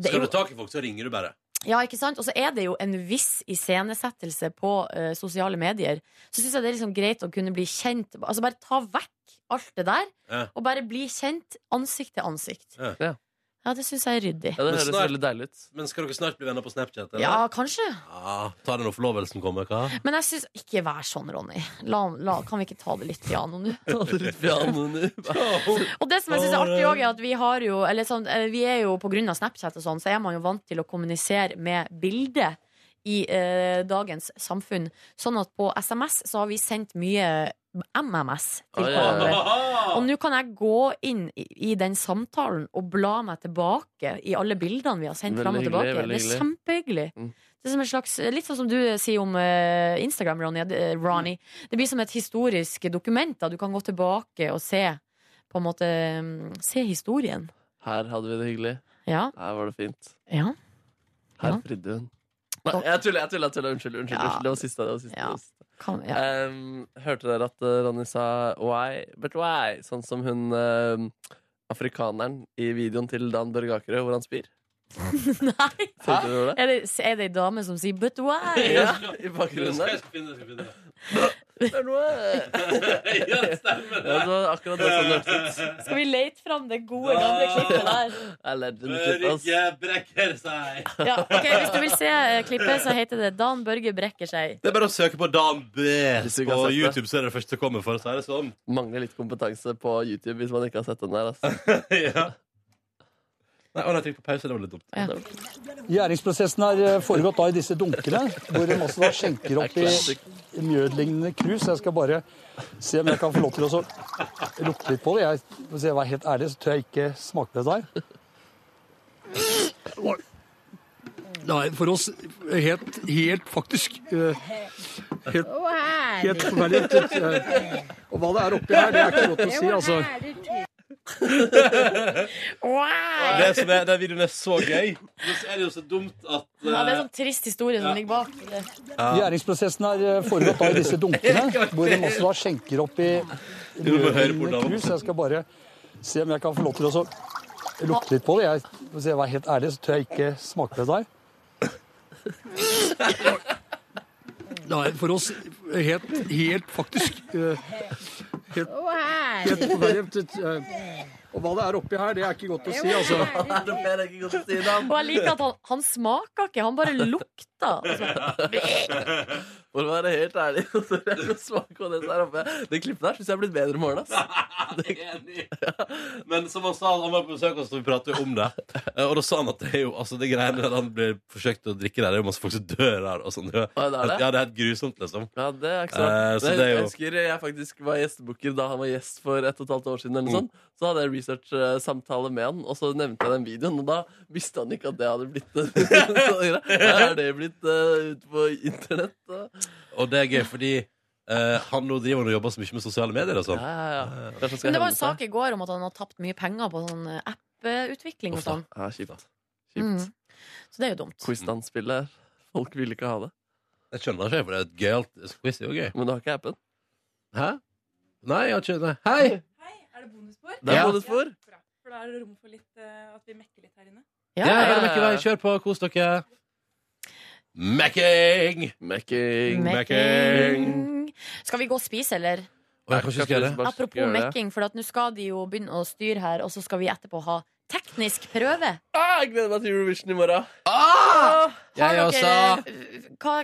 det er
Skal
jo-
du ta tak i folk, så ringer du bare.
Ja, ikke sant? Og så er det jo en viss iscenesettelse på eh, sosiale medier. Så syns jeg det er liksom greit å kunne bli kjent. Altså Bare ta vekk alt det der,
Ja.
og bare bli kjent ansikt til ansikt.
Ja.
Ja, det syns jeg er ryddig.
Ja, det høres veldig deilig ut.
Men skal dere snart bli venner på Snapchat? Eller?
Ja, kanskje.
Ja, Ta det når forlovelsen kommer, hva?
Men jeg syns Ikke vær sånn, Ronny. La, la, kan vi ikke ta det litt piano nå? Og det som jeg synes er artig også, er at vi har jo Eller sånn, eh, vi er jo på grunn av Snapchat og sånn, så er man jo vant til å kommunisere med bilde i eh, dagens samfunn. Sånn at på SMS så har vi sendt mye MMS til
Oi, Ah, ja, ja.
hverandre. Og nå kan jeg gå inn i, i den samtalen og bla meg tilbake i alle bildene vi har sendt
Veldig
fram og
hyggelig,
tilbake. det
veldig
er
hyggelig. Mm.
kjempehyggelig. Det er som en slags, litt sånn som du sier om eh, Instagram, Ronny. at, eh, Ronny. Det blir som et historisk dokument. Da. Du kan gå tilbake og se, på en måte, mm, se historien.
Her hadde vi det hyggelig.
Ja.
Her var det fint.
Ja.
Her fridde hun. Nei, jeg tuller, jeg tuller. jeg tuller. Unnskyld. unnskyld,
Ja.
unnskyld. Det var siste. Det var siste. det var siste.
Kan, ja.
Ehm, hørte dere at eh, Ronny sa why, but why? Sånn som hun ehm, afrikaneren i videoen til Dan Børge Akerø, hvor han spyr. Nei! Tenkte dere det?
Er det, er det ei dame som sier 'but
(laughs)
why'?
Ja, i bakgrunnen der. (laughs)
ja, det stemmer
Ja, det var akkurat det som det hørtes ut.
Skal vi lete fram det gode, gamle klippet der?
Jeg lærte den klipp, ass.
brekker seg.
Ja, ok, Hvis du vil se eh, klippet, så heter det 'Dan Børge brekker seg'.
Det er bare å søke på Dan B
Hvis du ikke
på
har sett det.
YouTube, så er det det første som kommer. for å si det sånn. (laughs)
Mangler litt kompetanse på YouTube hvis man ikke har sett den der. ass.
Nei, å, nei, trykk på pause. Det var litt dumt.
Ja.
Gjæringsprosessen har eh, foregått da i disse dunkene, hvor en også da skjenker opp i mjødlignende krus. Jeg skal bare se om jeg kan få lov til å så lukte litt på det. Jeg, hvis jeg var helt ærlig, så tør jeg ikke smake på det der. Oi. Nei, for oss helt, helt faktisk eh, helt, helt forferdelig. Eh, Og hva det er oppi her, det er ikke godt å si, altså.
Det, som er, den videoen er så gøy. Men så er det jo så dumt at
Ja, det er
eh,
en sånn trist historie som
Ja.
ligger bak.
Gjæringsprosessen har eh, foregått da i disse dunkene, hvor de også da skjenker opp i
Du må høre på
rødvin
damen.
krus. Jeg skal bare se om jeg kan få lov til å så lukte litt på det. Jeg, hvis jeg var helt ærlig, så tør jeg ikke smake på det der. (laughs) Nei, for oss helt, helt faktisk eh, helt, helt forferdelig. Eh, Og hva det er oppi her, det er ikke godt å si, altså.
Og jeg liker at han, han smaker ikke, han bare lukter. Altså.
For å være helt ærlig, (laughs) så vil jeg smake på det der oppe. Det klippet der syns jeg har blitt bedre i morgen, ass.
Men som han sa, han var på besøk hos oss, og vi pratet jo om det. Eh, Og da sa han at det er jo altså, det greiene der han blir forsøkt å drikke der, det er jo masse folk som dør der. Og sånn. det
det er det?
Ja, det er helt grusomt, liksom.
Ja, det er ikke
Eh,
sant.
så det er
Jeg
jo
husker jeg faktisk var gjestebooker da han var gjest for et og et halvt år siden. eller
Mm.
noe sånt. Så hadde jeg research-samtale med han, og så nevnte jeg den videoen. Og da visste han ikke at det hadde blitt (laughs) en sånn greie. Her Er det blitt eh, ute på internett? da?
Og det er gøy, fordi eh, han nå driver og jobber så mye med sosiale medier og sånn.
Ja, ja, ja. Kanskje han skal
Men det var
hevne
en
seg.
sak i går om at han har tapt mye penger på sånn eh, app-utvikling og
Uff da.
sånn.
Ja, kjipt.
Mm. Så det er jo dumt.
Quiz-danspillet. Folk ville ikke ha det.
Jeg skjønner ikke, for det er et gøyalt quiz. Det er jo gøy.
Men du har ikke appen?
Hæ? Nei, jeg har ikke Nei. Hei!
Det er
Ja.
bonusspor.
For da er det rom for litt, eh, at vi mekker litt her inne.
Ja, bare mekk i vei. Kjør på. Kos dere. Mekking!
Mekking.
Mekking.
Skal vi gå og spise, eller?
Og jeg kan ikke huske det.
Apropos mekking, for at nå skal de jo begynne å styre her, og så skal vi etterpå ha teknisk prøve.
Ah, jeg gleder meg til Eurovision i morgen.
Har
Jeg
dere,
også.
hva,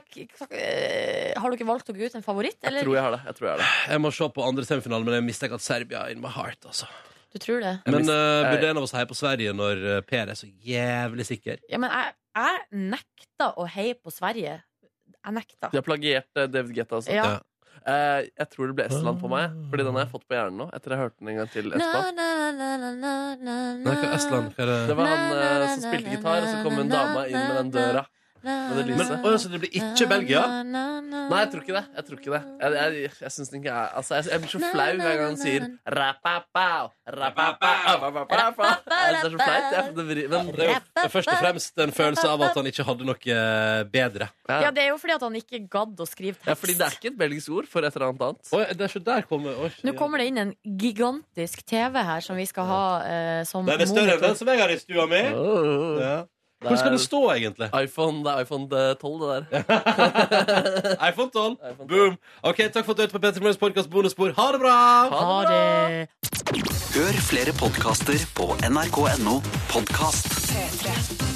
eh, har dere valgt dere ut en favoritt, eller?
Tror jeg har det. Jeg tror jeg har det.
Jeg må se på andre semifinale, men jeg mistenker at Serbia er in my heart. altså
Du tror det?
Men eh,
jeg-
burde en av oss heie på Sverige når eh, Per er så jævlig sikker?
Ja, men jeg, jeg nekta å heie på Sverige. Jeg nekta.
De har plagiert eh, David Guetta også.
Ja. Ja.
Eh, jeg tror det ble Estland på meg, Fordi den har jeg fått på hjernen nå. Etter jeg hørte den en gang til Estland.
Nei, hva er Estland? Hva er det?
Det var han eh, som spilte gitar, og så kom en dame inn med den døra. Med det lyset.
Men, å, så det blir ikke Belgia?
Nei, jeg tror ikke det. Jeg tror ikke det Jeg, jeg, jeg, syns den ikke er altså, jeg, jeg blir så flau hver gang han sier rapapau, rapapau, rapapau. Jeg synes Det er så flaut. jeg. Det vri- Men
Det er jo først og fremst en følelse av at han ikke hadde noe eh, bedre.
Ja, det er jo fordi at han ikke gadd å skrive
Ja,
tekst.
fordi det er ikke et belgisk ord for et eller annet annet.
Oi, det er så der kommer
Nå kommer det inn en gigantisk TV her som vi skal ha eh, som
Den er større enn
monitor.
den som jeg har i stua mi. Ja. Hvor skal den stå, egentlig?
Oh. iPhone, det er iPhone 12, det der.
(laughs) iPhone 12. Boom. Ok, Takk for at du hørte på Petter Morgens podkast bonusspor. Ha det bra!
Ha det!
Hør flere podkaster på nrk.no podkast.
P3.